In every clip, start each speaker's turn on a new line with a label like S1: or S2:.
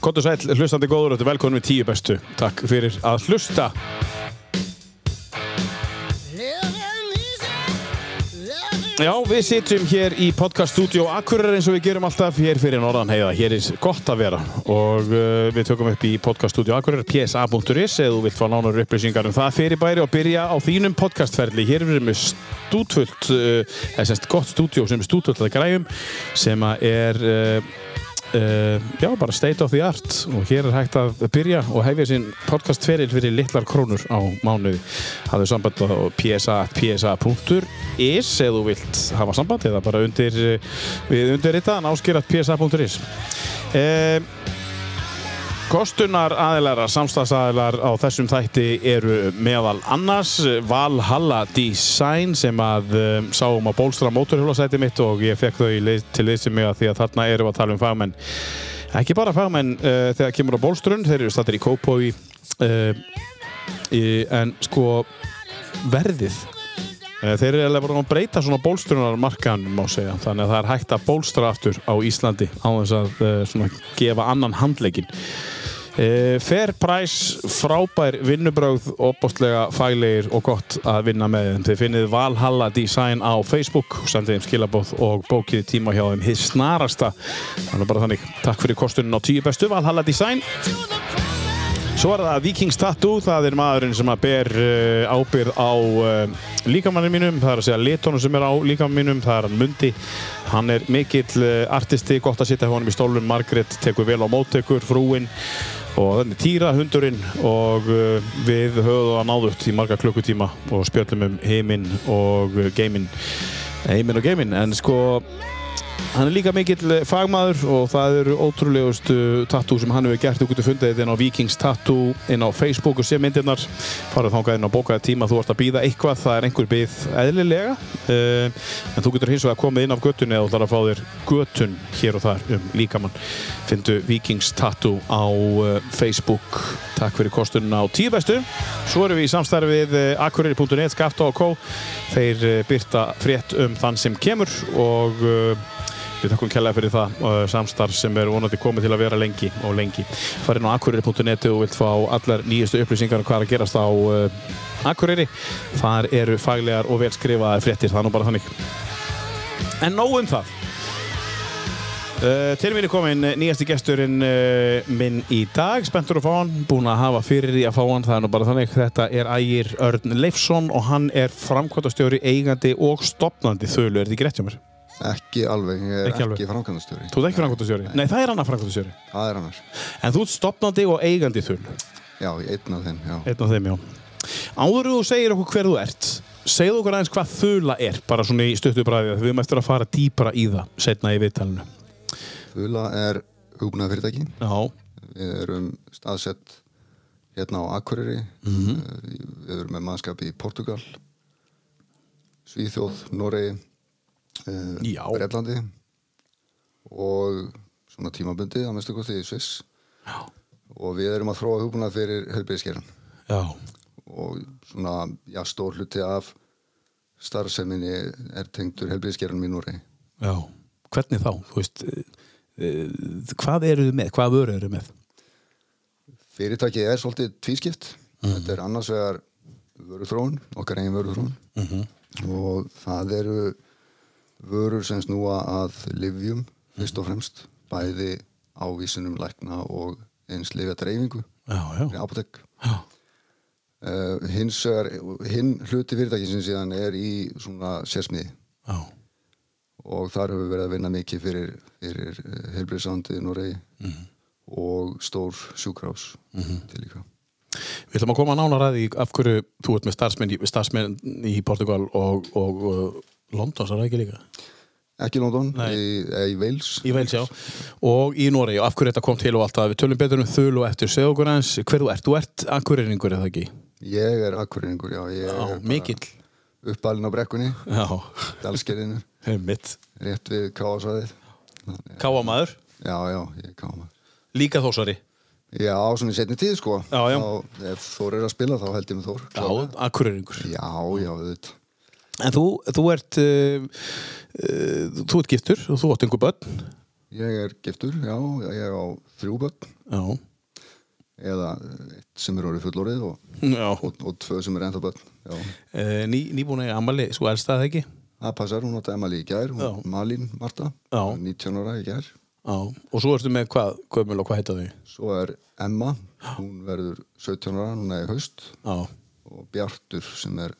S1: Kottu sæl, hlustandi góður og velkomin við tíu bestu. Takk fyrir að hlusta. Já, við sitjum hér í podcaststudió Akureyri eins og við gerum alltaf hér fyrir Norðan heiða. Hér er gott að vera og uh, við tökum upp í podcaststudió Akureyri psa.is eða þú vilt fá nánar upplýsingar um það fyrirbæri og byrja á þínum podcastferli. Hér erum við með stútvöld, uh, eða semst gott stúdió sem er stútvöld að græjum sem að er... Uh, Uh, já, bara state of the art og hér er hægt að byrja og hefja sín podcastferil fyrir litlar krónur á mánuði. Hafðu samband á psa.psa.is eða þú vilt hafa samband eða bara undir, uh, við undir þetta náskir.psa.is uh, Kostunar aðilara, samstagsaðilar á þessum þætti eru meðal annars Valhalla Design sem að um, sáum að bólstra mótorhjólasæti mitt og ég fekk þau í lið, til liðsum mig að því að þarna eru að tala um fagmenn. Ekki bara fagmenn uh, þegar kemur á bólstrun, þeir eru stattir í Kópói uh, í- en sko verðið Eh, Þeir eru alveg bara að breyta svona bólstrunarmarkanum má segja, þannig að það er hægt að bólstra aftur á Íslandi á þess að eh, svona, gefa annan handleikin. Eh, Fair price, frábær vinnubráð, opbóstlega fælegir og gott að vinna með þeim. Þið finnið Valhalla Design á Facebook, sendið þeim skilabóð og bókið tíma hjá þeim hið snarasta. Þannig bara þannig, takk fyrir kostunum á tíu bestu, Valhalla Design. Svo er það Vikings Tattoo, það er maðurinn sem að ber uh, ábyrð á uh, líkamannum mínum, það er að segja litónum sem er á líkamannum mínum, það er hann Mundi. Hann er mikill uh, artisti, gott að sitja hjá honum í stólum, Margrét tekur vel á móttekur, frúinn og þannig Týra, hundurinn og uh, við höfum það náðugt í marga klukkutíma og spjöllum um heiminn og uh, geiminn, heiminn og geiminn, en sko Hann er líka mikill eh, fagmaður og það eru ótrúlegustu tattoo sem hann hefur gert. Þú getur fundið þetta inn á Vikings Tattoo, inn á Facebook og sé myndirnar. Farðu þangað inn og bókaði tíma, þú ert að býða eitthvað, það er einhver býð eðlilega. Uh, en þú getur hins vegar komið inn af göttunni eða þú ætlar að fá þér göttun hér og þar um líkamann. Findu Vikings Tattoo á eh, Facebook. Takk fyrir kostununa á tíu bestu. Svo erum við eh, í samstarfið akureyri.net, Skafta og Kó. Þeir eh, birta frétt um þann sem kemur og uh, Við þakkum kærlega fyrir það uh, samstarf sem er vonandi komið til að vera lengi og lengi. Farinn á akureyri.net og vilt fá allar nýjustu upplýsingar um hvað er að gerast á uh, Akureyri. Þar eru faglegar og vel skrifaðar fréttir, það er nú bara þannig. En nóg um það. Uh, til mín er komin eh, nýjasti gesturinn uh, minn í dag, spenntur að fá hann, búin að hafa fyrir því að fá hann, það er nú bara þannig, þetta er Ægir Örn Leifsson og hann er framkvæmtastjóri, eigandi og stopnandi þölu, er þetta ekki rétt hjá mér?
S2: Ekki alveg, ég er
S1: Ekki
S2: ekki,
S1: alveg.
S2: ekki framkvæmdastjóri.
S1: Þú ert ekki framkvæmtastjóri? Nei, það er annar framkvæmtastjóri.
S2: Það er annar.
S1: En þú ert stopnandi og eigandi þul.
S2: Já, ég einn af þeim, já.
S1: Einn af þeim, já. Áður en þú segir okkur hver þú ert, segðu okkur aðeins hvað þula er, bara svona í stuttu bræðið, við erum eftir að fara dýpra í það setna í viðtalinu.
S2: Fula er hugbúnað fyrirtæki.
S1: Já,
S2: Við erum staðsett hérna á Akureyri.
S1: Mhm.
S2: Eh, Við erum með mannskap í Portugal, Svíþjóð, Noregi,
S1: Já.
S2: Breitlandi og svona tímabundið að mestu kosti í Sviss.
S1: Já.
S2: Og við erum að þróa hugbúnað fyrir helbriðskeran.
S1: já,
S2: og svona, já, stór hluti af starfseminni er tengdur helbriðskerunum í Núri.
S1: já. Hvernig þá? Þú veist, uh, uh, hvað eru þið með? Hvað vöru eru þið með?
S2: Fyrirtækið er svolítið tvískipt. Þetta er annars vegar vöruþróun, okkar eigin vöruþróun og það eru vörur sem snúa að livjum fyrst og fremst, bæði ávísunum lækna og eins livja dreifingu
S1: Já,
S2: í
S1: já,
S2: apotek.
S1: já.
S2: Uh, hins vegar, hinn hluti fyrirtækisins síðan er í svona sérsmiði.
S1: já.
S2: og þar hefur við verið að vinna mikið fyrir, fyrir helbriðsándið í Noregi og stór sjúkrás til líka.
S1: Við ætlum að koma nánar að því af hverju þú ert með starfsmenn í, starfsmenn í Portugal og, og uh, London, það er ekki líka?
S2: Ekki í London,
S1: Nei.
S2: í, eða í Wales.
S1: í Wales, já, og í Noregi og af hverju þetta kom til og allt það, við tölum betur um þul og eftir segja okkur aðeins, hver þú ert, þú ert akureyringur eða ekki,
S2: Ég er akkurýringur, já. Ég
S1: já,
S2: er
S1: mikill
S2: uppalinn á brekkunni,
S1: já,
S2: dalskerinu,
S1: mitt
S2: rétt við káasvæðið.
S1: káamaður,
S2: Já, já, ég er káma.
S1: líka þósari
S2: Já, á svona í setni tíð sko.
S1: Já, já.
S2: Þá, ef Þór er að spila þá held ég með Þór.
S1: já,
S2: klárlega.
S1: akureyringur
S2: Já, já, auðvitað.
S1: eh, en þú, þú ert uh, uh, þú ert giftur og þú átt einhver börn
S2: Ég er giftur, já, ég er á þrjú börn
S1: Já.
S2: eða eitt sem er orðið fullorðið og,
S1: Já.
S2: og, og tvö sem er ennþá börn. Já,
S1: Eh, Ný, nýbúin að eiga ammali, svo elsta það ekki?
S2: það passar, hún átti Emali í gær, hún
S1: Já.
S2: Malín Marta,
S1: Já.
S2: 19 ára í gær.
S1: Já. Og svo ertu með hvað, gömul og hvað heita þau?
S2: Svo er Emma, hún verður 17 ára, núna í haust
S1: Já.
S2: og Bjartur sem er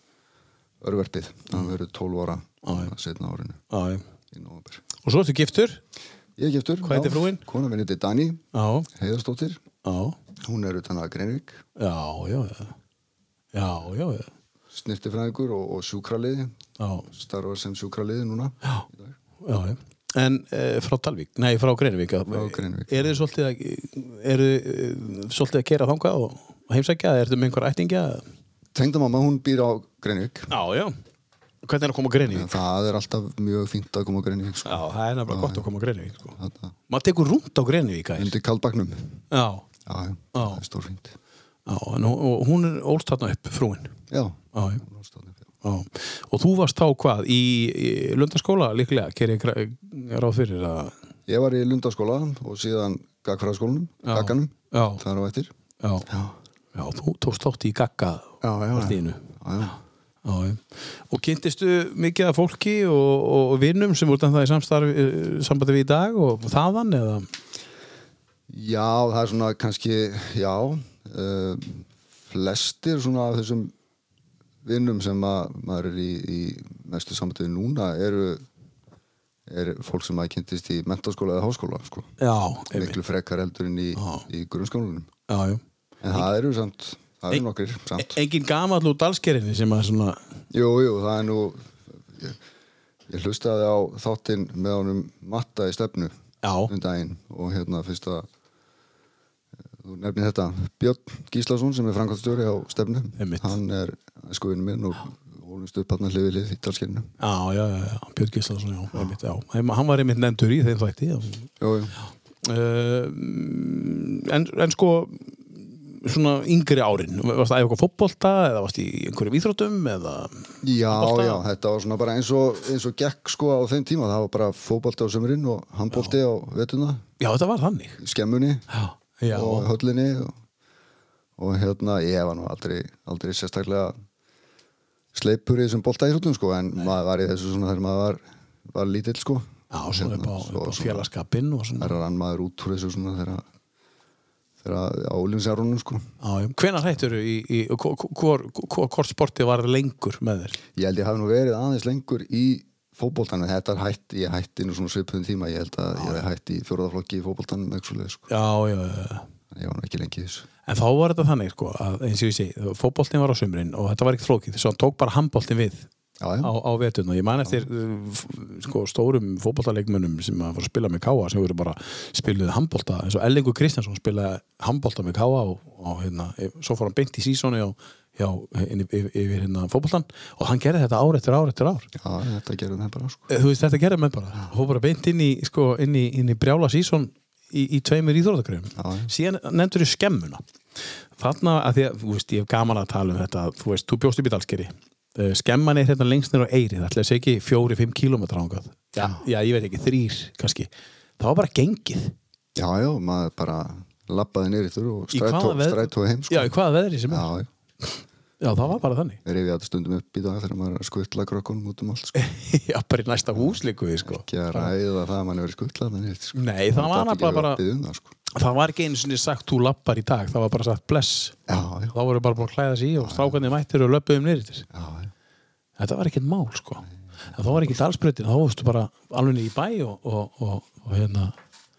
S2: örverpið, hann verður 12 ára
S1: Já,
S2: setna árinu
S1: Já. já.
S2: í nóvember.
S1: Og svo ertu giftur?
S2: Ég er giftur.
S1: Hvað
S2: já.
S1: heitir frúin?
S2: Konan minn heitir Dani
S1: Já.
S2: Heiðarsdóttir,
S1: Já.
S2: hún er utan að Greinvík,
S1: Já, já, já. Já, já, já.
S2: snirtifræðingur og, og sjúkraliði,
S1: Já,
S2: starfar sem sjúkraliði núna. Já.
S1: já, já. En e, frá Dalvík, nei, frá Greinvík
S2: Frá Grenivík.
S1: Er þið svolítið að er þið svolítið að kera þangað og og heimsækja, er þið með einhver ættingja?
S2: Tengdamamma, hún býr á Greinvík.
S1: Já, já. Hvernig er að koma á Greinvík?
S2: Það er alltaf mjög fínt að koma á Greinvík.
S1: Já,
S2: Sko.
S1: það er nefnilega gott að koma á Greinvík sko.
S2: Þarna
S1: Maður tekur rúmt á Greinvík aðeins
S2: Undir kaldbaknum.
S1: Já,
S2: Já, já, það er stórfínt.
S1: já, en hún- og hún er ólst þarna upp, frúin
S2: Já,
S1: Já, já,
S2: hún er ástæðan, já.
S1: já Og þú varst þá hvað, í, í Lundaskóla líklega, ker ég gra- ráð fyrir að
S2: Ég var í Lundaskóla og síðan Gagfræðaskólanum,
S1: Já.
S2: Gagganum,
S1: Já,
S2: þar á eftir.
S1: já,
S2: Já,
S1: já, þú tókst þátt í gagga
S2: já, já. já.
S1: partíinu
S2: já, já.
S1: Já, já. og kynntistu mikið af fólki og, og vinnum sem voru það í samstarf, sambandi við í dag og þaðan eða
S2: Já, það er svona kannski, já, uh, flestir svona af þessum vinnum sem að, maður er í, í mestu samtöðu núna eru er fólk sem maður kynntist í mentaskóla eða háskóla, sko.
S1: já, einmitt.
S2: Miklu frekar eldur en í,
S1: Já.
S2: í grunnskólanum.
S1: já, já.
S2: En það eru samt, það
S1: Ein-
S2: eru nokkrir samt.
S1: E- engin gamall úr dalskerinni sem að svona
S2: Jú, jú, það er nú, ég, ég hlustaði á þáttinn með honum matta í stefnu
S1: já,
S2: um daginn og hérna fyrst að þú nefnir þetta Björn Gíslason sem er framkvæmstjóri á stefnu
S1: Einmitt.
S2: hann er skoðinu minn og hólumst upp hann hlifið lið í dalskirinu
S1: já, já, já, já. Björn Gíslason já, einmitt, já. Heim- hann var einmitt nefndur í þeim þætti já.
S2: Jú, jú.
S1: uh, en, en sko svona yngri árin varst það eitthvað fótbolta eða varst í einhverjum íþróttum eða
S2: já,
S1: Fótbolta?
S2: já, þetta var svona bara eins og, eins og gekk sko á þeim tíma það var bara fótbolti á sömurinn og handbolti á vetuna,
S1: já, þetta var þannig
S2: í skemmunni
S1: já, já,
S2: og höllinni og, og hérna, ég var nú aldrei, aldrei sérstaklega sleipur í þessum bolta í sko en maður var í þessu svona þegar maður var, var lítill sko
S1: já svona upp á,
S2: Svo-
S1: upp á
S2: svona-
S1: félagskapinn og svona
S2: þar rann maður út úr þessu svona þegar þegar á úlinsjárunum sko
S1: Hvenar hættur í, í hvor, hvor, hvor, hvor sporti var lengur með þér?
S2: ég held ég hafi nú verið aðeins lengur í fótboltan en þetta er hætt, ég hætti nú svona svipuðum tíma, ég held að ég hef hætti í fjóraðaflokki í fótboltanum eitthvað svoleiðis, sko,
S1: Já, já, já.
S2: en ég var nú ekki lengi í þessu
S1: En þá var þetta þannig, sko, að eins og ég segi, fótboltin var á sumrin og þetta var ekkert flókið, svo hann tók bara handboltin við
S2: já, já,
S1: á, á vetuna. Ég man eftir uh, f- sko, stórum fótboltaleikmönnum sem að fór að spila með Káa, sem voru bara spiluðið handbolta, eins og Ellingur Kristjánsson spilaði handbolta með Káa og, og hérna, e- svo fór hann beint í sísónu hjá, hjá, inn í- yfir, yfir hérna, fótboltan og hann gerði þetta ár eftir ár eftir ár.
S2: já, þetta gerðum það bara sko
S1: Eh, þú veist þetta gerði menn bara hún bara beint inn í, sko, inn í, inn í brjála sísón í, í tveimur
S2: Já,
S1: íþróttakröfum
S2: já.
S1: síðan nefndur þau skemmuna þarna að því að, þú veist, ég hef gaman að tala um þetta þú veist, þú bjóst upp í Dalskeri Eh, skemman er hérna lengst nýr á Eiri það ætla að segja ekki fjóri, fimm kílómetra ángað já, já, ég veit ekki, þrýr kannski það var bara gengið
S2: já, já, maður bara labbaði nýr yfir og
S1: Í hvaða
S2: strætó,
S1: veð-
S2: strætó heim sko
S1: já, í hvaða veðri sem
S2: já,
S1: er,
S2: já.
S1: já það var bara þannig
S2: reyfi þetta stundum upp í dag þegar maður er að skuttla krökkunum út um allt sko.
S1: já, bara í næsta húsleiku við sko
S2: ekki að ræða það að mann hefur skutlað þannig sko.
S1: nei, það var
S2: Gat
S1: nefnilega bara
S2: ekki verið að biðja um það, sko.
S1: það var ekki einu sinni sagt þú lappar í dag það var bara sagt bless
S2: já, já,
S1: þá voru bara búin að klæða sig í og strákarnir mættir og um löpuðum nýr yfir
S2: já, já
S1: þetta var ekkert mál sko en þá var ekkert allsbreytin, þá varstu bara alveg niður í bæ og, og, og, og hérna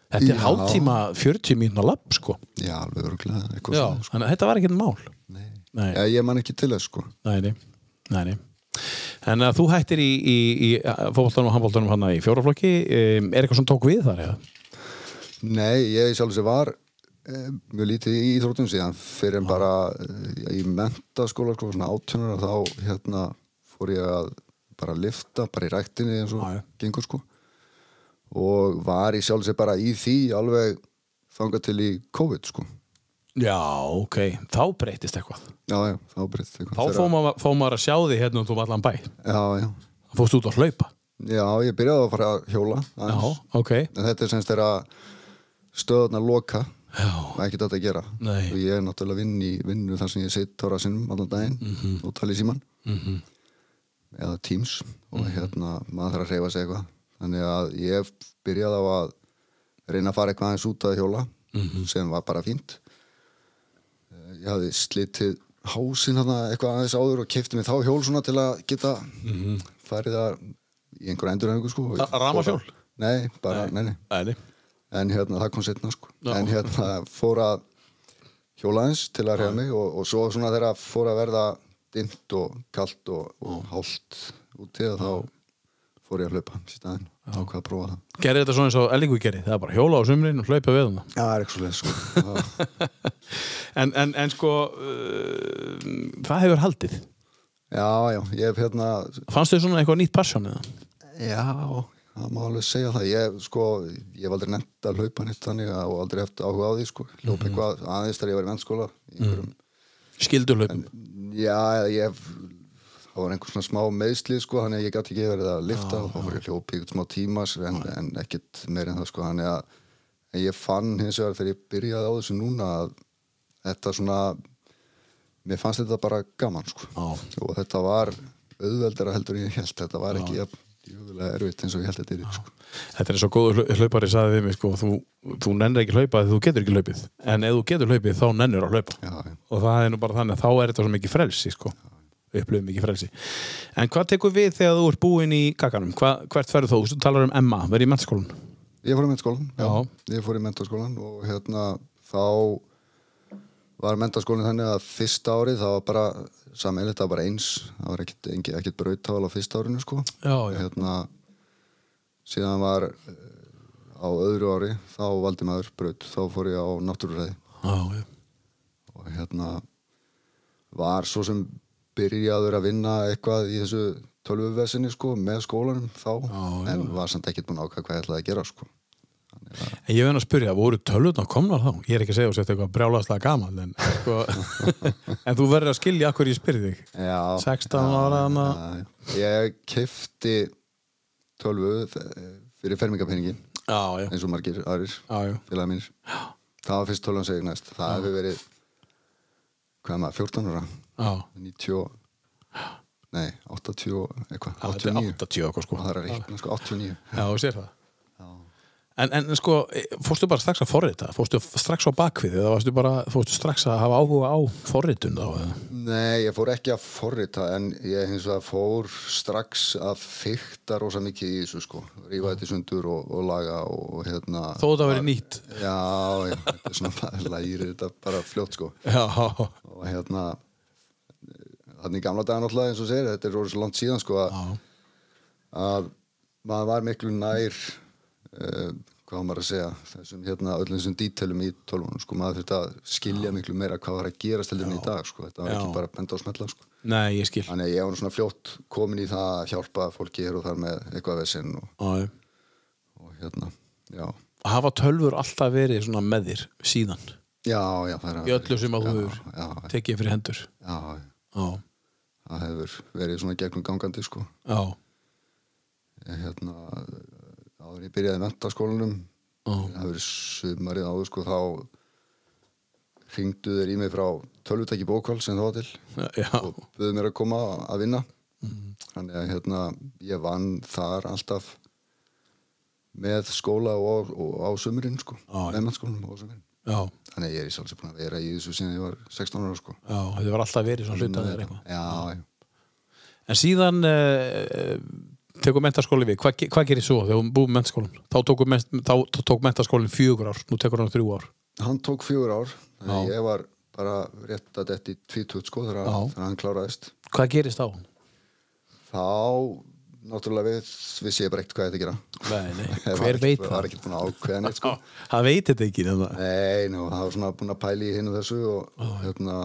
S1: þetta er
S2: Já.
S1: hálftíma 40 mínuna lapp sko
S2: Já, alveg örgulega eitthvað
S1: já,
S2: svona, sko.
S1: þannig að þetta var ekkert mál
S2: Nei.
S1: Nei.
S2: Já, ég man ekki til þess sko
S1: nei, nei, nei, nei. en að þú hættir í, í, í uh, fótboltanum og handboltanum hann í fjóraflokki um, er eitthvað sem tók við þar eða?
S2: Nei, ég sjálf þessi var eh, mjög lítið í íþróttum síðan fyrir en bara eh, í mentaskóla sko, svona átjónur þá hérna fór ég að bara lifta bara í ræktinni eins og
S1: Já, já.
S2: gengur sko og var ég sjálf þessi bara í því alveg þangað til í COVID sko
S1: já, ok, þá breytist eitthvað
S2: Já, já, þá breytt
S1: þá fór maður, fór maður að sjá því hérna um þú allan bæ
S2: Já, já,
S1: þá fórstu út að hlaupa
S2: Já, ég byrjaði að fara að hjóla
S1: Já,
S2: aðeins.
S1: ok.
S2: En þetta er semst þegar stöðuna loka og ekki þetta að gera
S1: Nei.
S2: og ég er náttúrulega vinn í vinnu þar sem ég sitt tóra sinnum allan daginn
S1: Mhm.
S2: og tala í síman -hmm. eða Teams og
S1: Mhm.
S2: hérna maður þarf að reyfa sig eitthvað þannig að ég byrjaði á að reyna að fara eitthvað aðeins út að hjóla
S1: Mhm.
S2: sem var bara fínt Eh, ég hafði slitið hásinn hana eitthvað aðeins áður og kefti mig þá hjól svona til að geta farið að í einhverja endurhengu sko
S1: Mhm. Ra- rafmagnshjól?
S2: Nei, bara, nei, nei
S1: Æli.
S2: en hérna það kom setna sko
S1: Já.
S2: en hérna fór að hjóla eins til að reyða mig og, og svo svona þegar fór að verða dimmt og kalt og, og hált úti að þá fór ég að hlaupa í staðinn og ákvað að prófa það
S1: Gerði þetta svona eins og Ellingu gerði, það er bara hjóla á sumrin og hlaupa við hana.
S2: Já, það er ekki svo leið sko Það-
S1: En, en, en sko, uh, það hefur haldið.
S2: Já, já, ég hef hérna
S1: Fannst þau svona eitthvað nýtt passion eða?
S2: Já, það má alveg segja það ég sko, ég hef aldrei nefnt að hlaupa nýtt þannig að- og aldrei eftir áhuga á því sko hljópa eitthvað aðeins þegar ég var í mennskóla í einhverjum
S1: Skildurhlaupum.
S2: Já, eða ég það var einhver svona smá meðsli sko, þannig að ég gæti ekki verið að lifta og þá var ég hljópi ykkur smá tímas en, en ekkit meir en það sko, þannig að en ég fann hins vegar þegar ég byrjaði á þessu núna að þetta svona mér fannst þetta bara gaman sko
S1: Já.
S2: og þetta var auðveldara heldur en ég held þetta var ekki jafn jöfulega erfitt eins og ég held þetta er sko.
S1: Þetta er svo góður hlau- hlaupari saði við mig sko, þú, þú nennir ekki hlaupa því þú getur ekki hlaupið en ef þú getur hlaupið þá nennir að hlaupa
S2: Já, já.
S1: og það er nú bara þannig að þá er þetta svo mikið frelsi sko, upplöfum mikið frelsi en hvað tekur við þegar þú ert búinn í kakanum, Hva, hvert ferðu þú, þú talar um Emma, verið í mennskólan
S2: Ég fór í mentaskólan, já.
S1: Já.
S2: Ég fór í mentaskólan og hérna þá var mentaskólinn þannig að fyrsta árið það var bara sammeilið, það var bara eins. Það var ekkit, engi- ekkit brautál á fyrsta árinu sko.
S1: Já, já.
S2: Hérna, síðan var eh, á öðru ári, þá valdi maður braut, þá fór ég á náttúruræði
S1: Já, já.
S2: og hérna var svo sem byrjaður að vinna eitthvað í þessu tölvuvesinni sko með skólanum þá
S1: Já, já.
S2: en var samt ekkit búin að ákvæða hvað ég ætlaði að gera sko.
S1: En ég verðin að spyrja, voru tölvutna komnar þá? Ég er ekki að segja þú sett eitthvað brjálaðslega gaman en, sko, en þú verður að skilja akkur ég spyrir þig
S2: Já,
S1: 16 ára þarna.
S2: já, já. Ég kefti tölvu þ- fyrir fermingapeningin
S1: Já, já,
S2: eins og margir aðrir
S1: já, já.
S2: félagar mínir Það var fyrst tölvan segir næst Það hefur verið hvað er maður, 14 ára
S1: já.
S2: 90 Nei, 80 eitthvað,
S1: Já, Þetta er
S2: 89
S1: 80 og eitthvað sko
S2: Það er að reikna sko, 89
S1: Já, þú sér það En, en sko, fórstu bara strax að forrita? Fórstu strax á bakvið eða varstu bara, fórstu strax að hafa áhuga á forritun þá? eða?
S2: Nei, ég fór ekki að forrita en ég hins vegar fór strax að fykta rosa mikið í þessu sko rífa þetta í sundur og, og laga og hérna
S1: Þó þetta verið nýtt
S2: Já, já, þetta er svona maður lærir þetta bara fljótt sko
S1: Já,
S2: og hérna þannig í gamla dagan alltaf eins og þú segir þetta er orðið svo langt síðan sko að,
S1: já,
S2: að maður var miklu nær uh, hvað á maður að segja þessum hérna öllum þessum dítelum í tölvunum sko maður þurfti að skilja miklu meira hvað var að gerast heldur en í dag sko þetta var
S1: Já.
S2: ekki bara að benda og smetla sko
S1: nei, ég skil Já,
S2: þannig að ég var nú svona fljótt komin í það að hjálpa fólki hér og þar með eitthvað vesinn og,
S1: já.
S2: og hérna já,
S1: Hafa tölfur alltaf verið svona með þér síðan
S2: já, já það er
S1: í öllu sem að þú
S2: Já,
S1: hefur
S2: já,
S1: tekið fyrir hendur
S2: já, já
S1: Já,
S2: það hefur verið svona gegnum gangandi sko.
S1: já,
S2: Ég, hérna, áður en ég byrjaði í mentaskólanum
S1: já,
S2: það hefur verið sumarið áður sko, þá hringdu þeir í mig frá tölvutæki bókvall sem það var til
S1: já.
S2: og buðu mér að koma að vinna
S1: Mhm.
S2: þannig að hérna, ég vann þar alltaf með skóla og, á- og á sumurinn sko,
S1: Já, já.
S2: með mentaskólanum og á sumurinn
S1: já,
S2: þannig að ég er í sjálfsög búin að vera í þessu síðan ég var 16 ára sko.
S1: já, þetta var alltaf verið svona hluta þér
S2: já,
S1: eitthvað
S2: já,
S1: En síðan uh, tekur mentaskóli við, Hva, hvað gerir svo þegar hún búið mentaskólan? Þá, tóku ment, þá, þá tók mentaskólin fjögur ár, nú tekur hann þrjú ár
S2: hann tók fjögur ár þannig að
S1: Já.
S2: ég var bara rétt að þetta í tvítut sko þegar
S1: Já.
S2: þegar hann kláraðist
S1: Hvað gerist þá?
S2: þá náttúrulega við, vissi ég bara ekkert hvað þetta gera
S1: Nei, nei,
S2: Ég var
S1: hver
S2: ekkert-
S1: veit
S2: var
S1: það?
S2: ekkert búin að ákveða neitt sko
S1: Á, Það veit þetta ekki nema.
S2: nei, nú, það var svona búin að pæla í hinn og þessu og hérna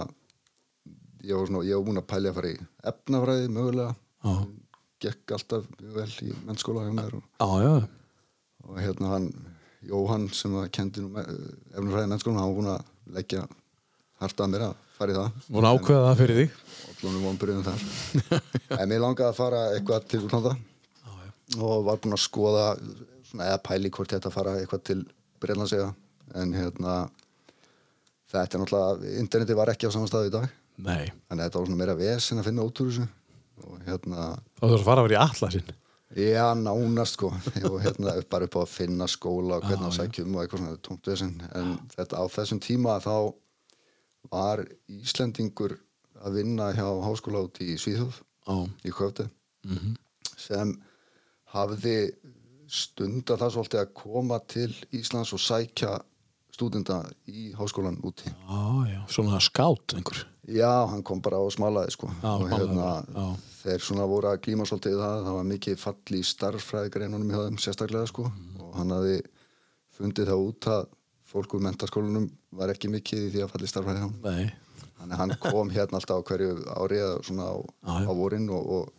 S2: ég var, svona, ég var búin að pæla í að fara í efnafræði mögulega
S1: Já.
S2: gekk alltaf mjög vel í mennskóla hjá mér og,
S1: Já, já,
S2: og hérna hann Jóhann sem að kendi nú með- efnafræði mennskóla hann var búin að leggja harta að mér að fara í það
S1: hún ákveða það fyrir þig
S2: allanum vonbröðum þar en mér langaði að fara eitthvað til útlanda
S1: já, já.
S2: og var búinn að skoða svona, eða pæli hvort þetta fara eitthvað til Breitlandsega en hérna þetta er náttúrulega, interneti var ekki á saman stað í dag
S1: Nei.
S2: þannig að þetta var svona meira vesen að finna út úr þessu og hérna,
S1: Þá þarf að fara að vera í allasinn.
S2: já nánast sko og hérna upp- bara upp á að finna skóla og hvernig að sækjum og eitthvað svona tómt vesen en þetta á þessum tíma þá var Íslendingur að vinna hjá háskóla út í Svíþjóð
S1: Já.
S2: í Köfti
S1: Mhm.
S2: sem hafði stunda það svolítið að koma til Íslands og sækja stúdenda í háskólan úti
S1: Já, já. Svona skátt einhver.
S2: Já, hann kom bara og smalaði sko
S1: Já,
S2: og
S1: smalaði
S2: hérna,
S1: bara, já.
S2: þeir svona voru að glíma svolítið við það, það var mikið fall í starffræðigreinunum hjá þeim sérstaklega sko
S1: Mhm.
S2: og hann hafði fundið það út að fólk úr mentaskólanum var ekki mikið í því að falli starffræði hann
S1: Nei.
S2: þannig að hann kom hérna alltaf á hverju ári eða svona á,
S1: Já, já.
S2: á vorin og, og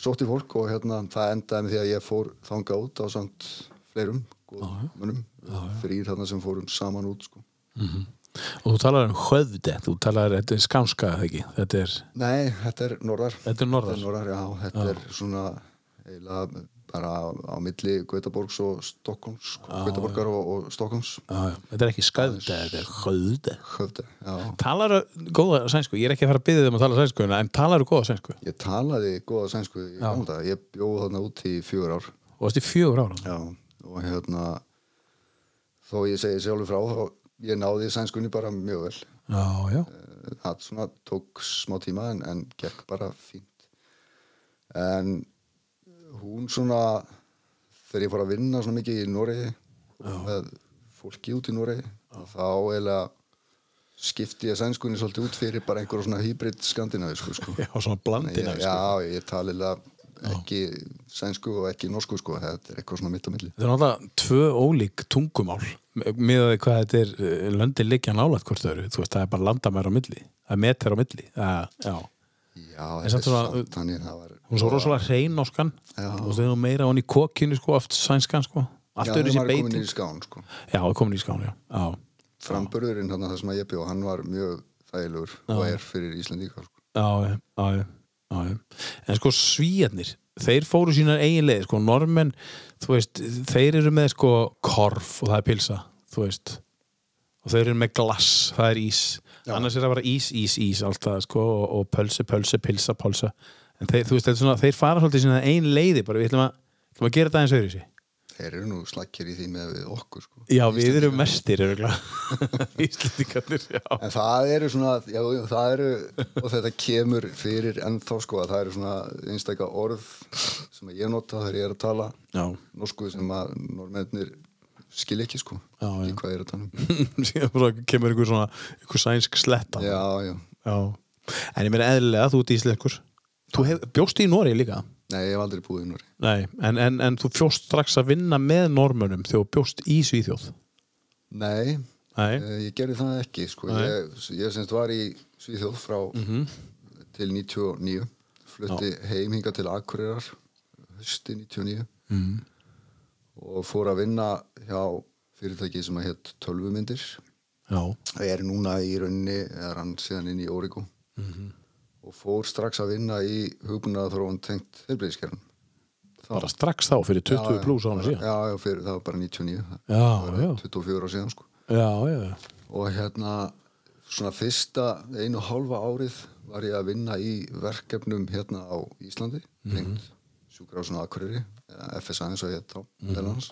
S2: sótti fólk og hérna það endaði með því að ég fór þanga út á samt fleirum
S1: Já, já.
S2: munum, þrýr þarna sem fórum saman út sko.
S1: Mhm. Og þú talar um höfde. Þú talar, þetta er skánska, eða ekki? Þetta er,
S2: Nei, þetta er norðar
S1: þetta er
S2: þetta er,
S1: norðar.
S2: norðar, já, þetta er svona eiginlega bara á milli Gautaborgs og Stokkons Gautaborgar og, og Stokkons
S1: Já, já. Þetta er ekki skátt, þetta er höfde.
S2: höfði, já
S1: Talar góða sænsku, ég er ekki að fara að byggja þeim að tala sænsku en talar góða sænsku
S2: Ég talaði góða sænsku í gamla daga. ég bjóð þarna út í fjögur ár
S1: og þetta er fjögur ára
S2: Já, og hérna þó ég segi sjálfur frá þá ég náði sænskunni bara mjög vel
S1: Já, já,
S2: Eh, það svona tók smá tíma en, en gekk bara fínt en hún svona þegar ég fór að vinna svona mikið í Noregi og með fólki út í Noregi þá eiginlega skipti ég sænskunni svolítið út fyrir bara einhverja svona hybrid skandinavisku sko.
S1: já svona blandina
S2: Ég- Já, ég tali eiginlega ekki sænsku og ekki norsku sko, þetta er eitthvað svona mitt á milli
S1: Þetta er náttúrulega tvö ólík tungumál miðaði hvað þetta er eh, löndin liggja nálægt hvort þau eru, þú veist, það er bara landamæri á milli, það er meter á milli það, já,
S2: Já,
S1: En samt
S2: þetta er
S1: svona- uh,
S2: samt þannig það var
S1: hún er svo rosalega hrein norskan
S2: Já.
S1: og þau eru meira hún í kokinu sko, oft sænskan sko, allt
S2: Já,
S1: eru
S2: hann
S1: þessi
S2: var komin
S1: beiting
S2: í skán sko.
S1: Já, það er komin í skánu, já, já,
S2: Framburðurinn þarna þar sem að ég bjó, hann var mjög þægilegur og er fyrir Íslandíka sko.
S1: já, já, já, já, já. En sko svíjarnir, þeir fóru sínar eiginlega, sko, normenn þú veist, þeir eru með sko korf og það er pilsa, þú veist og þeir eru með glass, það er ís annars er það bara ís, ís, ís alltaf, sko, og, og pölse, pölse, pilsa, pölsa en þeir, þú veist, þetta er svona, þeir fara svolítið sína ein leiði, bara við ætlum að, ætlum að gera þetta aðeins öðru sér
S2: Þeir eru nú slakkir í því með við okkur sko.
S1: Já, við erum mestir, örugglega. Íslendingarnir, já
S2: En það eru svona, já, já, það eru, og þetta kemur fyrir ennþá sko að það eru svona einstaka orð sem ég nota þegar ég er að tala
S1: Já,
S2: norsku sem að normennir skilja ekki sko,
S1: Já, já.
S2: ekki hvað ég er að tala um.
S1: síðan bara kemur einhver svona, einhver sænsk sletta
S2: Já, já,
S1: Já, en ég meina eðlilega þú ert íslenskur Þú hef, bjóst í Nóri líka
S2: nei, ég hef aldrei búið í Nóri.
S1: Nei, en, en, en þú fjóst strax að vinna með normönum þegar þú bjóst í Svíþjóð
S2: Nei,
S1: Nei,
S2: Eh, Ég gerði það ekki, sko.
S1: Nei. Mhm.
S2: Ég, ég semst var í Svíþjóð frá til 99, flutti heim hinga til Akureyrar hösti 99
S1: Mhm.
S2: og fór að vinna hjá fyrirtæki sem að hétt tölvumyndir.
S1: já,
S2: Það er núna í rauninni, eða rann síðan inn í Origo Mhm. og fór strax að vinna í hugbúnaða þróun tengt heilbreyðiskerun.
S1: bara strax þá fyrir 20 pluss ára síðan
S2: Já, já, fyrir, það var bara 99,
S1: Já,
S2: það var
S1: já.
S2: 24 ára síðan, sko.
S1: Já, já, já,
S2: og hérna svona fyrsta einu og hálfa árið var ég að vinna í verkefnum hérna á Íslandi mm -hmm. sjúkrásuna Akureyri eða FSA eins og ég þá mm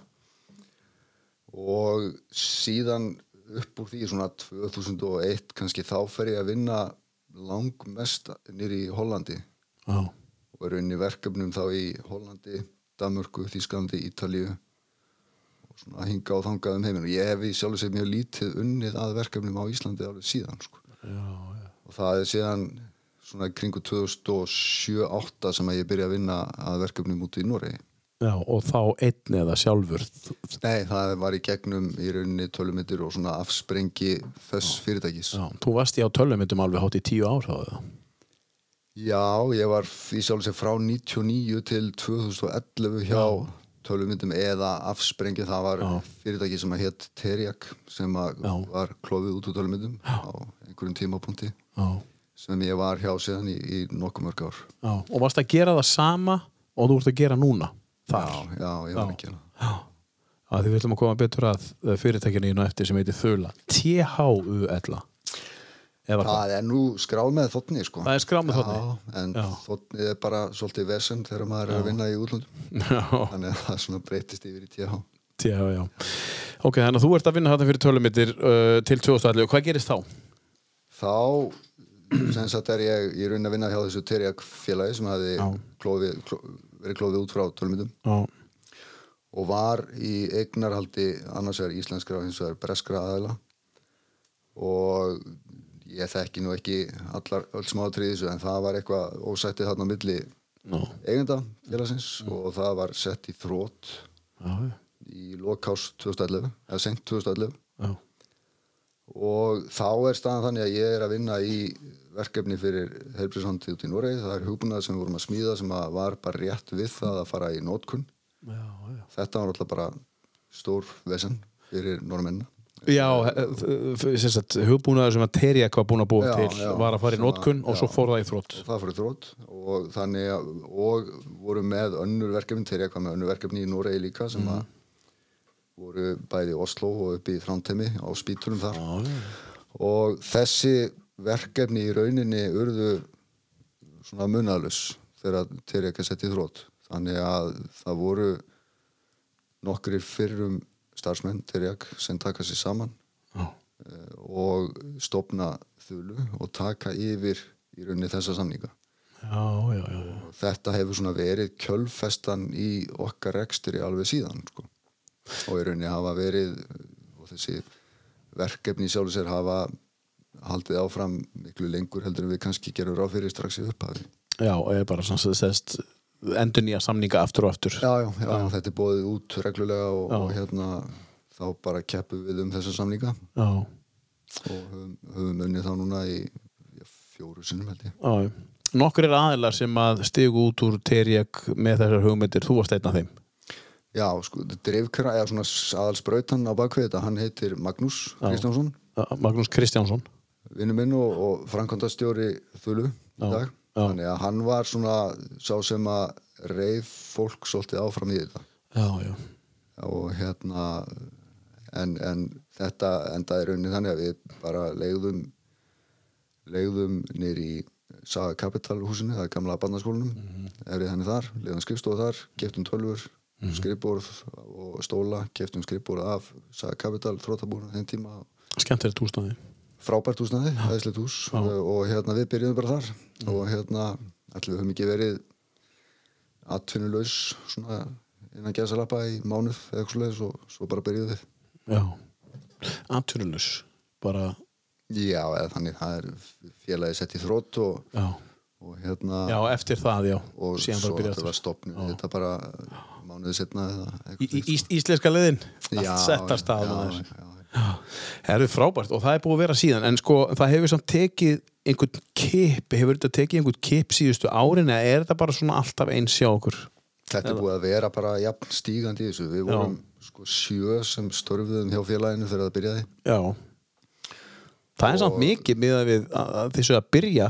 S2: og síðan upp úr því svona 2001 kannski þá fer ég að vinna langmest nýri í Hollandi
S1: já,
S2: og er unni verkefnum þá í Hollandi, Danmörku, Þísklandi, Ítalíu og svona hinga og þangað um heiminn og ég hef í sjálf sér mjög lítið unnið að verkefnum á Íslandi alveg síðan sko.
S1: já,
S2: og það er síðan svona í kringu 2007-2008 sem að ég byrja að vinna að verkefnum út í Noregi
S1: já Og þá einn eða sjálfur Já,
S2: Nei, það var í gegnum í rauninni tölumittir og svona afsprengi þess fyrirtækis
S1: þú varst í á tölvumyndum alveg hátt í tíu ár þá eða?
S2: Já, ég var í sjálf sér frá 99 til 2011 hjá tölumyndum eða afsprengi það var
S1: Já.
S2: fyrirtæki sem að hétt Terjak sem að
S1: Já.
S2: var klofið út úr tölumyndum á einhverjum tímapunkti
S1: Já,
S2: sem ég var hjá síðan í, í nokkuð mörg ár.
S1: já, og varst að gera það sama og þú ert að gera núna þar.
S2: já, ég var ekki hérna.
S1: Já. Að því við ætlum að koma betur að eh, fyrirtækinu í eftir sem heitir Þula. T-H-U-L-A. Eða hvað?
S2: Það er nú skráð með þotni sko.
S1: Það er skráð með þotni.
S2: Já, en
S1: Já.
S2: þotni er bara svolítið vesen þegar maður er að vinna í útlöndum
S1: Já,
S2: þannig að það svona breytist yfir í TH
S1: T-H, já. Ok, þannig að þú ert að vinna þetta fyrir tölumittir uh, til 2011. Hvað gerist þá?
S2: Þá sem sagt er ég, ég raun að vinna hjá þessu Terjak félagi sem hafði
S1: Já.
S2: klófið, kló, verið klófið út frá tölmyndum
S1: Já.
S2: og var í eignarhaldi annars vegar íslenskra og hins vegar breskra aðila og ég þekki nú ekki allar öll smáatriði þessu en það var eitthvað ósættið þarna á milli
S1: Já.
S2: eigenda félagsins og það var sett í þrótt
S1: Já.
S2: í lokás 2011 eða sent 2011
S1: Já.
S2: og þá er staðan þannig að ég er að vinna í verkefni fyrir helbriðshandið út í Noregi það er hugbúnað sem við vorum að smíða sem að var bara rétt við það að fara í nótkunn
S1: Já, já.
S2: þetta var alltaf bara stór vesen fyrir normenna
S1: Já, eh, sem sagt, hugbúnaður sem að Terjak var búin að búa
S2: Já,
S1: til
S2: já.
S1: var að fara í
S2: Sem að-
S1: nótkunn og svo
S2: já.
S1: fór það í þrótt.
S2: það fyrir þrótt og þannig að, og voru með önnur verkefni, þegar ég var með önnur verkefni í Noregi líka sem að voru bæði í Oslo og upp í Þrántemi á spíturum þar
S1: já.
S2: og þessi verkefni í rauninni urðu svona munalus þegar þegar ég setti í þrótt þannig að það voru nokkrir fyrrum starfsmenn þegar ég sem taka sér saman
S1: Já.
S2: eh, og stopna þulu og taka yfir í rauninni þessa samninga.
S1: Já, já, já. já.
S2: Og Þetta hefur svona verið kjölfestan í okkar rekstri alveg síðan sko. og í rauninni hafa verið eh, og þessi verkefni sjálf sér hafa haldið áfram miklu lengur heldur en við kannski gerum ráð fyrir strax í upphafi.
S1: Já, og er bara svona sem þess endur nýja samninga aftur og aftur.
S2: Já, já, já, þetta er bóðið út reglulega og,
S1: Já.
S2: og hérna þá bara keppum við um þessa samninga
S1: Já,
S2: og höfum, höfum unnið þá núna í já, fjóru sinnum held ég.
S1: já. já. Nokkur er aðilar sem að stigu út úr Terjak með þessar hugmyndir, þú varst einn af þeim.
S2: Já, sko, drifkra, eða svona aðalsbrautan á bakvið þetta, hann heitir Magnús Kristjánsson,
S1: Uh, Magnús Kristjánsson.
S2: vinnu minn og, og framkvæmdastjóri Þulu í
S1: Já,
S2: dag.
S1: já.
S2: Þannig að hann var svona sá sem að reif fólk svolítið áfram í þetta.
S1: Já, já.
S2: Og hérna, en, en þetta endaði raunin þannig að við bara leiðum, leiðum nýr í Saga Capital húsinu, það er gamla barnaskólanum, mm
S1: Mhm.
S2: efrið henni þar, leiðum skrifstofu þar, keftum tölfur, mm og stóla, keftum skrifborð af Saga Capital, þróttabúrna þeim tíma
S1: Skemmt er þetta húsnaði.
S2: frábært húsnaði, aðeinslegt hús uh, og hérna við byrjuðum bara þar og hérna allir við höfum ekki verið atvinnulegs svona innan gæðsalappa í mánuð eða eitthvað svoleiðis og svo bara byrjuðum við
S1: Já. Aturnus. Bara,
S2: Já, eða þannig það er félagi sett í þrótt og,
S1: já.
S2: og hérna
S1: Já, eftir það, já.
S2: og
S1: Síðan bara
S2: svo
S1: byrja
S2: þetta var
S1: aftur.
S2: stopnum við þetta bara mánuði setna eða
S1: Í,
S2: eitthvað
S1: í, í, íslenska liðin.
S2: Já,
S1: Allt sett að staða
S2: já,
S1: maður.
S2: já, já.
S1: Það eru frábært og það er búið að vera síðan en sko það hefur samt tekið einhvern kip, hefur þetta tekið einhvern kip síðustu árin eða er þetta bara svona alltaf eins hjá okkur?
S2: Þetta er búið að vera bara jafn stígandi í þessu við
S1: Já.
S2: vorum sko sjö sem störfuðum hjá félaginu þegar það byrjaði
S1: Já Það er samt
S2: Og-
S1: mikið miðað við að- að þessu að byrja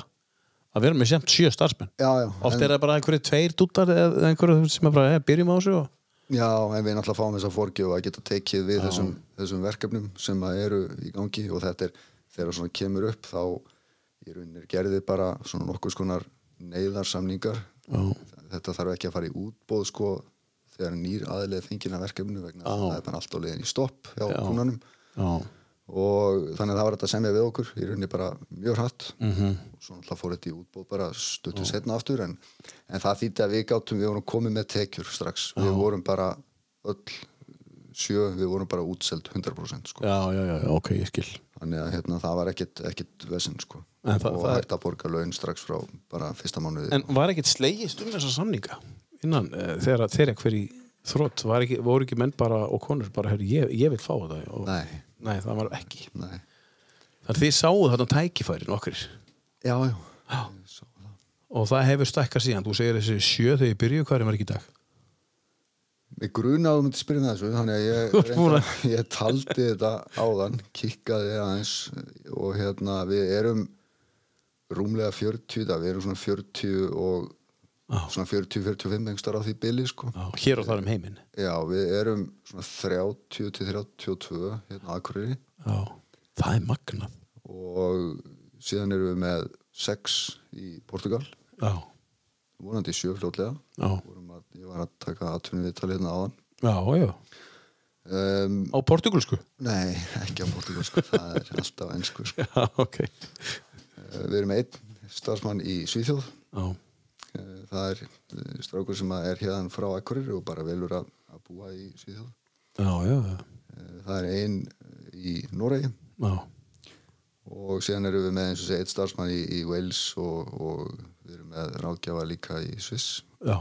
S1: að vera með semt sjö starfsmenn
S2: Já, já,
S1: Oft
S2: en-
S1: er það bara einhverju tveir dúttar eða einhverju sem er bara, hei, byrjum á þessu og...
S2: Já, en við náttúrulega fáum þess að forgjöf að geta tekið við þessum, þessum verkefnum sem að eru í gangi og þetta er þegar svona kemur upp þá í rauninir gerði bara svona nokkuð skonar neyðarsamningar þetta þarf ekki að fara í útbóð sko þegar nýr aðilega fengina verkefnu vegna þess að
S1: Já.
S2: það er bara allt á leiðin í stopp hjá
S1: Já.
S2: kúnanum
S1: Já,
S2: og þannig að það var þetta að semja við okkur í rauninni bara mjög hratt
S1: Mhm.
S2: -hmm. og svo náttúrulega fór þetta í útbóð bara stuttu setna aftur en, en það þýtti að við gátum við vorum komið með tekjur strax við vorum bara öll sjö, við vorum bara útseld 100% sko.
S1: já, já, já, ok, ég skil
S2: þannig að hérna, það var ekkit, ekkit vesinn sko.
S1: En það-
S2: og
S1: það er-
S2: hægt að borga laun strax frá bara fyrsta mánuði
S1: En var ekkit slegist um þessa samninga innan uh, þegar þeir eitthvað í þrótt var ekki, voru ekki menn bara og konur bara, herri, ég, ég vil fá þetta og...
S2: Nei,
S1: Nei, það var ekki
S2: nei
S1: Þannig þið sáu þarna tækifærin okkur
S2: Já, já,
S1: og það hefur stækkað síðan þú segir þessi sjö þegar ég byrju, hvað er maður ekki í dag?
S2: Mér grunaðum að spyrja með þessu þannig að ég,
S1: Þú ert búin
S2: reyndar, ég taldi þetta áðan kikkaði aðeins og hérna við erum rúmlega 40 í dag, við erum svona 40 og
S1: Já.
S2: svona 40-45 engstar á því bili sko.
S1: Já, hér og þar um heiminn
S2: Já, við erum svona 30-32 hérna á Akureyri
S1: Já. Það er magnað
S2: og síðan erum við með 6 í Portugal
S1: Já,
S2: vonandi 7 fljótlega
S1: já,
S2: Vorum að, ég var að taka aðtunni viðtal hérna áðan
S1: já, já.
S2: um,
S1: Á portugalsku
S2: Nei, ekki á Portugal sko. það er alltaf ennsku sko.
S1: Já, ok
S2: Eh, Við erum með einn starfsmann í Svíþjóð
S1: Já,
S2: Eh, það er eh, strákur sem að er hérðan frá Akureyri og bara velur að, að búa í Svíþjóð
S1: já, já, já.
S2: Eh, það er einn í Noregi
S1: já.
S2: og síðan erum við með eins og segja eitt starfsmann í, í Wales og, og við erum með ráðgjafa líka í Sviss
S1: Já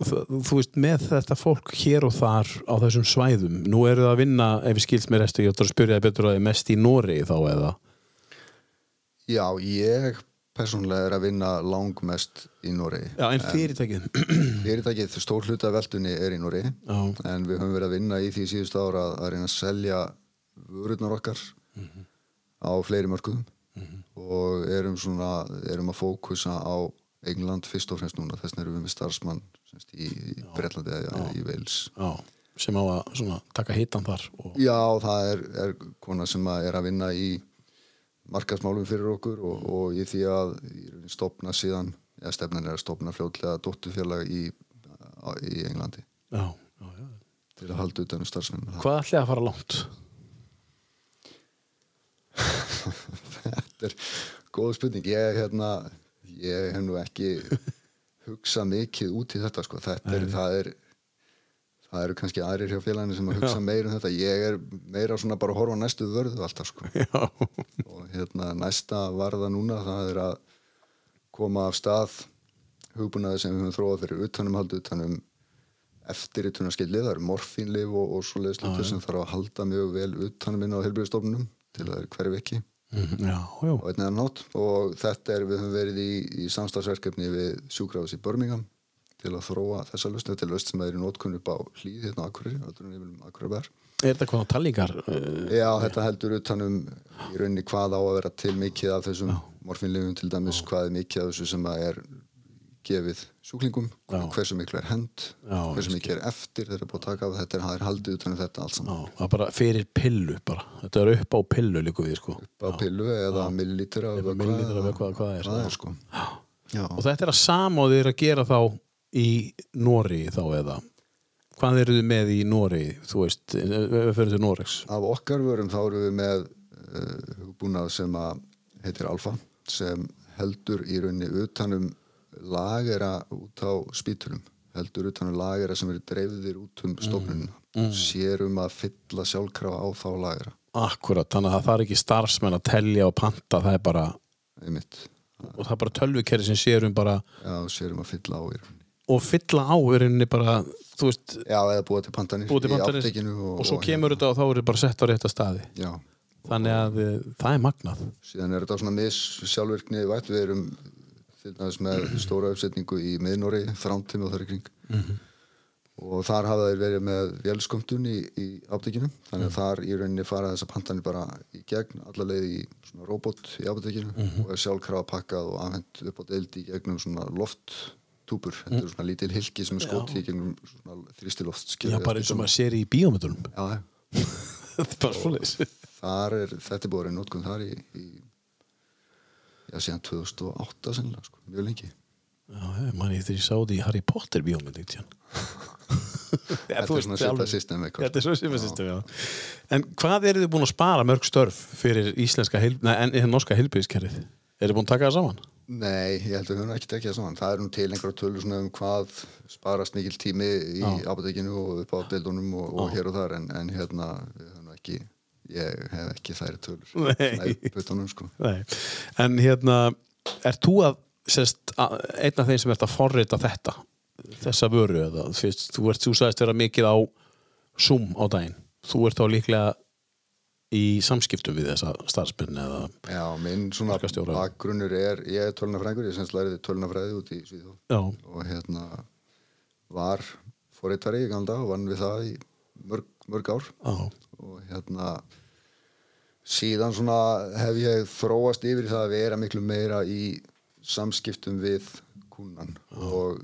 S1: Og Þú, þú veist, með þetta fólk hér og þar á þessum svæðum, nú eru það að vinna ef ég skilst mér eftir, ég ætla að spyrja það betur að það er mest í Nóri þá eða
S2: Já, ég persónulega er að vinna langmest í Noregi
S1: Já, en fyrirtækið
S2: fyrirtækið stór hluta af veltunni er í Noregi
S1: Já,
S2: en við höfum verið að vinna í því síðust ára að, að reyna að selja vörurnar okkar á fleiri mörgum og erum svona erum að fókusa á England fyrst og fremst núna, þess vegna erum við með starfsmann semst, í, í Bretlandi eða í Wales
S1: já, sem á að svona, taka hitan þar og,
S2: Já, það er, er kona sem að er að vinna í markasmálum fyrir okkur og, og í því að í rauninni stofna síðan, eða stefnan er að stofna fljótlega dóttufélag í, á- í Englandi
S1: já, já, já.
S2: til að halda utan um starfsmenn
S1: Hvað ætlaði að fara langt?
S2: Þetta er góð spurning. Ég, hérna, ég hef nú ekki hugsað mikið út í þetta. Sko. þetta er, það, er, það eru kannski aðrir hjá félaginu sem að hugsa meira um þetta. Ég er meira svona bara að horfa á næstu vörðu alltaf. Sko.
S1: Já,
S2: Og hérna, næsta varða núna það er að koma af stað hugbúnaði sem við höfum þróað fyrir utanumhaldu utanum eftirritunarskilið, það eru morfínlif og, og svo leiðslutur sem þarf að halda mjög vel utanum inn á helbriðstofnunum til að það er hverju vekki
S1: Mm, já, já,
S2: á einn eða nátt og þetta er við höfum verið í, í samstagsverkefni við sjúkrafis í Birmingham til að þróa þessa lausn þetta er lausn sem er í nótkunn upp á hlýð hérna á Akureyri, öllum yfirum Akureybær
S1: Er þetta hvað á tallingar? eh,
S2: Já, þetta heldur utan um í rauninni hvað á að vera til mikið af þessum morfinlegum til dæmis hvað er mikið af þessu sem að er gefið sjúklingum,
S1: Já.
S2: hversu miklu er hend
S1: Já, ég
S2: hversu miklu er eftir þeirra búið að taka af þetta er, það er haldið utan um þetta allt
S1: Já,
S2: saman
S1: það er bara fyrir pillu bara Þetta er upp á pillu líku við sko
S2: á pillu eða millilitra
S1: Eða
S2: eða
S1: millilitra, eða hvað- hvað er,
S2: hvað
S1: já.
S2: er sko Já.
S1: Og þetta er að sama og þið eru að gera þá í Nóri þá eða Hvað eru þið með í Nóri, þú veist, eh, ef við fyrir til Noregs?
S2: af okkar vörum þá erum við með uh, hugbúnað sem að heitir Alfa sem heldur í rauninni utanum lagera út á spítulum heldur utanum lagera sem eru dreifðir út um
S1: Mm.
S2: stofnunina sérum að fylla sjálfkrafa á þá lagera
S1: Akkurat, þannig að það þarf ekki starfsmenn að telja og panta, það er bara
S2: einmitt,
S1: og það er bara tölvukerri sem sérum bara
S2: já, sérum að fylla á í rauninni
S1: og fylla á í rauninni bara, þú veist,
S2: já, eða búa til pantanir
S1: búið til
S2: í
S1: bandarins
S2: aptekinu
S1: og, svo kemur þetta og þá eru þetta bara sett á rétta staði
S2: hérna. já,
S1: þannig að eh, það er magnað
S2: síðan er þetta svona mis sjálfvirkni vætt, við erum til dæmis með stóra uppsetningu í miðnóri þrántim og þar í kring
S1: Mhm.
S2: og þar hafa þeir verið með vélskömmtun í, í aptekinu þannig að
S1: Mhm.
S2: þar í rauninni fara þessar pantanir bara í gegn alla leið í svona robot í aptekinu
S1: Mhm.
S2: og er sjálfkrafa pakkað og afhent upp á deild í gegnum svona lofttúpur
S1: Mhm.
S2: þetta er svona lítil hilki sem er skotið í gegnum svona þrýstiloft
S1: Já, bara eins og maður sér í bíómyndunum
S2: já, já.
S1: Þetta er bara svoleiðis
S2: þar er þetta er búið að reyna notkun þar í, í já, síðan 2008 sennilega, sko, mjög lengi
S1: Já, mann ég þegar ég sá því Harry Potter bíómynd eitt síðan
S2: Þetta er svona svipað system eitthvað. sko.
S1: Þetta er svona svipað system, já En hvað eru þið búin að spara mörg störf fyrir íslenska, heil... nei, en, en norska heilbyrðiskerrið? Eru þið búin að taka það saman?
S2: Nei, ég held að við höfum ekki tekið það saman. Það er nú til einhverja tölur svona um hvað sparast mikil tími í apotekinu og upp á deildunum og, og hér og þar en, en hérna, við höfum nú ekki, ég hef ekki þær tölur.
S1: Nei.
S2: Svona í buxunum, sko.
S1: Nei, en hérna Er þú að, sérst, að- einn af þeim sem ert að forrita þetta þessa vöru eða, fyrst, þú ert, þú sagðist vera mikið á Zoom á daginn, þú ert þá líklega í samskiptum við þessa starfsmenn eða
S2: Já, minn svona
S1: Markastjóra.
S2: bakgrunnur er, ég er tölunafræðingur, ég semst læriði tölunafræði út í Svíþjóð.
S1: Já,
S2: og hérna var fóreitari í gamla dag og vann við það í mörg, mörg ár
S1: já,
S2: og hérna síðan svona hef ég þróast yfir í það að vera miklu meira í samskiptum við kúnan og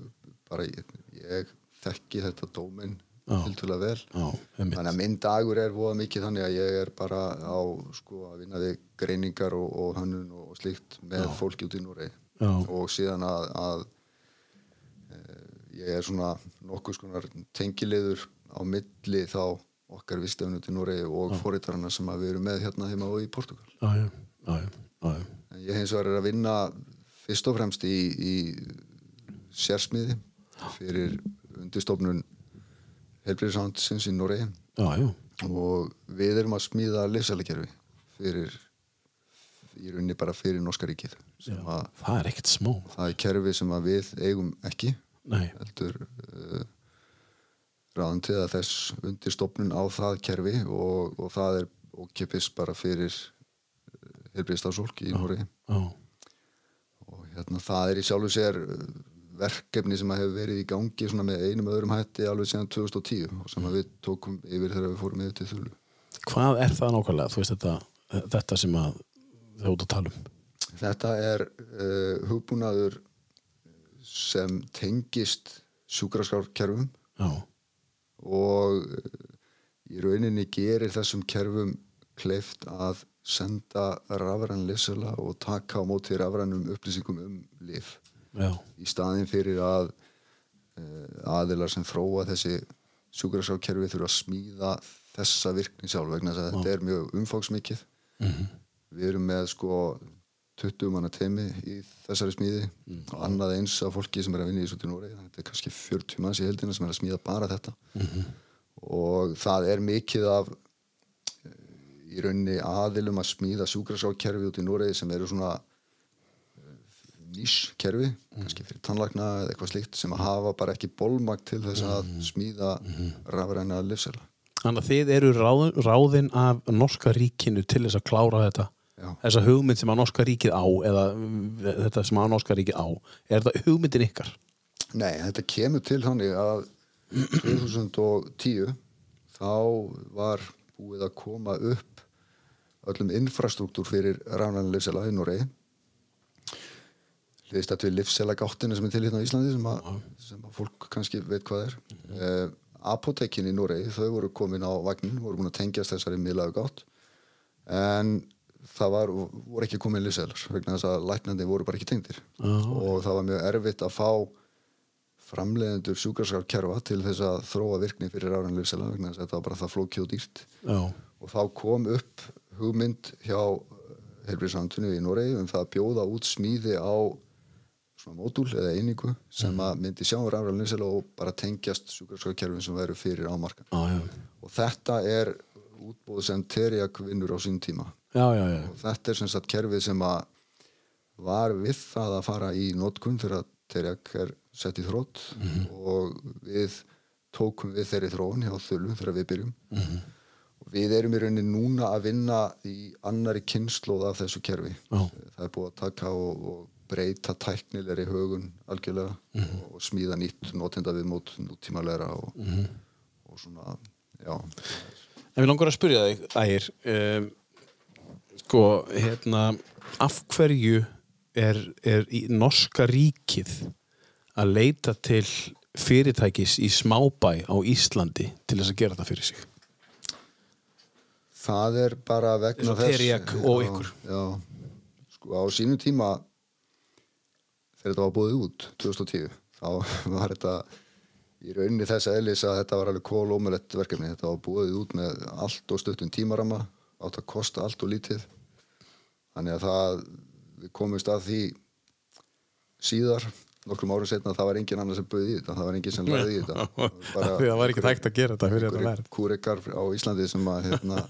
S2: bara ég, ég þekki þetta dóminn
S3: Já.
S2: hildulega vel
S3: Já, einmitt.
S2: þannig að minn dagur er voða mikið þannig að ég er bara á sko að vinna við greiningar og, og hönnun og slíkt með fólki út í Núrei
S3: Já.
S2: og síðan að, að e, ég er svona nokkuð skonar tengilegur á milli þá okkar vistafinu til Núrei og fóritarana sem að við erum með hérna heima og í Portugal
S3: Já, já, já, já, já, já.
S2: En ég hins vegar er að vinna fyrst og fremst í, í sérsmiði fyrir undirstofnun helbriðsándsins í Noregi
S3: Já, já,
S2: og við erum að smíða lifsælakerfi fyrir í rauninni bara fyrir Norska ríkið sem að
S3: það er ekkert smá.
S2: það er kerfi sem að við eigum ekki
S3: Nei,
S2: heldur uh, ráðantið að þess undirstofnun á það kerfi og, og það er ókipis bara fyrir helbriðstáðsólk í Noregi
S3: já,
S2: og hérna það er í sjálfu sér uh, verkefni sem að hefur verið í gangi svona með einum öðrum hætti alveg síðan 2010 og sem að við tókum yfir þegar við fórum yfir til Þulu.
S3: hvað er það nákvæmlega, þú veist þetta, þetta sem að þau út að tala um?
S2: Þetta er uh, hugbúnaður sem tengist sjúkraskrárkerfum
S3: Já,
S2: og uh, í rauninni gerir þessum kerfum kleift að senda rafræn lesala og taka á móti rafrænum upplýsingum um lif.
S3: já,
S2: í staðin fyrir að uh, aðilar sem þróa þessi sjúkrasárkerfi þurfa að smíða þessa virkni sjálf vegna þess að þetta er mjög umfóksmikið við erum með sko 20 manna teimi í þessari smíði og annað eins af fólki sem er að vinna í þessu til Noregi þetta er kannski 40 manns í heldina sem er að smíða bara þetta og það er mikið af eh, í rauninni aðilum að smíða sjúkrasárkerfi út í Noregi sem eru svona nýskerfi, kannski fyrir tannlækna eða eitthvað slíkt sem að hafa bara ekki bólmagn til þess að smíða rafræna lifsela.
S3: þannig að þið eru ráð, ráðin af norska ríkinu til þess að klára þetta,
S2: Já.
S3: þessa hugmynd sem að norska ríkið á, eða mm, þetta sem að norska ríkið á, er þetta hugmyndin ykkar?
S2: Nei, þetta kemur til þannig að 2010 þá var búið að koma upp öllum infrastruktúr fyrir rafræna lifsela í Noregi liðst að við lifsela gáttina sem er til hérna á Íslandi sem að, sem að fólk kannski veit hvað er eh, apotekin í Noregi, þau voru komin á vagnin, voru búin að tengjast þessari miðlaðu gátt en það var, voru ekki komin lifselar vegna þess að læknandi voru bara ekki tengdir og það var mjög erfitt að fá framleiðendur sjúkraskarkerfa til þess að þróa virkni fyrir ráðan lifsela vegna þess að þetta var bara það flókið og dýrt
S3: Já,
S2: og þá kom upp hugmynd hjá helbriðsandunni í Noregi um það að bjóða út smíði á svona módul eða einingu sem að myndi sjá um rafræðan linsel og bara tengjast sjúkrarskjóðkerfin sem verður fyrir ámarkan
S3: já, já,
S2: og þetta er útbóð sem Terjak vinnur á sín tíma
S3: já, já, já,
S2: og þetta er sem sagt kerfið sem að var við það að fara í notkun þegar Terjak er sett í þrótt og við tókum við þeirri þróun hjá þölu þegar við byrjum og við erum í rauninni núna að vinna í annari kynnslóð af þessu kerfi
S3: Já.
S2: það er búið að taka og, og breyta tæknilegri högun algjörlega og smíða nýtt notenda við mót nútímalega og, og svona já,
S3: En við langar að spyrja þig, Ægir, um, sko, hérna, af hverju er, er í norska ríkið að leita til fyrirtækis í smábæ á Íslandi til þess að gera þetta fyrir sig?
S2: það er bara vegna
S3: Eins og Terjak og ykkur.
S2: já, sko á sínum tíma þegar þetta var búið út 2010 þá var þetta í rauninni þess eðlis að þetta var alveg kólómulett verkefni þetta var búið út með allt og stuttum tímarama átt að kosta allt og lítið þannig að það við komumst að því síðar nokkrum árum setna það var engin annar sem bauði í þetta það var engin sem lagði í þetta Bara-
S3: Því það var ekki hægt að gera þetta fyrir þetta verð.
S2: kúrekar á Íslandi sem að hérna,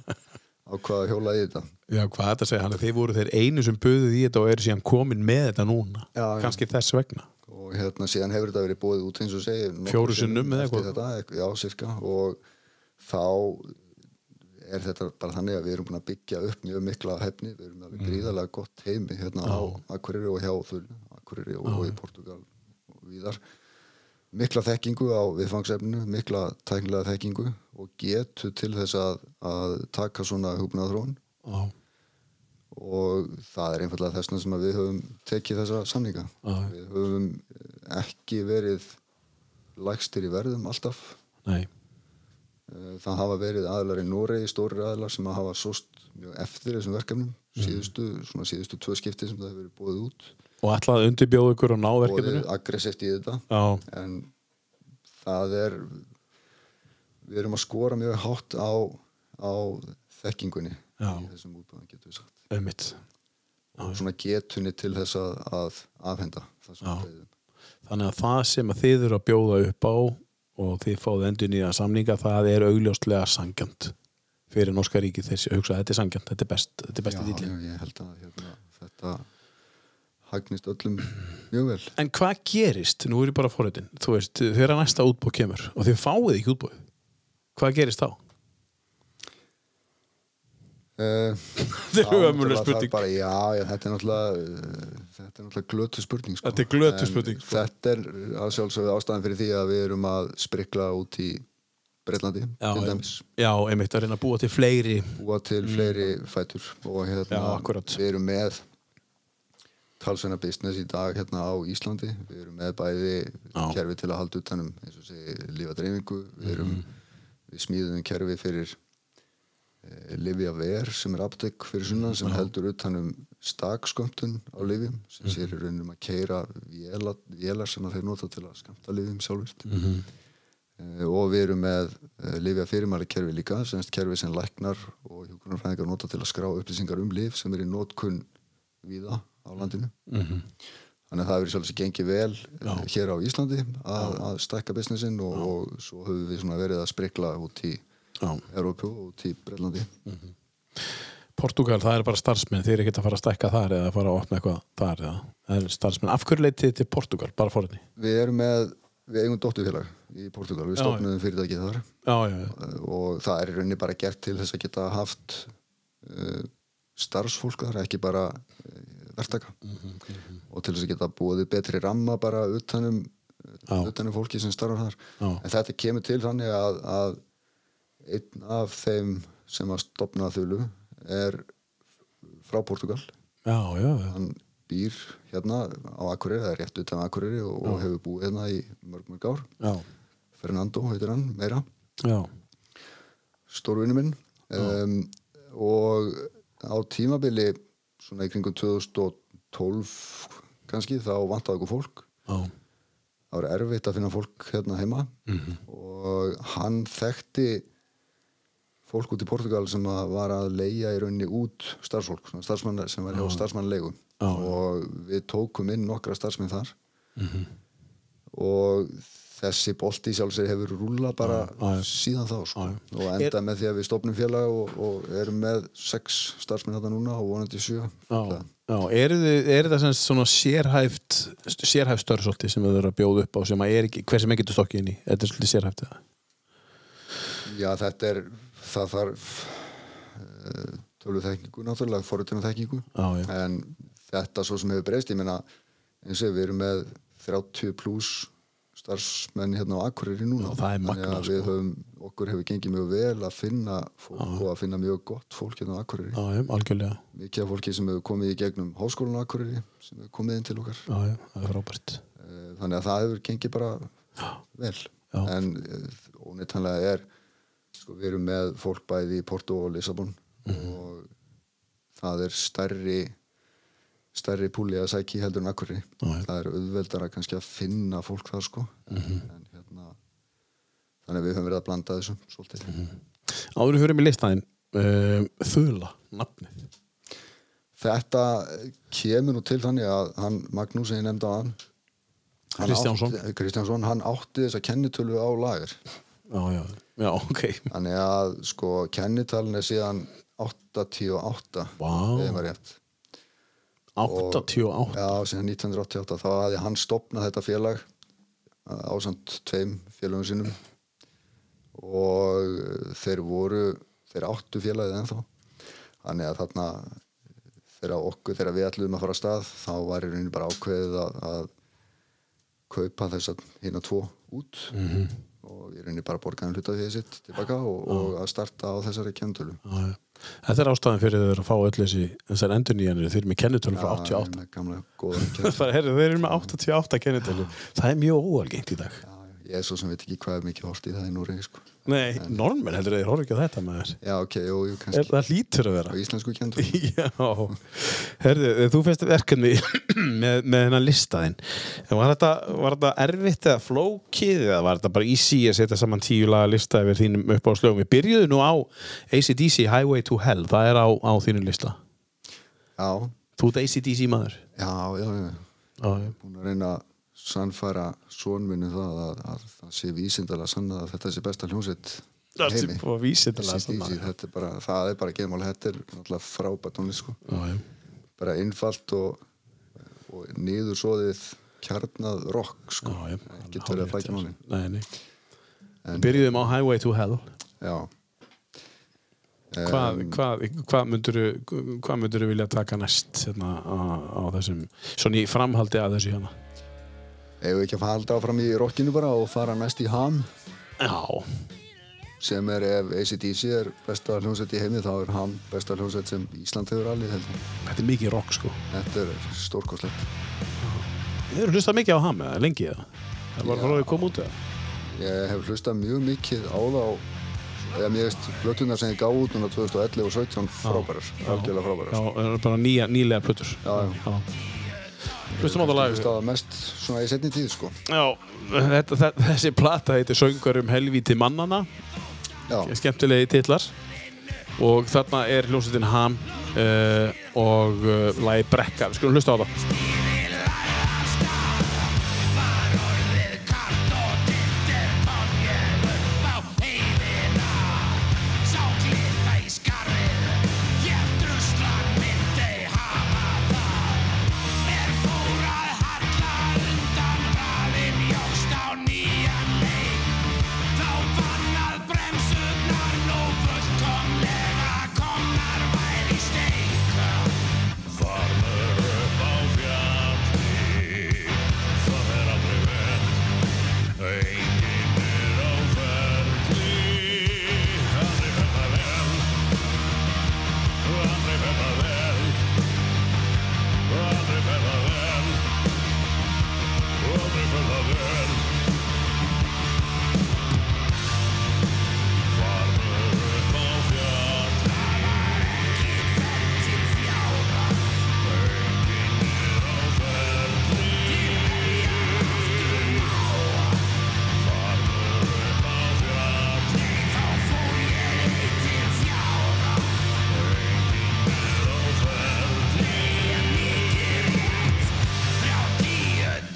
S2: ákvaða að hjóla í þetta
S3: Já, hvað þetta segja, hann er þeir voru þeir einu sem buðið í þetta og eru síðan komin með þetta núna.
S2: Já, já.
S3: Kannski þess vegna.
S2: og hérna síðan hefur þetta verið búið út eins og segir nokkrum
S3: Fjórum sinnum eða
S2: eftir
S3: eitthvað?
S2: þetta, já, cirka og þá er þetta bara þannig að við erum búin að byggja upp mjög mikla hefni, við erum
S3: Mm.
S2: alveg gríðarlega gott heimi hérna á Akureyri og hjá Þullu, Akureyri og, og í Portugal og víðar mikla þekkingu á viðfangsefninu, mikla tæknilega þekkingu og getu til þess að, að taka svona hugnaðrón
S3: Já,
S2: og það er einfallega þessna sem að við höfum tekið þessa samninga
S3: Já.
S2: við höfum eh, ekki verið lægstir í verðum alltaf
S1: Nei.
S2: Eh, Það hafa verið aðlar í Noregi, stórir aðlar sem hafa sóst mjög eftir þessum verkefnum síðustu, svona síðustu tvö skipti sem það hefur verið búið út
S3: Og ætlaði að undirbjóða ykkur og ná verkefninu?
S2: búið aggressivt í þetta
S3: Já,
S2: en það er við erum að skora mjög hátt á, á þekkingunni
S1: Já.
S2: í þessum útbúðum getum við sagt
S3: einmitt.
S2: og svona getunni til þess að, að afhenda það sem
S1: Já.
S2: við veiðum.
S1: Þannig að það sem að þið eru að bjóða upp á og þið fáðu endur nýja samninga það er augljóslega sangjant fyrir norska ríkið þessi hugsa þetta er sangjant, þetta er best, þetta er besti
S2: já,
S1: dýlin
S2: já, ég held að hérna, þetta hagnist öllum mjög vel
S1: En hvað gerist, nú er ég bara fórhundin þú veist, þegar næsta útbóð kemur og þið fáið ekki útbóð hvað gerist þá?
S2: Eh,
S1: Þetta er
S2: Já,
S1: ömurleg
S2: náttúrulega, það
S1: spurning
S2: er bara, já, já, þetta er náttúrulega uh, þetta er náttúrulega glötu spurning sko.
S3: Þetta er glötuð spurning,
S2: En
S3: sko.
S2: Þetta er að sjálfsögðu ástæðan fyrir því að við erum að sprikla út í Breitlandi,
S1: Já,
S2: til
S1: em-
S2: dæmis
S1: Já, einmitt að reyna að búa til fleiri
S2: búa til fleiri fætur og hérna,
S1: Mm. Já, akkúrat.
S2: við erum með talsveina business í dag hérna á Íslandi, við erum með bæði
S1: Já. Mm-hmm.
S2: kerfi til að halda utanum eins og segi lífadreifingu, við erum við smíðum um kerfi fyrir e, Livia Ver sem er aptek fyrir
S1: Mm-hmm.
S2: sunnan sem heldur utanum stakskömmtun á livjum sem
S1: Mm-hmm.
S2: sér í raunum að keira vélar, vélar sem að þeir nota til að skamta livjum sjálfvirt Eh, og við erum með lifja fyrirmæli kerfi líka, semst kerfi sem læknar og hjúkunarfræðingar nota til að skrá upplýsingar um lif sem er í nótkunn víða á landinu mhm. þannig að það hefur sjálfsög gengið vel Já. hér á Íslandi að, að stækka businessin og, og svo höfum við svona verið að sprikla út í
S1: Já.
S2: Európu og út í Brellandi
S1: Portugal, það er bara starfsmenn, þeir eru ekkert að fara að stækka þar eða að fara að opna eitthvað þar eða það er starfsmenn, af hverju leitið þið til Portugal, bara fórhundin
S2: við erum með, við eigum dótturfélag í Portugal, við
S1: Já,
S2: stofnum fyrirtækið þar
S1: Já, já, já.
S2: Eh, og það er í rauninni bara gert til þess að geta haft uh, starfsfólk þar, ekki bara uh, verktaka
S1: Mhm,
S2: og til þess að geta búið betri ramma bara um, utanum,
S1: Já.
S2: utanum fólki um sem starfar þar
S1: Já.
S2: en þetta kemur til þannig að, að einn af þeim sem að stopna þölu er frá Portugal
S1: Já, já, já.
S2: hann býr hérna á Akureyri, það er rétt utan Akureyri og, og hefur búið hérna í mörg mörg ár
S1: Já,
S2: Fernando heitir hann meira
S1: já,
S2: stórvinni minn um, og á tímabili svona í kringum 2012 kannski þá vantaði okkur fólk
S1: já,
S2: það var erfitt að finna fólk hérna heima og hann þekkti fólk út í Portugal sem að var að leia í rauninni út starfsfólk, svona starfsmann sem var hjá starfsmannleigu
S1: Já, já.
S2: og við tókum inn nokkra starfsmenn þar
S1: Mhm.
S2: og þessi bolti sjálfsög hefur rúla bara
S1: Já, já.
S2: síðan þá sko.
S1: Já,
S2: og enda með því að við stopnum félag og, og erum með sex starfsmenn hérna núna og vonandi sjö
S1: já. já. Er, þið, er það sem sagt svona sérhæft sérhæft störfsolti sem þau eru að bjóða upp á sem að er ekki, hver sem ekki getur stokkið inn í þetta er svolítið sérhæft eða?
S2: Já, þetta er, það þarf uh, tölvu þekkingu náttúrulega, forutina þekkingu
S1: Já, já,
S2: en þetta svo sem hefur breyst, ég meina eins og við erum með 30 pluss starfsmenn hérna á Akureyri núna
S1: Já, það er magnað, sko.
S2: að við höfum, okkur hefur gengið mjög vel að finna fólk og að finna mjög gott fólk hérna á Akureyri
S1: já, já, algjörlega
S2: mikið af fólki sem hefur komið í gegnum háskólan á Akureyri sem hefur komið inn til okkar
S1: Já, já, það er frábært
S2: Eh, þannig að það hefur gengið bara vel
S1: Já.
S2: en ónittanlega er sko, við erum með fólk bæði í Porto og Lissabon
S1: Mhm.
S2: og það er stærri stærri púli að sæki heldur en akkurri
S1: já.
S2: það er auðveldara kannski að finna fólk þar sko
S1: Mhm.
S2: en hérna þannig að við höfum verið að blanda þessu svolítið
S1: Mhm. Áður en við höfum í listaðin um, Þula, nafnið
S2: þetta eh, kemur nú til þannig að hann Magnús sem ég nefndi á hann hann
S1: Kristjánsson.
S2: átti, Kristjánsson, hann átti þessa kennitölu á lager
S1: Já, já, já, ok
S2: Þannig að sko kennitalin er síðan 88
S1: Vá.
S2: ef ég maður rétt. Og,
S1: 88
S2: já, síðan 1988 þá hafði hann stopnað þetta félag ásand tveim félagum sínum og eh, þeir voru þeir áttu félagið ennþá þannig að þarna eh, þegar okkur, þegar við ætluðum að fara að stað þá var í rauninni bara ákveðið að, að kaupa þess að hérna tvo út og í rauninni bara borgaðum hluta því sitt tilbaka og, og að starta á þessari kentölu
S1: Já, já Þetta er ástæðan fyrir þeir að fá öll þessi þessar endurnýjanir, þeir eru með kennitölu frá
S2: Já,
S1: 88
S2: ég er með Gamla góða kennitölu.
S1: Það er, þeir eru með 88 kennitölu Það er mjög óalgengt í dag
S2: Já, já, Ég er svo sem veit ekki hvað er mikið hort í það í Núri sko.
S1: Nei, normen heldur þeir horfa ekki að þetta maður
S2: Já, ok, jú, jú,
S1: er,
S2: kannski
S1: Það lítur að
S2: á
S1: vera
S2: íslensku kennitölu
S1: Já, herðu, þú finnst verkefni með, með hennar listaðinn var þetta, var þetta erfitt eða flókið eða var þetta bara easy að setja saman tíu laga lista yfir þínum upp á slögum við byrjuðum nú á ACDC Highway to Hell það er á, á þínu lista
S2: Já,
S1: þú ert ACDC maður
S2: já, já, já
S1: já,
S2: Búin að reyna að sannfæra sonminu það að, að það sé vísindalega sannað að þetta sé besta hljómsveit í
S1: það er
S2: heimi
S1: bara vísindalega
S2: Þessi
S1: svona.
S2: dísi, þetta er bara, það er bara geðmál þetta er náttúrulega frábært tónlist sko.
S1: Já, já.
S2: bara einfalt og, og niðursóðið kjarnað rock sko.
S1: Já, já.
S2: getur verið að flækja málin
S1: Nei, nei.
S2: En-
S1: Byrjuðum á Highway to Hell
S2: já
S1: Hvað, hvað, hvað mynduru hvað mynduru vilja taka næst hérna, á, á þessum svona í framhaldi að þessu hérna
S2: Ef við ekki að halda áfram í rockinu bara og fara næst í ham
S1: Já,
S2: sem er ef ACDC er besta hljómsveit í heimi þá er ham besta hljómsveit sem Ísland hefur alveg held ég.
S1: þetta er mikið rock sko
S2: þetta er stórkoslegt
S1: Þið eru hlustað mikið á ham eða lengi eða Það var frá því að koma út eða
S2: ég hef hlustað mjög mikið á þá eða mér veist blötunar sem ég gaf út núna 2011 og 17 frábærar, algjörlega frábærar
S1: Já, það eru bara nýja, nýlega plötur
S2: Já, já.
S1: Hlustum á það
S2: Ég
S1: lag
S2: stáða mest svona í setni tíð sko
S1: Já, þetta, þetta, þessi plata heitir Söngur um helvíti mannana
S2: Já,
S1: skemmtilegi titlar og þarna er hljómsveitin Ham uh, og uh, lagi Brekka, við skulum hlusta á það
S4: Nýjan leik Þá fann að bremsurnar Nófullkomlega komnar væri steika Farmur upp á fjalli Það er aldrei verð Enginn er á ferli Aldrei fer það vel Aldrei fer það vel Aldrei fer það vel Aldrei fer það vel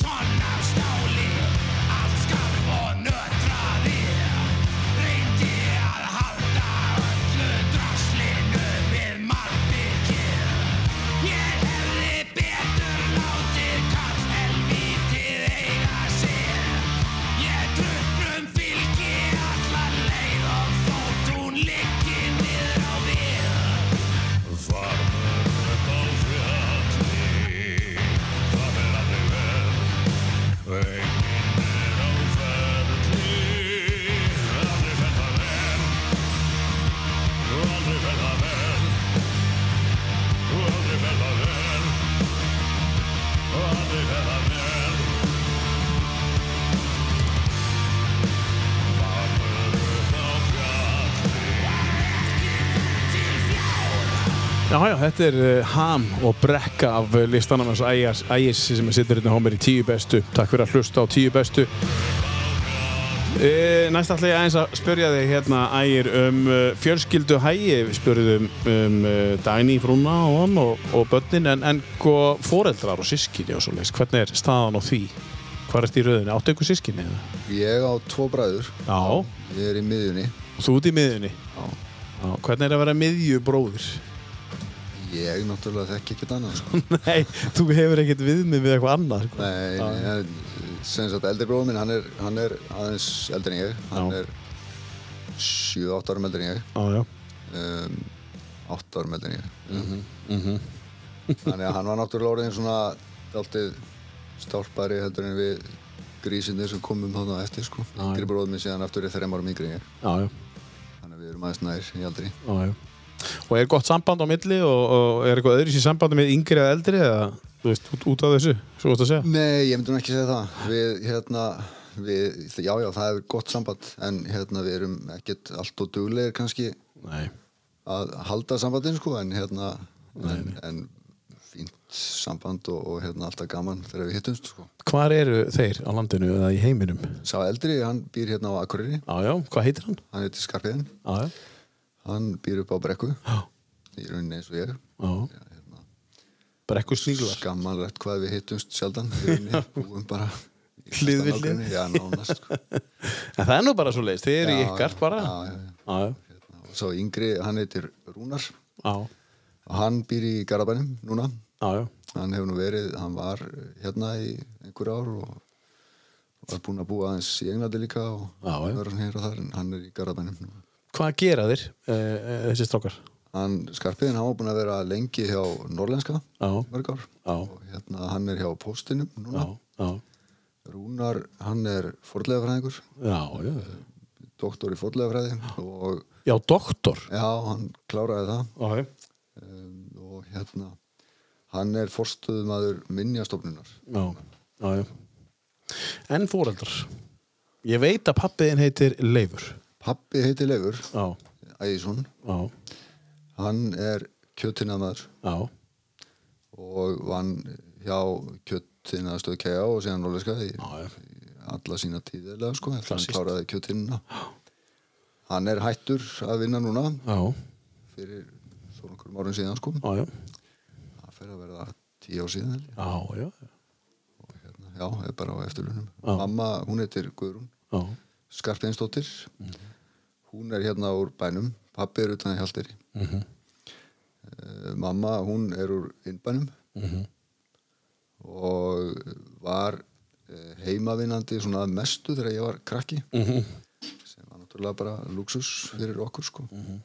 S4: Tonn af stáli, allt skarf og nötraði Reyndi að halda öllu draslinu við malbyggir Ég hefði betur látið kall helvítið eiga sér Ég tröfnum fylgi allan leið og þótt hún liggi niður á við Farmur upp á fjalli, það er aldrei verð Enginn er á ferli, aldrei fer það vel, aldrei fer það vel, aldrei fer það vel, aldrei fer það vel. Farmur upp á fjalli,
S1: Já, já, þetta er uh, Ham og Brekka af uh, listanum hans Ægis, Ægis sem sittur hérna á mér í tíu bestu. Takk fyrir að hlusta á tíu bestu. E, næst ætla ég aðeins að spyrja þig hérna Ægir um uh, fjölskyldu hægi. Við spurðum um uh, Dagný Frúna og hann og, og börnin en, en hvað foreldrar og sískinni og svoleiðis. Hvernig er staðan á því? Hvað er í rauðinni? Áttu ykkur sískinni eða?
S2: ég á tvo bræður
S1: Já.
S2: Ég er í miðjunni
S1: Þú út í miðjunni?
S2: Já.
S1: Já. Hvernig er að vera miðjubróðir?
S2: Ég náttúrulega þekki ekkert annað sko
S1: Nei, þú hefur ekkert viðmið við eitthvað annað. sko.
S2: Nei, en sem sagt eldri bróðum minn, hann er, hann er aðeins eldri en ég Hann
S1: Já.
S2: er 7-8 árum eldri en ég
S1: Já, já.
S2: um, 8 árum eldri en ég
S1: Mhm,
S2: Þannig að hann var náttúrulega orðin svona dáltið stálpari heldur en við grísinir sem komum þarna á eftir sko
S1: Já, já.
S2: Yngri bróðum minn síðan aftur er 3 árum yngri en ég
S1: Já, já,
S2: Þannig að við erum aðeins nær í aldri
S1: já, já. Og er gott samband á milli og, og er eitthvað öðru sér sambandi með yngri eða eldri eða, þú veist, út, út af þessu, svo gott að segja.
S2: Nei, ég myndi nú ekki segja það. Við, hérna, við, já, já, það er gott samband, en hérna, við erum ekkert allt og duglegir kannski
S1: Nei.
S2: að halda sambandin, sko, en hérna, en, en fínt samband og, og hérna, alltaf gaman þegar við hittumst, sko.
S1: Hvar eru þeir á landinu eða í heiminum?
S2: Sá eldri, hann býr hérna á Akureyri,
S1: Já, já, hvað heitir hann?
S2: hann heitir Skarpiðin,
S1: Já, já.
S2: hann býr upp á Brekku,
S1: Já,
S2: í rauninni eins og ég.
S1: já.
S2: Já, hérna,
S1: Brekku sniglar.
S2: Skammalegt hvað við hittumst sjaldan, í rauninni, búum bara í næsta
S1: Hlið við hlið.
S2: nágrenni. Já, nánast, sko.
S1: En það er nú bara svo leiðist, þið eru í
S2: Já,
S1: ykkar
S2: já,
S1: bara.
S2: já, já, já.
S1: já.
S2: Hérna, og sá yngri, hann heitir Rúnar
S1: Já,
S2: og hann býr í Garabænum núna
S1: já, já.
S2: hann hefur nú verið, hann var hérna í einhver ár og var búinn að búa aðeins í Englandi líka og
S1: Já, já.
S2: vera svona hér og þar en hann er í Garabænum núna.
S1: Hvað gera þeir, e, e, þessi strákar?
S2: hann, Skarpiðin, hann var búinn að vera lengi hjá Norlenska
S1: Já.
S2: mörg ár
S1: Já.
S2: og hérna hann er hjá Póstinum
S1: Já,
S2: núna
S1: já,
S2: Rúnar, hann er fordlegafræðingur
S1: já, já.
S2: doktor í fordlegafræði og
S1: Já, doktor.
S2: já, hann kláraði það
S1: Já, já.
S2: um, og hérna hann er forstöðumadur minnjastofnunar
S1: Já, já, já. En fóreldrar. Ég veit að pappiðin heitir Leifur.
S2: pappi heiti Leifur
S1: Já,
S2: Ægisson,
S1: já,
S2: hann er kjöttinamadur
S1: já,
S2: og vann hjá kjöttinastöð KEA og síðan Norleska í
S1: já, já.
S2: alla sína tíðilega sko, eftir hann
S1: Klassískt.
S2: kláraði kjöttinna hann er hættur að vinna núna
S1: Já,
S2: fyrir þó nokkur árum síðan sko
S1: já, já,
S2: það fer að verða tíu ár síðan held ég.
S1: já, já,
S2: og hérna, já, er bara á eftirlunum
S1: Já.
S2: mamma, hún heitir Guðrún
S1: já,
S2: Skarpeinsdóttir
S1: Mhm.
S2: hún er hérna úr bænum pappi er utan í Hjalteri
S1: Mhm.
S2: Eh, mamma hún er úr innbænum
S1: Mhm.
S2: og var eh, heimavinnandi svona að mestu þegar ég var krakki
S1: Mhm.
S2: sem var náttúrulega bara luxus fyrir okkur sko
S1: Mhm.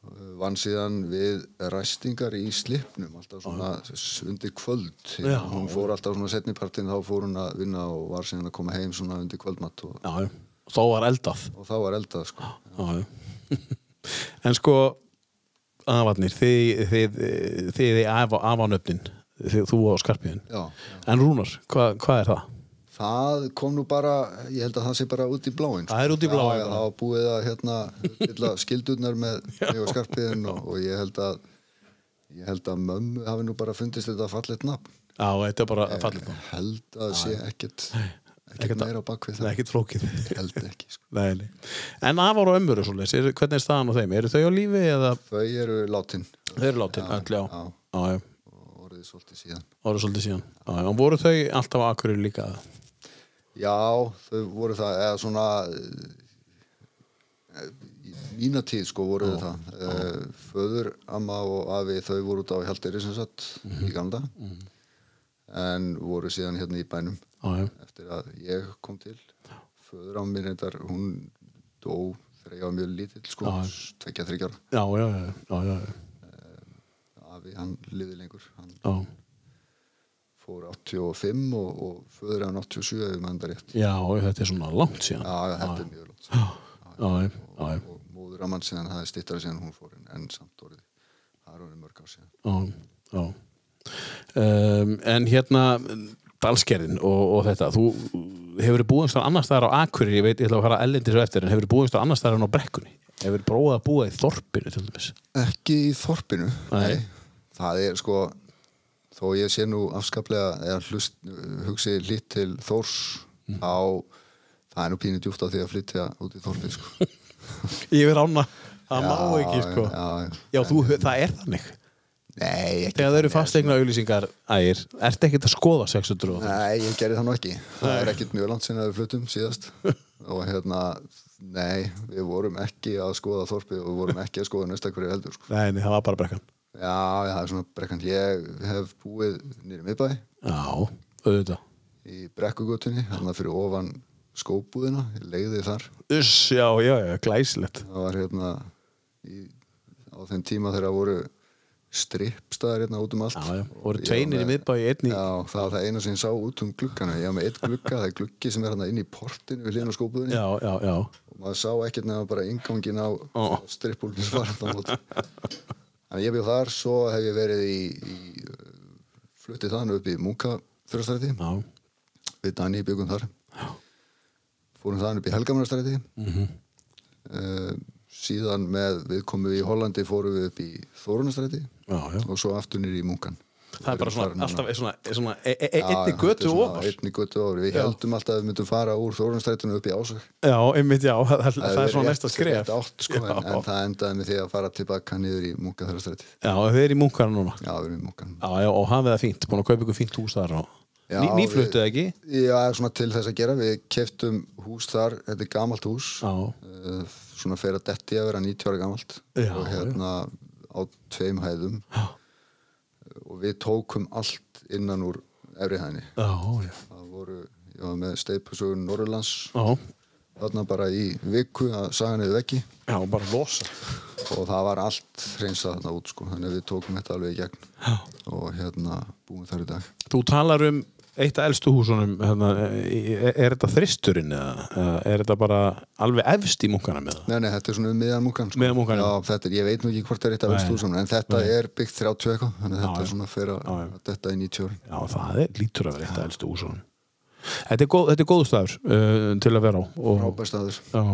S2: Eh, vann síðan við ræstingar í slipnum alltaf svona s- undir kvöld
S1: Já.
S2: hún fór alltaf svona setnipartin þá fór hún að vinna og var síðan að koma heim svona undir kvöldmatt og
S1: já, já. Þá var eldað.
S2: og þá var eldað sko.
S1: Já, já. en sko, afarnir, þið, þið, þið, þið af, afanöfnin, þið, þú á skarpiðin.
S2: Já.
S1: En Rúnar, hvað hva er það?
S2: það kom nú bara, ég held að það sé bara út í bláin sko.
S1: Það er út í bláinn
S2: já, já,
S1: bara.
S2: það var búið að hérna, hérna skildurnar með mig og skarpiðin og, og ég held að ég held að mömmu hafi nú bara fundist þetta fallet nafn
S1: Já, þetta er bara fallið þá.
S2: held að sé ekkert ekkert
S1: ekkert að-
S2: meira á bakvið
S1: Það er
S2: það
S1: ekkert flókið.
S2: held ekki sko.
S1: Nei, nei. En afar og ömmur og svoleiðis, eru- hvernig er staðan á þeim? Eru þau á lífi eða
S2: þau eru látin
S1: þau eru látin? Öll, já.
S2: já.
S1: Já, já.
S2: og orðið svolítið síðan
S1: ára svolítið síðan já, já, voru þau alltaf á Akureyri líka
S2: Já, þau voru það eða svona eh, í mína tíð sko voru þau það Eh, föður, amma og afi þau voru út á Hjalderi sem sagt í Ganda en voru síðan hérna í bænum
S1: já, já,
S2: eftir að ég kom til föður á mér reyndar, hún dó þegar ég var mjög lítill sko
S1: Já.
S2: tvekja þryggjar,
S1: já, já, já, já, já,
S2: afi hann liði lengur, hann
S1: já.
S2: fór 85 og, og föður hann 87 ef ég mann það rétt
S1: já þetta er svona langt síðan
S2: Já, já, þetta er mjög lótt
S1: já, já, já, já,
S2: og, og móður að mann síðan það er stittar síðan hún fór en, en samt orðið það er orðið mörg ár síðan
S1: já, já. Um, en hérna dalskerðin og, og þetta þú hefur búist á annars staðar á Akureyri ég veit, ég ætla að fara ellendis á eftir en hefur búist á annars staðar en á brekkunni hefur prófað að búa í þorpinu til dæmis
S2: ekki í þorpinu
S1: Nei.
S2: það er sko þó ég sé nú afskaplega eða hlust, hugsi lít til Þórs
S1: Mm.
S2: á það er nú pínu djúft á því að flytja út í þorpið sko.
S1: ég verð ána, það
S2: Já,
S1: má ekki sko.
S2: já, já.
S1: já þú, það er þannig
S2: nei, ekki
S1: Þegar það eru
S2: þannig,
S1: fastegna auðlýsingar ægir, ertu ekkert að skoða 600 og það?
S2: Nei, ég gerði það nú ekki. Það er ekkert mjög langt sinna við fluttum síðast og hérna, nei, við vorum ekki að skoða þorpið og við vorum ekki að skoða næstakverju heldur. Sko.
S1: Nei, nei, það var bara brekkan.
S2: Já, já, það er svona brekkan. Ég hef búið nýri miðbæ
S1: Já, auðvitað.
S2: í brekkugutunni, hérna fyrir ofan skóbúðina, ég leiði þar.
S1: Uss, já, já, já, glæsilegt.
S2: Það var hérna í, á þeim tíma þegar voru strippstaðar hérna út um allt
S1: Já, já, voru
S2: Ég var
S1: tveinir í
S2: með-
S1: miðbæi, einn í-
S2: Já, það var það eina sem ég sá út um gluggana ég var með eitt glugga, það er gluggi sem er hann inn í portinu við hliðin á skópuðinni
S1: já, já, já.
S2: og maður sá ekkert nema bara ingangin á
S1: Ó.
S2: oh. strippúlunum svarandamót Þannig að ég bjóð þar, svo hef ég verið í, í uh, fluttið þann upp í Munka þurrastræti
S1: já.
S2: við Dani byggum þar fórum þann upp í Helgamanastræti mm
S1: Mhm.
S2: síðan með við komum í Hollandi fórum við upp í Þórunastræti
S1: Já, já.
S2: og svo aftur nýri í Munkan
S1: Það er bara svona, alltaf er svona, er svona e- e- e-
S2: Já,
S1: einni
S2: já, þetta
S1: götu
S2: er svona
S1: ofar.
S2: einni götu ofar, við
S1: Já.
S2: heldum alltaf að við myndum fara úr Þórunastrætinu upp í Ásök
S1: Já, einmitt, já, það, það, er
S2: verið
S1: svona
S2: rétt-
S1: næsta skref.
S2: rétt átt, sko, en, en það endaði með því að fara tilbaka niður í Munkan þurrastræti
S1: Já, þið eru í munkarna núna.
S2: já, við erum í Munkan
S1: Já, já, og hafið það fínt, búin að kaupa ykkur fínt hús þar og...
S2: Já,
S1: Ný, nýfluttuð
S2: við-
S1: ekki?
S2: Já, svona til þess að gera, við keftum hús þar, þetta er gamalt hús
S1: Já.
S2: Eh, svona fer að detti að vera 90 ára gamalt
S1: Já,
S2: og hérna á tveim hæðum Eh,
S1: Já.
S2: og við tókum allt innan úr efri hæðinni
S1: Já, já.
S2: það voru, ég var með steipasögun Norrlands
S1: Já,
S2: þarna bara í viku að saga niður veggi
S1: já, bara losa.
S2: og það var allt hreinsað þarna út sko, þannig að við tókum þetta alveg í gegn
S1: Já.
S2: og hérna búum þar í dag
S1: Þú talar um eitt af elstu húsunum, hérna, er, er þetta þristurinn eða eða er þetta bara alveg efst í munkarna með það?
S2: Nei, nei, þetta er svona um miðan múkan sko.
S1: Miðjan Munkann,
S2: Já,
S1: já.
S2: þetta er, ég veit nú ekki hvort það er eitt af
S1: Nei.
S2: vestu húsum en þetta
S1: Nei.
S2: er byggt 30 eitthvað þannig að þetta
S1: já.
S2: er svona fyrir
S1: Já, já.
S2: að þetta er 90 ára
S1: Já, það er, lítur að vera eitt af elstu húsunum. Þetta er, góð, þetta er góðstæður uh, til að vera á. og-
S2: frábær staður
S1: Já,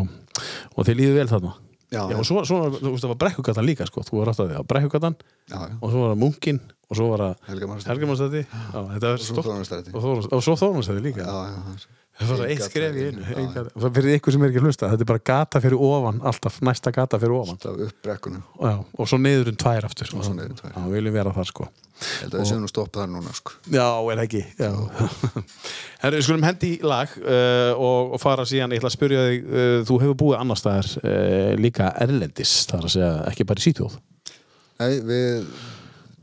S1: og þið líður vel þarna
S2: Já,
S1: já,
S2: já.
S1: og svo, svo þú veist, það var brekkugatan líka sko. þú var rátt að því á brekkugatan
S2: Já, já.
S1: og svo var það munkin og svo var það
S2: Helgamannsstræti.
S1: Helgamannsstæti og
S2: svo Þórunnarstræti.
S1: og, Þórunn- og svo Þórunarstæti líka
S2: Já, já, það er-
S1: það var það
S2: Ein
S1: eitt
S2: gata
S1: skref í
S2: inn,
S1: einu
S2: já,
S1: ein
S2: já.
S1: gata. Það- fyrir ykkur sem er ekki að hlusta þetta er bara gata fyrir ofan alltaf næsta gata fyrir ofan
S2: Alltaf upp brekkuna
S1: já, og svo niður um tvær aftur
S2: svo niður um tvær.
S1: já, við viljum vera þar sko
S2: Ég held að við séum nú stopp þar núna sko.
S1: Já, er ekki Já. Herru, við skulum hendi í lag uh, og, og fara síðan, ég ætla að spyrja þig uh, þú hefur búið annars staðar uh, líka erlendis, það er að segja ekki bara í Svíþjóð
S2: Nei, við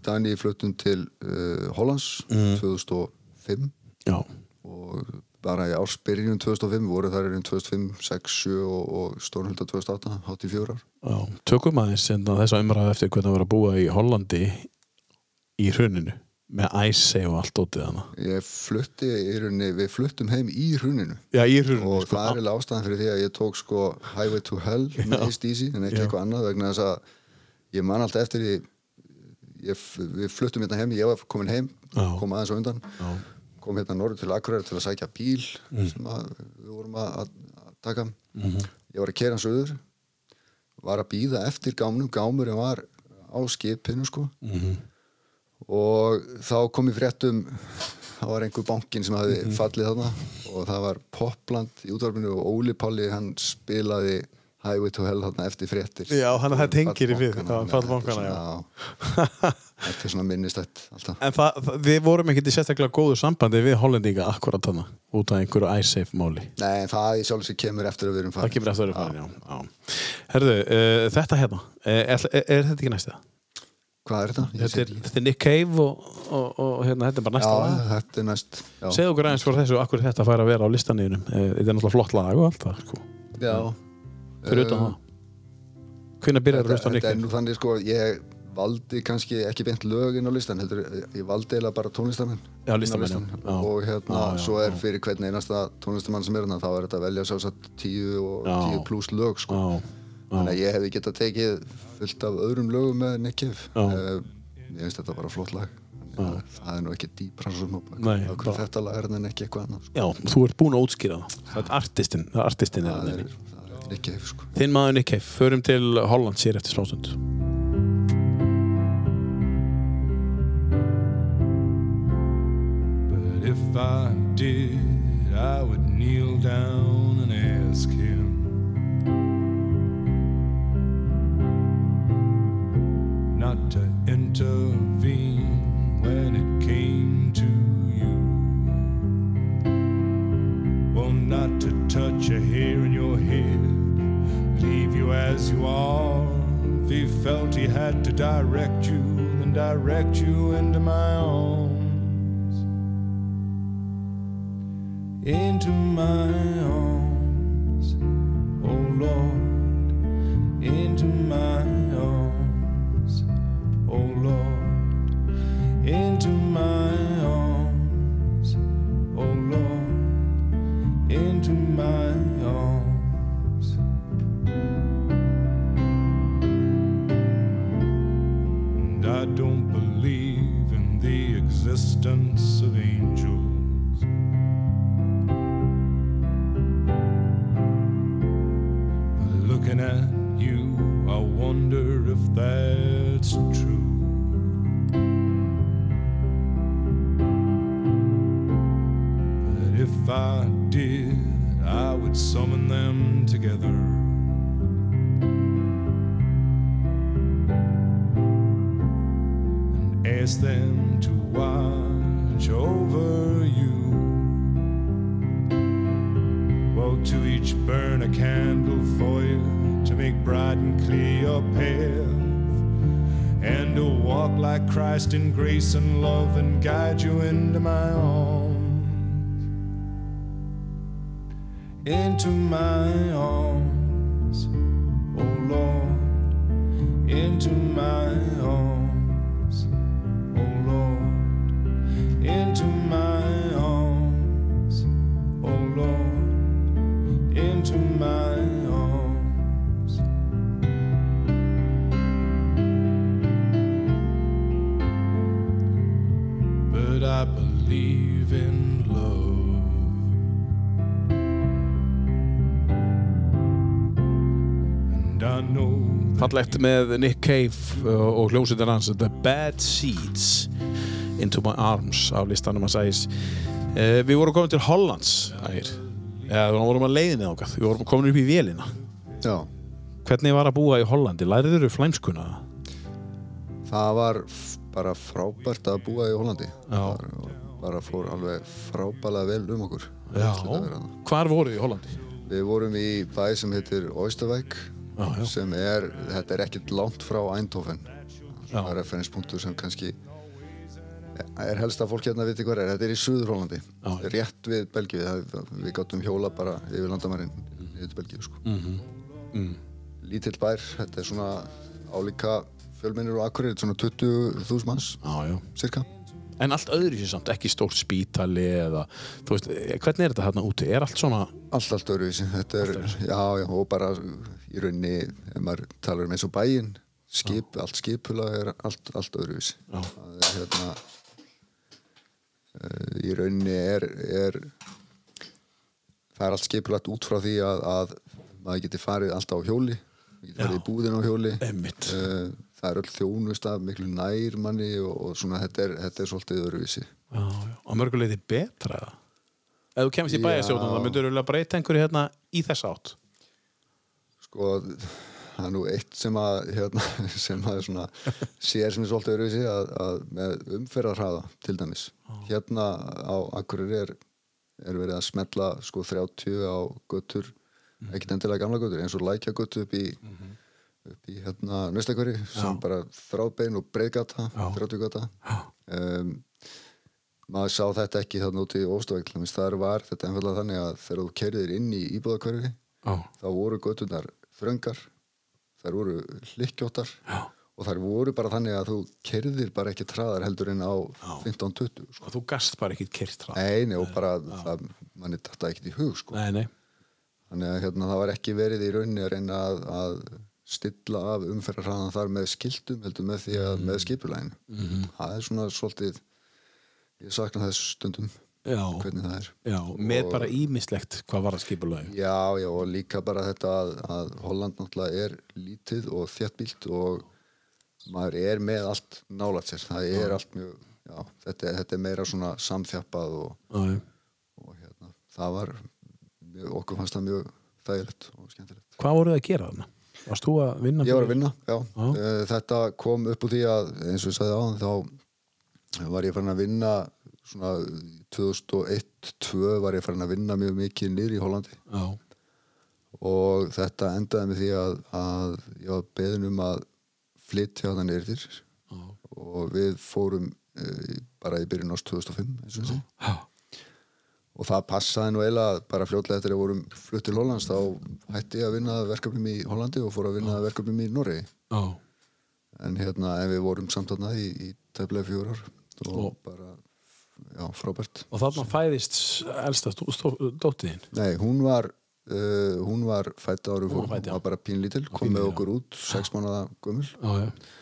S2: Dani fluttum til uh, Hollands
S1: Mm.
S2: 2005
S1: Já,
S2: og bara í ársbyrjunum 2005 voru þar erum 2005, 6, 7 og, og stórnhölda 2008, 84 ár
S1: Já. tökum aðeins hérna þessa umræðu eftir hvernig það var að búa í Hollandi í hruninu með æsi og allt ótið hana
S2: Ég flutti í rauninni, við fluttum heim í hruninu
S1: Já, í hruninu sko.
S2: og það er eiginlega ástæðan fyrir því að ég tók sko Highway to Hell með East Easy en ekki
S1: Já.
S2: eitthvað annað vegna þess að ég man alltaf eftir því ég, f- við fluttum hérna heim, ég var komin heim
S1: Já.
S2: kom aðeins á undan
S1: Já.
S2: kom hérna norður til Akureyri til að sækja bíl
S1: Mm.
S2: sem að, við vorum að, að- að taka
S1: Mhm.
S2: ég var að kera hans auður var að býða eftir gámnum gámurinn var á skipinu sko
S1: Mhm.
S2: og þá kom í fréttum það var einhver bankin sem
S1: Mhm.
S2: hafði fallið þarna og það var Popland í útvarpinu og Óli Palli hann spilaði Highway to Hell þarna eftir fréttir
S1: Já, hann- það tengir í við, já,
S2: Fallbankana, þannig að
S1: fallbankana,
S2: þetta er
S1: já.
S2: svona- þetta er svona minnistætt alltaf
S1: En það, það, við vorum ekkert í sérstaklega góðu sambandi við Hollendinga akkurat hana út af einhverju æsif máli
S2: Nei, það í sjálfsög kemur eftir að við erum farin
S1: Það kemur eftir að fara, já. já. Herðu, uh, þetta hérna, er, er, er þetta ekki næsta?
S2: Hvað er þetta? Ég
S1: Þetta
S2: sé
S1: er,
S2: ekki.
S1: þetta er Nick Cave og, og, og hérna, þetta er bara
S2: Já,
S1: næsta lag.
S2: þetta er næst Já,
S1: Segðu okkur aðeins frá þessu, akkur þetta fær að vera á listanýðunum. Uh, þetta er náttúrulega flott lag og allt það, sko.
S2: já. Um,
S1: Fyrir utan það. Hvernig byrjar að
S2: Eh, Þetta,
S1: hlusta á Nick
S2: þetta er
S1: Cave?
S2: nú þannig sko Ég valdi kannski ekki beint lögin á listan heldur, eh, Ég valdi eiginlega bara tónlistamenn
S1: Já, listamenn, já.
S2: Inn á listann.
S1: Já.
S2: Og hérna,
S1: Já, já,
S2: svo er
S1: já.
S2: fyrir hvern einasta tónlistamann sem er hérna Þá er þetta að velja sjálfsagt tíu og
S1: Já.
S2: tíu pluss lög sko
S1: Já,
S2: Þannig að ég hefði getað tekið fullt af öðrum lögum með Nick Cave
S1: Já.
S2: Eh, Ég finnst þetta bara flott lag Þannig að Það er nú ekki dýpra svo sem á bak-
S1: Nei,
S2: af hverju
S1: bara-
S2: Þetta lag er en ekki eitthvað annað sko.
S1: já, þú ert búin að útskýra það. Það er artistinn, það er artistinn.
S2: Það
S1: Er,
S2: er,
S1: er.
S2: það er Nick Cave sko
S1: Þinn maður Nick Cave, förum til Holland sér eftir smástund.
S5: But if I did, I would kneel down and ask him not to intervene when it came to you. Well, not to touch a hair in your head, leave you as you are. If he felt he had to direct you, then direct you into my arms into my arms, oh Lord, into my arms, oh Lord. Oh, if I did, I would summon them together. and Ask them to watch over you. Well, to each burn a candle for you to make bright and clear your path, and to walk like Christ in grace and love and guide you into my arms, into my arms, oh Lord, into my arms, oh Lord, into my arms oh Lord, into my arms. But I believe in love, and I know. that
S1: Fallegt með Nick Cave uh, og hljómsveitar hans The Bad Seeds Into My Arms á listanum hans ægis uh, Við vorum komin til Hollands ægir Já, við vorum að leiðinni þákað Við vorum komin upp í vélina
S2: Já,
S1: Hvernig var að búa í Hollandi? Læriður þú flæmskuna?
S2: það var f- bara frábært að búa í Hollandi Það var- bara fór alveg frábælega vel um okkur Ætli þetta vera það.
S1: Hvar voruð þið í Hollandi?
S2: Við vorum í bæ sem heitir Oysterwijk
S1: Já, já.
S2: sem er, þetta er ekkert langt frá Eindhoven það
S1: Já.
S2: er referenspunktur sem kannski er helst að fólk hérna viti hvað er þetta er í Suður Hollandi,
S1: Já.
S2: rétt við Belgíu það- það- við gáttum hjóla bara yfir landamærin yfir Belgíu sko mm
S1: Mhm.
S2: lítill bær, þetta er svona álíka fjölmennir og akkurir svona 20.000 manns
S1: Já, já
S2: cirka
S1: En allt öðru sér samt, ekki stórt spítali eða, þú veist, eh, hvernig er þetta hérna úti? Er allt svona,
S2: Allt, allt öruvísi, þetta er, já, já, og bara í rauninni, ef maður talar um eins og bæinn, skip, allt skipula er allt, allt öruvísi.
S1: Já.
S2: Það er hérna, uh, í rauninni er, er, það er allt skipulagt út frá því að, að maður geti farið alltaf á hjóli, maður geti farið í búðin á hjóli.
S1: Einmitt.
S2: Eh, það er öll þjónust af miklu nær manni og, og svona þetta er, þetta er svolítið öruvísi.
S1: já, já, á mörguleiti betra eða? Ef þú kemst í
S2: Já.
S1: bæjarstjórnum, það myndur vilja breyta einhverju hérna í þessa átt.
S2: sko það er nú eitt sem að hérna, sem að svona sér sem er svolítið öruvísi að, að með umferðarhraða til dæmis hérna á Akureyri er, er verið að smetla sko 30 á göttur ekkert endilega gamla göttur eins og lækja göttu upp í upp í hérna nöstakveri sem bara þráðbein og breiðgata 30 gata um, maður sá þetta ekki þarna úti í Óstavæk þar var þetta einfallega þannig að þegar þú kerðir inn í íbúðakverfi
S1: Já,
S2: þá voru götunar þröngar þær voru hlykkjóttar og þær voru bara þannig að þú kerðir bara ekki traðar heldur en á 15-20 sko.
S1: og þú gast bara ekkit kyrt það.
S2: nei, nei, og bara það, manni þetta ekkert í hug sko.
S1: Nei, nei.
S2: þannig að hérna, það var ekki verið í rauninni að reyna að, að stilla af umferðarraðan þar með skiltum heldur með því að
S1: Mm.
S2: með skipulæginu
S1: Mhm.
S2: það er svona svolítið ég sakna þess stundum
S1: Já,
S2: hvernig það er
S1: já, með
S2: Og-
S1: bara ímislegt hvað var að skipulagi.
S2: Já, já, og líka bara þetta að, að Holland náttúrulega er lítið og þjættbílt og maður er með allt nálægt sér. Það er allt mjög, já, þetta, er- þetta er meira svona samþjappað og,
S1: Já, já.
S2: og hérna, það var, mjög, okkur fannst það mjög þægilegt og skemmtilegt.
S1: Hvað voruð þið að gera þarna? Varst þú að vinna?
S2: Ég
S1: fyrir-
S2: var að vinna, já.
S1: Já.
S2: Eh, Þetta kom upp úr því að, eins og ég sagði áðan, þá var ég farin að vinna, svona 2001-2002 var ég farin að vinna mjög mikið niður í Hollandi.
S1: Já,
S2: og þetta endaði með því að, að ég var beðin um að flytja þannig erðir
S1: já,
S2: og við fórum e, bara í byrjun ást 2005 eins og, þessi.
S1: já.
S2: og það passaði nú eiginlega að bara fljótlega eftir að við vorum flutt til Hollands þá hætti ég að vinna að verkefnum í Hollandi og fór að vinna að verkefnum í Norri
S1: já.
S2: en hérna en við vorum samt þarna í, í teflega fjórar og
S1: Og-
S2: bara já, frábært
S1: Og þarna fæðist elsta stó- stó- dóttiðin.
S2: Nei, hún var uh, hún var fætt árum
S1: Hún var
S2: fór,
S1: fædd,
S2: hún
S1: já.
S2: var bara pínlítil, kom
S1: pínlítil,
S2: með
S1: já.
S2: okkur út sex mánada gömul
S1: Já, já.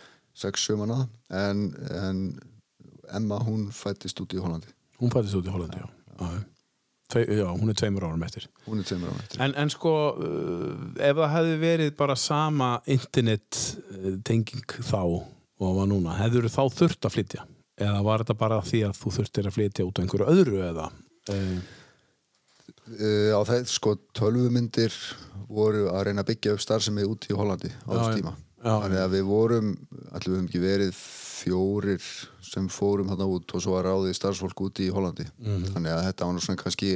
S2: sex sömana en, en Emma hún fættist út í Hollandi
S1: Hún fættist út í Hollandi, já. Já, já. Tve, já, hún er tveimur árum eftir.
S2: hún er tveimur ára eftir
S1: En, en sko, uh, ef það hefði verið bara sama internet uh, tenging þá og var núna, hefður þá þurft að flytja? Eða var þetta bara því að þú þurftir að flytja út á einhverju öðru eða? Uh,
S2: uh, á þess sko tölvumyndir voru að reyna að byggja upp starfsemi út í Hollandi á
S1: Já,
S2: þess
S1: já.
S2: tíma
S1: Já, já.
S2: þannig að við vorum, allir við höfum ekki verið fjórir sem fórum þarna út og svo að ráði starfsfólk út í Hollandi
S1: Mhm.
S2: þannig að þetta var nú svona kannski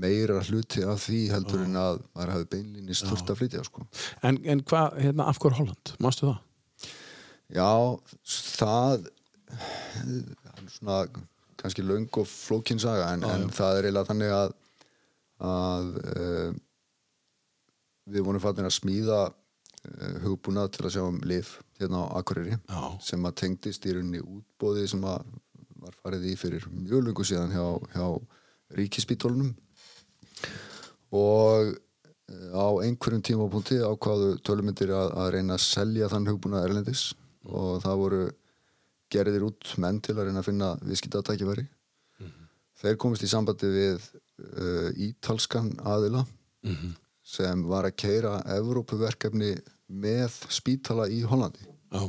S2: meira hluti af því heldur en að maður hafi beinlinni stort að flytja sko.
S1: En, en hvað, hérna, af hverju Holland? Mástu það?
S2: Já, það það er svona kannski löng og flókin saga en, en það er eiginlega þannig að að uh, við vorum fattin að smíða uh, hugbúnað til að sjá um lif hérna á Akureyri
S1: Já.
S2: sem að tengdist í rauninni útbóði sem að var farið í fyrir mjög lungu síðan hjá, hjá ríkispítólunum og eh, á einhverjum tímapunkti ákvaðu tölumyndir að, að reyna að selja þann hugbúna erlendis og það voru gerðir út menn til að reyna að finna viðskiptatækifæri þeir komist í sambandi við uh, ítalskan aðila sem var að keira Evrópuverkefni með spítala í Hollandi
S1: Já.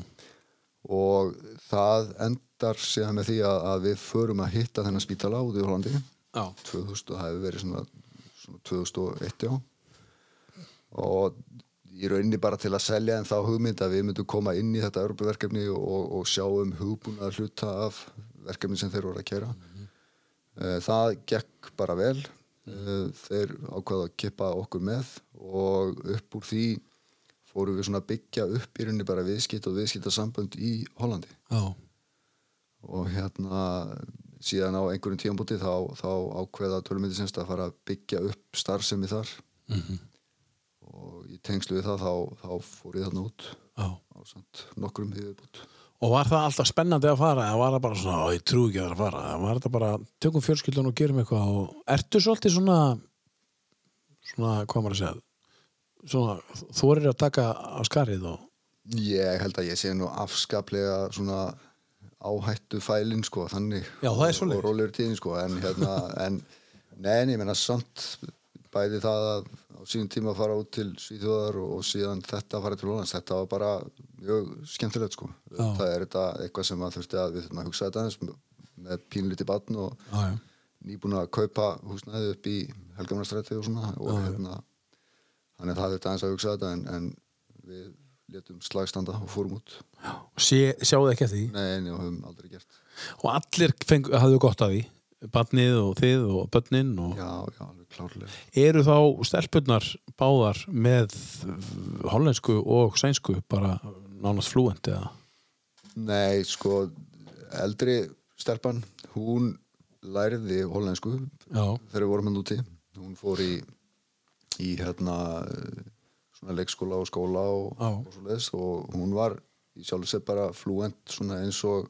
S2: og það endar síðan með því að, að við förum að hitta þennan spítala út í Hollandi
S1: Já.
S2: 2000, það hefur verið svona, svona 2001 já og í rauninni bara til að selja en þá hugmynd að við myndum koma inn í þetta Europaverkefni og, og sjá um hugbúnað hluta af verkefni sem þeir voru að kera Eh, Það gekk bara vel Eh, þeir ákvaða að kippa okkur með og upp úr því fórum við svona að byggja upp í rauninni bara viðskipt og viðskiptasambönd í Hollandi
S1: Já.
S2: og hérna síðan á einhverjum tíambúti þá, þá ákveða tölumyndi semst að fara að byggja upp starfsemi þar -hmm. og í tengslu við það þá, þá fór ég þarna út
S1: Já.
S2: á samt nokkrum viðbútt
S1: Og var það alltaf spennandi að fara eða var það bara svona, "Ó, ég trú ekki að það er að fara eða var þetta bara, tökum fjölskyldan og gerum eitthvað og ertu svolítið svona svona, hvað maður að segja svona, þú erir að taka á skarið og
S2: Ég held að ég sé nú afskaplega svona áhættu fælin sko þannig
S1: Já, það er
S2: og,
S1: svoleiðis.
S2: og rólur tíðin sko en hérna en nein, ég menna samt bæði það að á síðan tíma fara út til Svíþjóðar og, og síðan þetta að fara til Lólands, þetta var bara mjög skemmtilegt sko það er þetta eitthvað sem að þurfti að við þurfum að hugsa þetta aðeins með pínlíti batn og
S1: Já, já.
S2: nýbúin að kaupa húsnæði upp í Helgamnastræti og svona og hérna þannig að það þurfti aðeins að hugsa þetta en, en við letum slagstanda og fórum út
S1: sé, sjáðu ekki eftir því
S2: Nei, en ég höfum aldrei gert
S1: og allir fengu, hafðu gott af því barnið og þið og börnin og
S2: Já, já, alveg klárlega
S1: eru þá stelpunnar báðar með hollensku og sænsku bara nánast flúent eða
S2: Nei, sko, eldri stelpan, hún læriði hollensku
S1: já,
S2: þegar við vorum hann úti hún fór í, í hérna eh, svona leikskóla og skóla og,
S1: Já.
S2: og svo og hún var í sjálf sér bara fluent svona eins og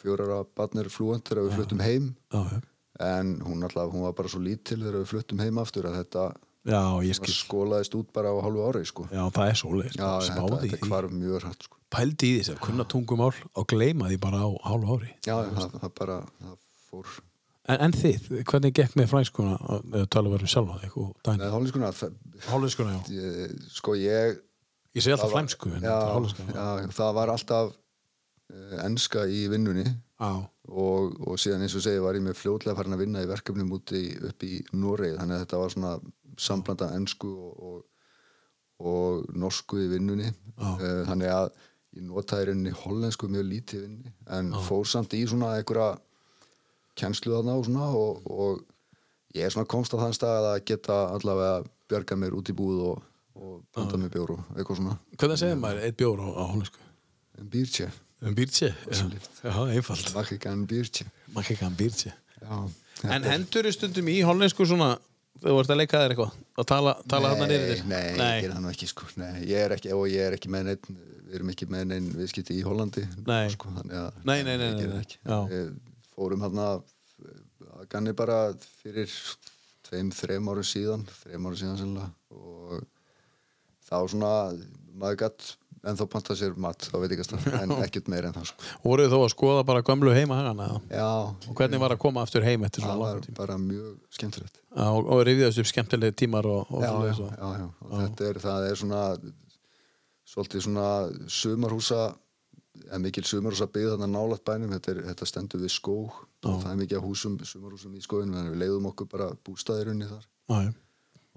S2: fjórara barnir fluent þegar við fluttum heim
S1: já, já.
S2: en hún alltaf, hún var bara svo lítil þegar við fluttum heim aftur að þetta
S1: já, ég skil
S2: skólaðist út bara á hálfu ári sko.
S1: já, það er svoleiðis,
S2: Já,
S1: bara
S2: þetta,
S1: spáði
S2: þetta
S1: í
S2: hvarf mjög hrætt sko.
S1: pældi í þessi, kunna tungumál og gleyma því bara á hálfu ári
S2: Já, það, það bara, það fór
S1: en, en þið, hvernig gekk með frænskuna að að tala verið sjálfa þig og
S2: Nei,
S1: dæni
S2: hollenskunar, það,
S1: hollenskuna, já,
S2: ég, sko ég
S1: ég segi
S2: það
S1: alltaf
S2: var-
S1: flæmsku en þetta er
S2: já,
S1: hollenskuna,
S2: já, það var alltaf uh, enska í vinnunni
S1: já,
S2: og, og síðan eins og segi var ég með fljótlega farin að vinna í verkefnum úti í- upp í Noregi þannig að þetta var svona samblanda ensku og, og, og norsku í vinnunni uh, þannig að ég notaði í rauninni hollensku mjög lítið í vinnunni en fór samt í svona einhverja kennslu þarna og svona og, og ég er svona komst á þann stað að geta allavega bjarga mér út í búð og, og banda með bjóru, eitthvað svona
S1: hvernig segir maður eitt bjór á, á hollensku,
S2: en bírtje,
S1: um býrtsi já, já, einfalt
S2: makk ekki en bírtje
S1: maður ekki
S2: um
S1: hann býrtsi
S2: já,
S1: En hendur stundum í hollensku svona þegar þú ert að leika þér eitthvað að tala, tala hann niður þér
S2: Nei, nei, ég gera það nú ekki sko nei, ég er ekki, og ég er ekki með neitt við erum ekki með neinn viðskipti í Hollandi
S1: Nei.
S2: sko, þannig að
S1: Nei, nei, nei, nei,
S2: ég geri
S1: nei.
S2: það ekki.
S1: Já.
S2: Við fórum hann að ganni bara fyrir tveim, þreim árum síðan þreim árum síðan sannlega og þá svona, maður gatt en þá panta sér mat, þá veit ég ekki að stað en ekkert meir en það sko
S1: Voruð þó að skoða bara gömlu heima hana
S2: já,
S1: og hvernig var að koma aftur heim eftir svona
S2: Mm. það
S1: langt
S2: var bara mjög skemmtilegt
S1: tíma og, og rifjaðist upp skemmtilegi tímar og, og
S2: já, já,
S1: svoleiðis
S2: já,
S1: og-
S2: já. og þetta er, það er svona svolítið svona sumarhúsa er mikil sumarhúsa byggð þarna nálaft bænum þetta, er, þetta stendur við skóg og það er mikið af húsum, sumarhúsum í skóginu þannig að við leiðum okkur bara bústæðirunni þar
S1: já.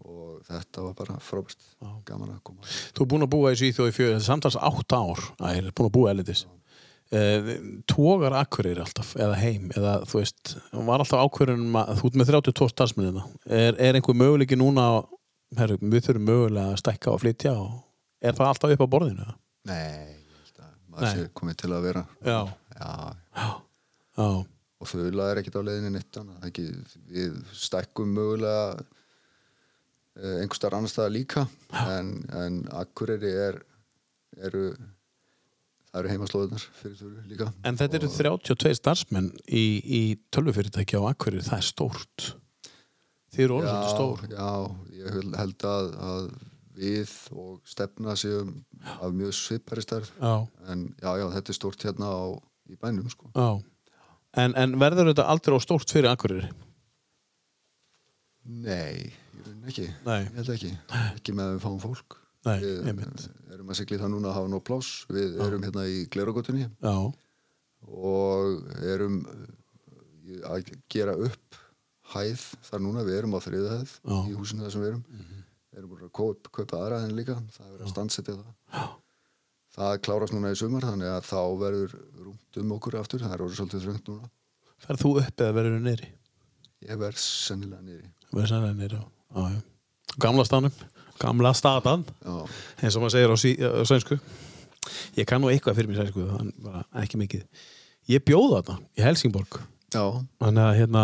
S2: og þetta var bara frábært gaman að koma
S1: Þú er búin að búa í Svíþjóð í fjögur samtals 8 ár Það er búin að búa elitis uh, Tógar akkurir alltaf eða heim eða þú veist var alltaf ákvörðunum að þú ert með 32 starfsmennina hérna. er, er einhver möguleiki núna á- herru, við þurfum mögulega að stækka og flytja og er það alltaf upp á borðinu? eða?
S2: Nei, ég held að maður sé komið til að vera
S1: Já,
S2: Já,
S1: já,
S2: og þauðla er ekkert á leiðinni neitt annað ekki, við stækkum mögulega eh, einhvers staðar annars staðar líka en, en Akureyri er eru það eru heimaslóðunar fyrir þurru líka
S1: En þetta eru 32 starfsmenn í, í tölvufyrirtæki á Akkurir, það er stórt. Þið eru orðið svolítið stór.
S2: Já, ég hel- held að, að við og stefna séum af mjög svipari starf
S1: Já,
S2: en já, já, þetta er stórt hérna á, í bænum sko.
S1: já. En, en verður þetta aldrei á stórt fyrir Akkurir?
S2: Nei, ég raun ekki
S1: Nei.
S2: ég held ekki, ekki með að við fáum fólk
S1: Nei,
S2: við
S1: einmitt.
S2: erum að sigla í það núna að hafa nóg pláss við erum hérna í Glerogotunni
S1: Já,
S2: og erum eh, að gera upp hæð þar núna, við erum á þriða hæð
S1: Já. Mhm.
S2: í húsinu þar sem við erum erum búin að kaup, kaupa aðra hæðin líka það er verið að standsetja það það klárast núna í sumar þannig að þá verður rúmt um okkur aftur það er orðið svolítið þröngt núna
S1: ferð þú upp eða verður þú neyri?
S2: ég verð sennilega niðri
S1: Verður sannlega neyri, já. já. Gamla stanum, gamla statan,
S2: Já.
S1: eins og maður segir á, sí, á sænsku. Ég kann nú eitthvað fyrir mér sænsku, þannig bara ekki mikið. Ég bjóða þarna í Helsingborg.
S2: Já,
S1: þannig að hérna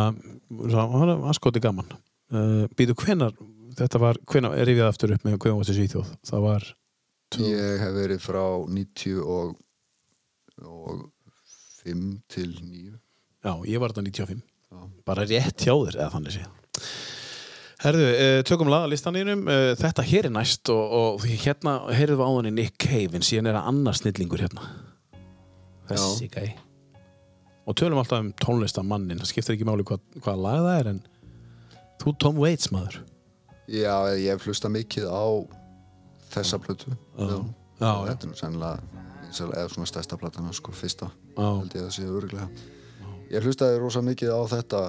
S1: það var askoti gaman uh, býtu hvenar, þetta var hvenar er rifjað aftur upp með hvernig varstu í Svíþjóð það var,
S2: Ég hef verið frá 90 og, og 5 til 9
S1: já, ég var þetta 95
S2: Já.
S1: bara rétt hjá þér eða þannig sé Herðu, uh, tökum laðalistanínum, uh, þetta hér er næst og, og því hérna heyrðum við á henni Nick Cave en síðan er það annar snillingur hérna þessi gæ og tölum alltaf um tónlistamannin það skiptir ekki máli hvað, hvað lag það er en þú Tom Waits maður
S2: Já, ég hef hlusta mikið á þessa plötu
S1: Já,
S2: Já,
S1: já.
S2: Þetta er nú sennilega vinsæl- eða svona stærsta platana, sko, fyrsta
S1: Já.
S2: held ég að sé öruglega Ég hlustaði rosa mikið á þetta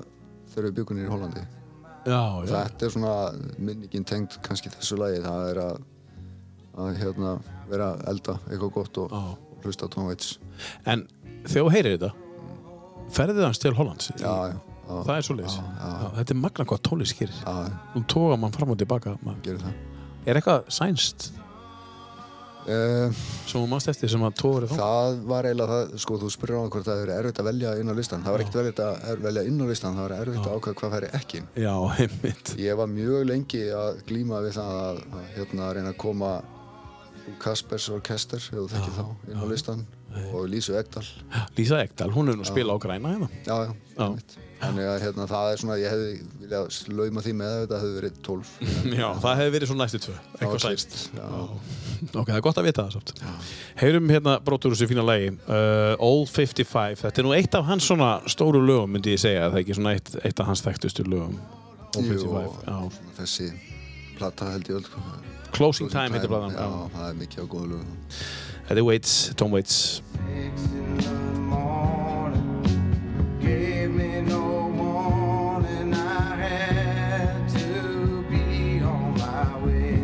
S2: þegar við byggunir í Hollandi
S1: já, já,
S2: Þetta er svona minningin tengd kannski þessu lagi, það er að að hérna vera að elda eitthvað gott og,
S1: Já.
S2: og hlusta á Tom Waits
S1: En þegar þú heyrir þetta ferðið hans til Hollands
S2: Já, já, já,
S1: Það er svo leiðis Þetta er magna hvað tónlist gerir
S2: já,
S1: Nú tóka mann fram og tilbaka maður.
S2: gerir það
S1: Er eitthvað sænst
S2: Eh,
S1: sem þú manst eftir sem að tóka verið þá
S2: Það var eiginlega það, sko, þú spyrir á hann hvort það er erfitt að velja inn á listan. Það var ekkert erfitt að er- velja inn á listan, það var erfitt að ákvæða hvað færi ekki. inn.
S1: Já, einmitt
S2: Ég var mjög lengi að glíma við það að, að hérna, reyna að koma Lou Kaspers Orkester, ef þú þekkir þá, inn á listan og Lísu Egdal.
S1: Lísa Ekdal, hún hefur nú spilað á græna hérna
S2: Já, já,
S1: Já.
S2: einmitt. Þannig að hérna, það er svona, ég hefði viljað slauma því með að þetta hefði verið 12.
S1: Já, það hefur verið svona næstu tvö
S2: Það var
S1: Eitthvað sænst
S2: klippt, Já,
S1: Ok, það er gott að vita það samt Heyrum hérna brotur úr þessu fína lagi uh, All 55, þetta er nú eitt af hans svona stóru lögum myndi ég segja, það er ekki svona eitt, eitt af hans þekktustu lögum All 55, já
S2: svona þessi plata held ég öll. sko.
S1: Closing Time heitir blaðan
S2: Já, það er mikið á góðu lögum.
S1: Þetta er Waits, Tom Waits
S5: Six in the morning gave me no warning. I had to be on my way.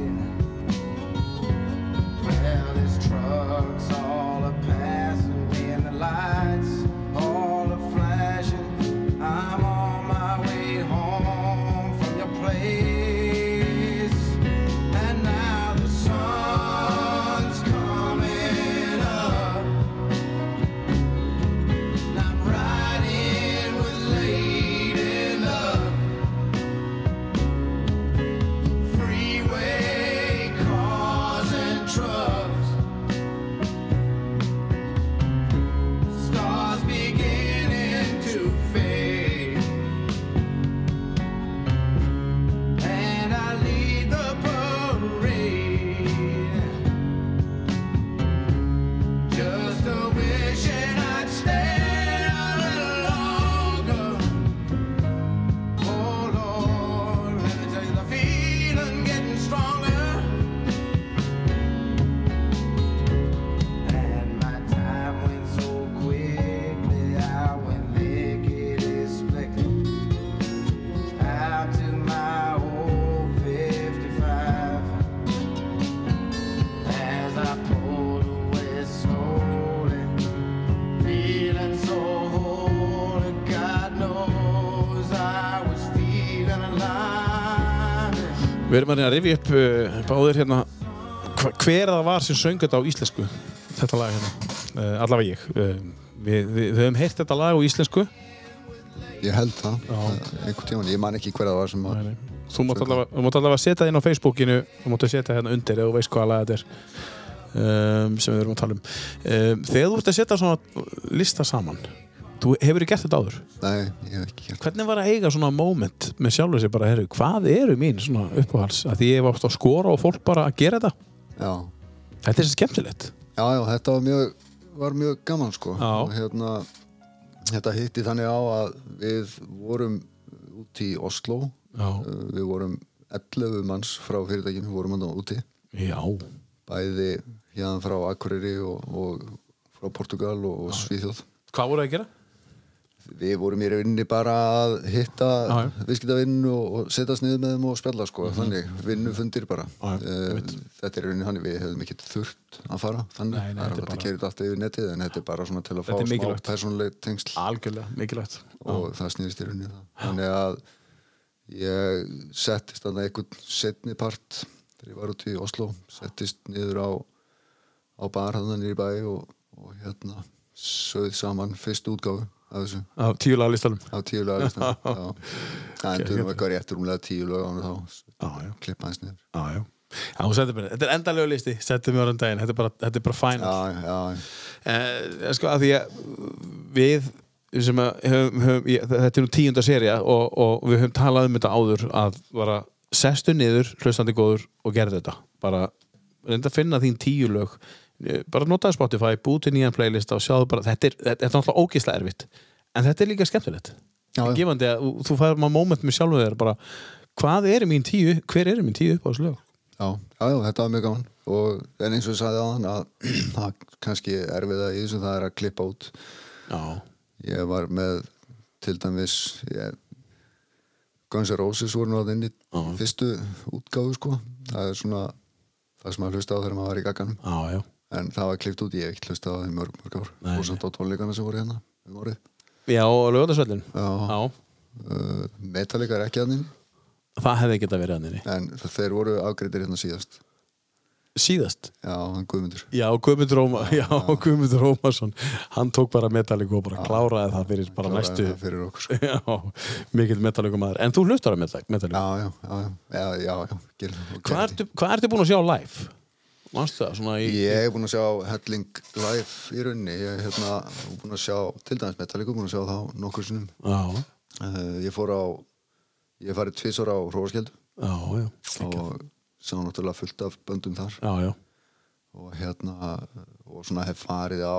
S5: Well, this truck's all a passing, and the lights all a flashing. I'm on my way home from your place, and now the sun's coming up. I'm riding with late.
S4: Oh,
S1: Við erum að reyna að rifja upp uh, báðir hérna hva- hver það var sem söng þetta á íslensku þetta lag hérna, uh, allavega ég uh, við, við, við höfum heyrt þetta lag á íslensku
S2: Ég held það, einhvern tíman, ég man ekki hver það var sem að
S1: þú mátt allavega, þú mátt allavega setja það inn á Facebookinu þú mátt setja hérna undir ef þú veist hvaða lag þetta er um, sem við erum að tala um um, þegar þú ert að setja svona lista saman þú hefur gert þetta áður
S2: Nei, ég hef ekki gert
S1: Hvernig var að eiga svona moment með sjálfur sér bara, herru, hvað eru mín svona uppáhalds? Að því ég hef átt að skora og fólk bara að gera þetta.
S2: Já,
S1: Þetta er svo skemmtilegt.
S2: já, já þetta var mjög, var mjög gaman sko
S1: Já.
S2: og hérna, þetta hitti þannig á að við vorum út í Oslo
S1: Já.
S2: Uh, við vorum 11 manns frá fyrirtækinu, við vorum andan úti
S1: Já.
S2: bæði hérna frá Akureyri og, og frá Portugal og, og Svíþjóð
S1: Hvað voru að gera?
S2: við vorum í rauninni bara að hitta
S1: Já, já. Mhm.
S2: viðskiptavinn og, og setjast niður með þeim og spjalla sko, þannig vinnufundir bara
S1: Já, já,
S2: Eh, þetta er í rauninni þannig, við hefum ekki þurft að fara þannig,
S1: Nei, nei, þetta
S2: það er
S1: er
S2: alveg
S1: bara-
S2: að kerið alltaf yfir netið en þetta er bara svona til að fá
S1: Þetta er
S2: smá
S1: mikilvægt. Ah,
S2: persónuleg tengsl
S1: Algjörlega, mikilvægt.
S2: og það snýrist í rauninni um það þannig að ég settist þannig einhvern setni part þegar ég var út í Oslo settist niður á, á bar þannig nýri bæ og, og hérna sögð saman fyrstu útgáfu af þessu
S1: Á tíu lagalistanum.
S2: á tíu lög það endur um eitthvað rétt rúmlega tíu lög án og þá
S1: Já, já.
S2: klippa hans niður
S1: Já, já. Já, þú settir mér, þetta er endalega listi, settir mér á daginn, þetta er bara, þetta er bara final.
S2: já, já,
S1: Eh, sko, að því að við sem að höfum, höfum ég, þetta er nú tíunda seria og, og við höfum talað um þetta áður að bara sestu niður, hlustandi góður og gerðu þetta bara reynda að finna þín tíu lög Eh, bara notaði Spotify, búti nýjan playlist og sjáðu bara, þetta er, þetta er náttúrulega ógeðslega erfitt en þetta er líka skemmtilegt
S2: Já, já.
S1: gefandi að þú- þú fær maður moment með sjálfum þér bara, hvað eru mín tíu hver eru mín tíu uppáðslög
S2: já, já, já, þetta var mjög gaman og en eins og ég sagði á hann að það kannski erfiða í þessu það er að klippa út
S1: já,
S2: ég var með til dæmis ég, Guns N' Roses voru nú að inn í fyrstu útgáfu sko það er svona það sem maður hlusta á þegar maður var í gagganum
S1: já, já,
S2: en það var klipt út, ég hef ekki hlusta á þeim mörg mörg ár
S1: Nei,
S2: og samt á tónleikana sem voru hérna um árið
S1: já, og lögðarsvöldin
S2: Já. uh, Metallica er ekki að nýn
S1: það hefði geta verið að nýri
S2: en þeir voru afgreitir hérna síðast
S1: síðast
S2: já, hann Guðmundur
S1: Já, Guðmundur, Óma, já, Guðmundur Ómarsson hann tók bara metalíku og bara kláraði það fyrir bara
S2: Kláraði
S1: næstu
S2: það fyrir okkur sko.
S1: Já, mikill metalíku maður En þú hlustar á metalíku
S2: já, já, já, já, já, já, já gil,
S1: Hvað ertu, hvað ertu búin að sjá live? Manstu það, svona í
S2: ég hef búin að sjá Helling Live í rauninni ég hef hérna, búin að sjá til dæmis Metallica, búin að sjá þá nokkur sinnum
S1: Já,
S2: uh, ég fór á ég hef farið tvisar á Hróaskjöldu
S1: já, já
S2: og sá náttúrulega fullt af böndum þar
S1: Já, já,
S2: og hérna og svona hef farið á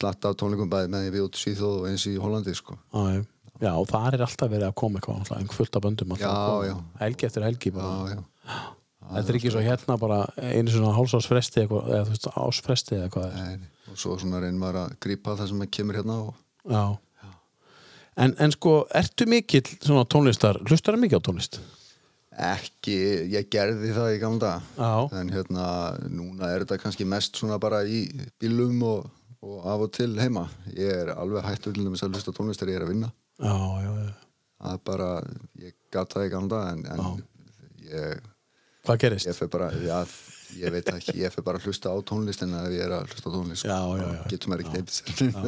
S2: slatta af tónleikum bæði með því við út síþóð og eins í Hollandi sko
S1: já, já Já, þar er alltaf verið að koma eitthvað náttúrulega, en fullt af böndum alltaf
S2: Já,
S1: að koma.
S2: já.
S1: Helgi eftir helgi bara.
S2: já, já,
S1: Þetta er ekki svo hérna bara einu svona hálsásfresti eitthvað, eða þú veist, ásfresti eða hvað það er
S2: en, og svo svona reynir maður að grípa það sem kemur hérna og
S1: Já. En, en sko, ertu mikill svona tónlistar, hlustar það mikið á tónlist?
S2: ekki, ég gerði það í gamla dag
S1: Já.
S2: en hérna, núna er þetta kannski mest svona bara í bílum og, og af og til heima ég er alveg hættur til þess að hlusta á tónlist þegar ég er að vinna
S1: Já, já, já.
S2: það er bara, ég gat það í gamla dag en, en ég
S1: Hvað gerist?
S2: ég fer bara, já, ég veit það ekki ég fer bara að hlusta á tónlistina ef ég er að hlusta á tónlist sko,
S1: Já, já, já.
S2: getur maður ekki neitt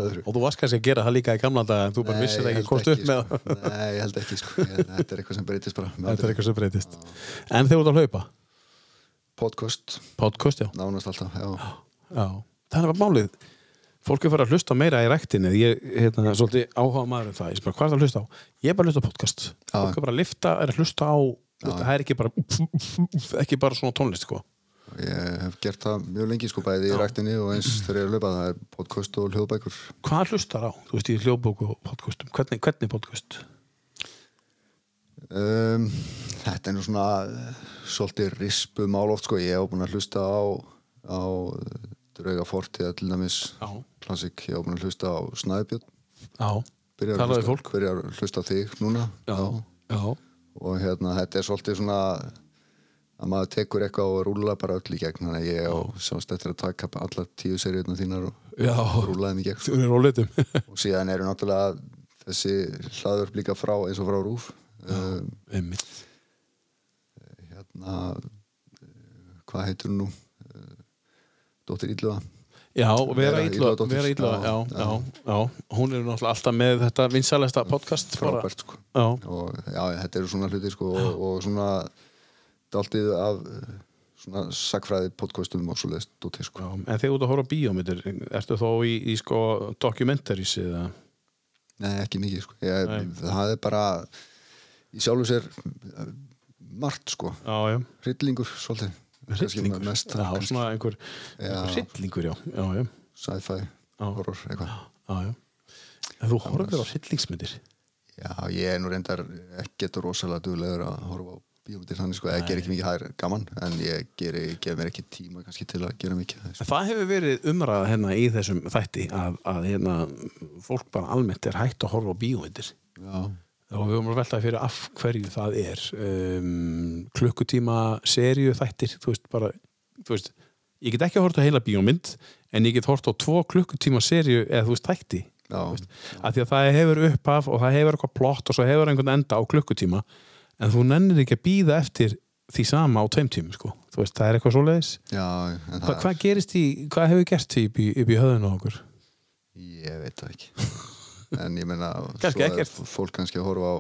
S2: sér
S1: Og þú varst kannski að gera það líka í gamla dag en þú bara vissir það ekki hvort upp með það.
S2: sko. nei, ég held ekki sko. ég, þetta er eitthvað sem breytist bara með
S1: Þetta er
S2: aldrei.
S1: eitthvað sem breytist. En þegar þú ert að hlaupa?
S2: podcast,
S1: Podcast, já.
S2: nánast alltaf já,
S1: Já. Það er bara málið. Fólk er farið að hlusta meira í ræktinni. Ég hérna, er svolítið áhuga maður um það. Ég spyr, hvað er það að hlusta á? Ég er bara að hlusta á podcast. Fólk er bara að lifta, er að hlusta á, það er ekki bara, ekki bara svona tónlist, sko.
S2: ég hef gert það mjög lengi sko bæði í ræktinni og eins þegar ég er að löpa það er podcast og hljóðbækur
S1: Hvað hlustar á? Þú veist, í hljóðbóku og podcastum. Hvernig, hvernig podcast?
S2: um, þetta er nú svona eh, svolítið rispum áloft sko ég hef búin að hlusta á, á eh, drauga fortið til dæmis
S1: Já.
S2: klassik, ég hef búin að hlusta á Snæðbjörn
S1: Já.
S2: byrjar að,
S1: Talaðu
S2: hlusta,
S1: við fólk?
S2: byrjar að hlusta á þig núna
S1: Já. Já.
S2: og hérna þetta er svolítið svona að maður tekur eitthvað og rúla bara öll í gegn þannig að ég og sást eftir að taka allar tíu seriðna þínar og
S1: Já.
S2: rúla þeim í gegn sko.
S1: Þú eru á litum.
S2: og síðan eru náttúrulega Eh, þessi hlaður líka frá eins og frá rúf um,
S1: Einmitt.
S2: hérna eh, hvað heitir hún nú Eh, Dóttir Ílluða
S1: Já, vera
S2: Vera
S1: ítla,
S2: Illugadóttir.
S1: vera ítla, já,
S2: Já,
S1: já, já, hún er náttúrulega alltaf með þetta vinsalesta podcast bara.
S2: frábært sko
S1: Já,
S2: og já, þetta eru svona hluti sko og, og svona dáltið af eh, svona sakfræði podcastum og svo leist
S1: já,
S2: dóttir sko
S1: en þegar þú ert að horfa á bíómyndir, ertu þá í, í sko documentaries eða?
S2: Nei, ekki mikið sko ég,
S1: Nei.
S2: það er bara í sjálfu sér eh, margt sko
S1: Já, já.
S2: hryllingur svolítið Kannski
S1: Hryllingur,
S2: mest,
S1: já,
S2: kannski.
S1: svona einhver,
S2: Já.
S1: einhver hryllingur, já, já, já,
S2: sci-fi,
S1: Já.
S2: horror, eitthvað
S1: já, já. En þú horfir á hryllingsmyndir?
S2: Já, ég er nú reyndar ekkert rosalega duglegur að horfa á bíómyndir þannig sko, ég ger ekki mikið hær gaman en ég ger, gef mér ekki tíma kannski til að gera mikið af því, sko.
S1: Það hefur verið umræða hérna í þessum þætti að, að hérna, fólk bara almennt er hægt að horfa á bíómyndir
S2: Já,
S1: og við höfum að velta fyrir af hverju það er um, klukkutíma seríu þættir þú veist bara þú veist, ég get ekki að horta heila bíómynd en ég get horta á tvo klukkutíma seríu eða þú veist þætti
S2: Já.
S1: Þú veist, að því að það hefur upphaf og það hefur eitthvað plott og svo hefur einhvern enda á klukkutíma en þú nennir ekki að býða eftir því sama á tveim tímum sko. þú veist, það er eitthvað svoleiðis
S2: já en
S1: Hva,
S2: það,
S1: hvað gerist í, hvað hefur gerst í, í, upp í höðun á okkur?
S2: ég veit það ekki en ég meina,
S1: Kannski
S2: svo er
S1: ekkert.
S2: fólk kannski að horfa á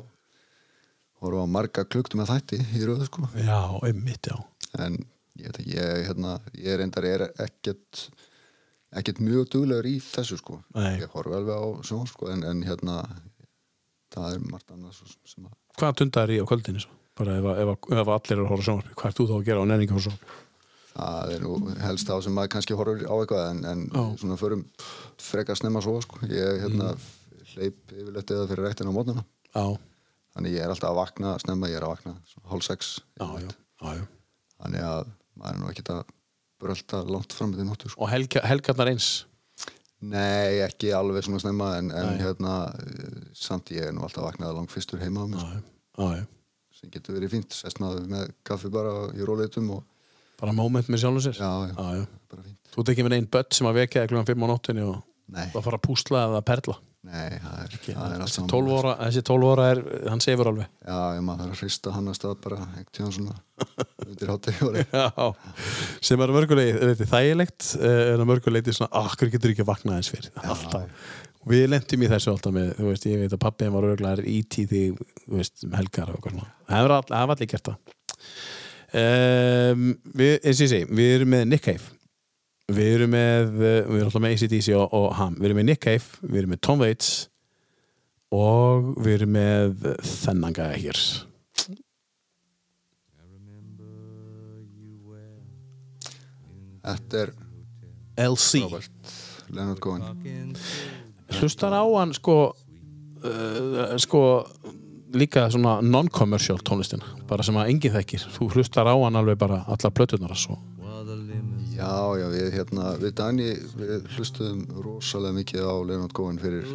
S2: horfa á marga klukkt með þætti í röðu sko
S1: Já, einmitt, já.
S2: en ég veit ekki, ég, hérna, ég reyndar er ekkert ekkert mjög duglegur í þessu sko
S1: Nei.
S2: ég horfa alveg á sjón sko en, en hérna það er margt annað svo sem- sem að
S1: Hvað tundar í á kvöldinu svo? Bara ef, að- ef, að- ef að allir eru að horfa á sjónvarpi, hvað ert þú þá að gera á nenninga og sjónvarpi?
S2: það er nú helst þá sem maður kannski horfir á eitthvað en, en
S1: Já.
S2: svona förum frekar snemma svo sko ég hérna
S1: Mm.
S2: hleyp yfirleitt eða fyrir rektin á mótnana
S1: Já,
S2: þannig ég er alltaf að vakna snemma, ég er að vakna svona hálf sex
S1: já, já, já, já.
S2: þannig að maður er nú ekkert að brölda langt fram með því nóttu sko
S1: Og helga, helgarnar eins?
S2: Nei, ekki alveg svona snemma en, en hérna, eh, samt ég er nú alltaf vaknaði langt fyrstur heima á mér,
S1: Já,
S2: sko,
S1: já, já, já.
S2: sem getur verið fínt sestnaði með kaffi bara í róleitum og
S1: Bara moment með sjálfum sér?
S2: já, já,
S1: já.
S2: bara fínt
S1: Þú tekið mér einn börn sem að vekja klukkan 5 á nóttinni og
S2: Nei,
S1: það fara að púsla eða að perla.
S2: nei, það er, það er allt
S1: Þessi
S2: saman
S1: 12 óra, þessi 12 óra er, hann sefur alveg.
S2: Já, ég maður þarf að hrista hann að stað bara ekkert tíðan svona undir hátegi
S1: Já, sem er að mörguleiti leyti þægilegt eh, en að mörguleiti svona, akkur getur ekki að vakna eins fyrir alltaf, við lentum í þessu alltaf með, þú veist, ég veit að pappiðin var örgulega í tíði, þú veist, um helgar og eitthvað svona, það var all, það var allir gert það um, við, eins og ég segi við erum með Nick Cave við erum með, eh, við erum alltaf með ACDC og, og ham, við erum með Nick Cave við erum með Tom Waits og við erum með þennan gæða hér
S2: Þetta er
S1: LC
S2: Robert Leonard Cohen
S1: hlustar á hann sko uh, sko líka svona non-commercial tónlistina bara sem að enginn þekkir þú hlustar á hann alveg bara allar plötunar svo.
S2: Já, já, við hérna, við Dani við hlustuðum rosalega mikið á Leonard Cohen fyrir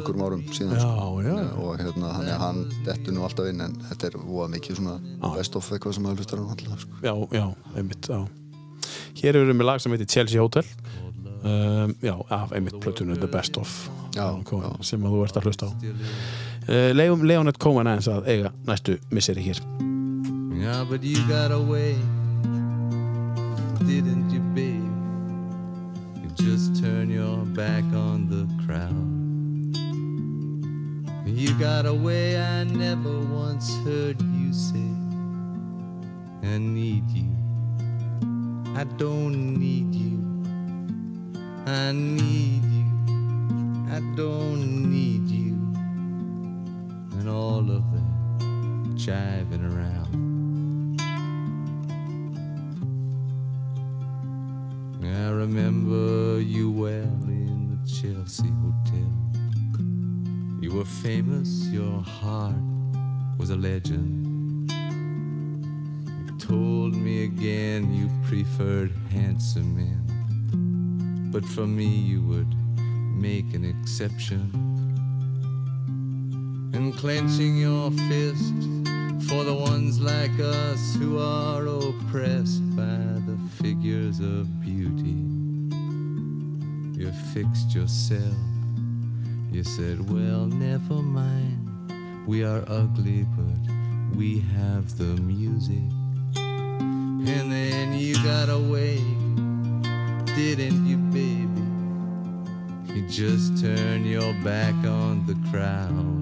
S2: okkurum árum síðan
S1: já,
S2: sko.
S1: já,
S2: og hérna hann, hann dettur nú alltaf inn en þetta er voða mikið svona best of eitthvað sem maður hlustar á alltaf sko.
S1: já, já, einmitt já. hér erum við með lag sem heitir Chelsea Hotel um, já, af einmitt plötunum The Best Of
S2: Já,
S1: Cohen,
S2: já.
S1: sem að þú ert að hlusta á uh, Leon, Leonard Cohen aðeins að eiga næstu misseri hér
S6: Yeah, but you got away, didn't you, babe? You just turned your back on the crowd. You got away, I never once heard you say, I need you. I don't need you. I need you. I don't need you. And all of that jiving around. I remember you well in the Chelsea Hotel. You were famous, your heart was a legend. You told me again you preferred handsome men. But for me, you would make an exception. And clenching your fist for the ones like us who are oppressed by the figures of beauty. You fixed yourself. You said, Well, never mind. We are ugly, but we have the music. And then you got away, didn't you, baby? You just turned your back on the crowd.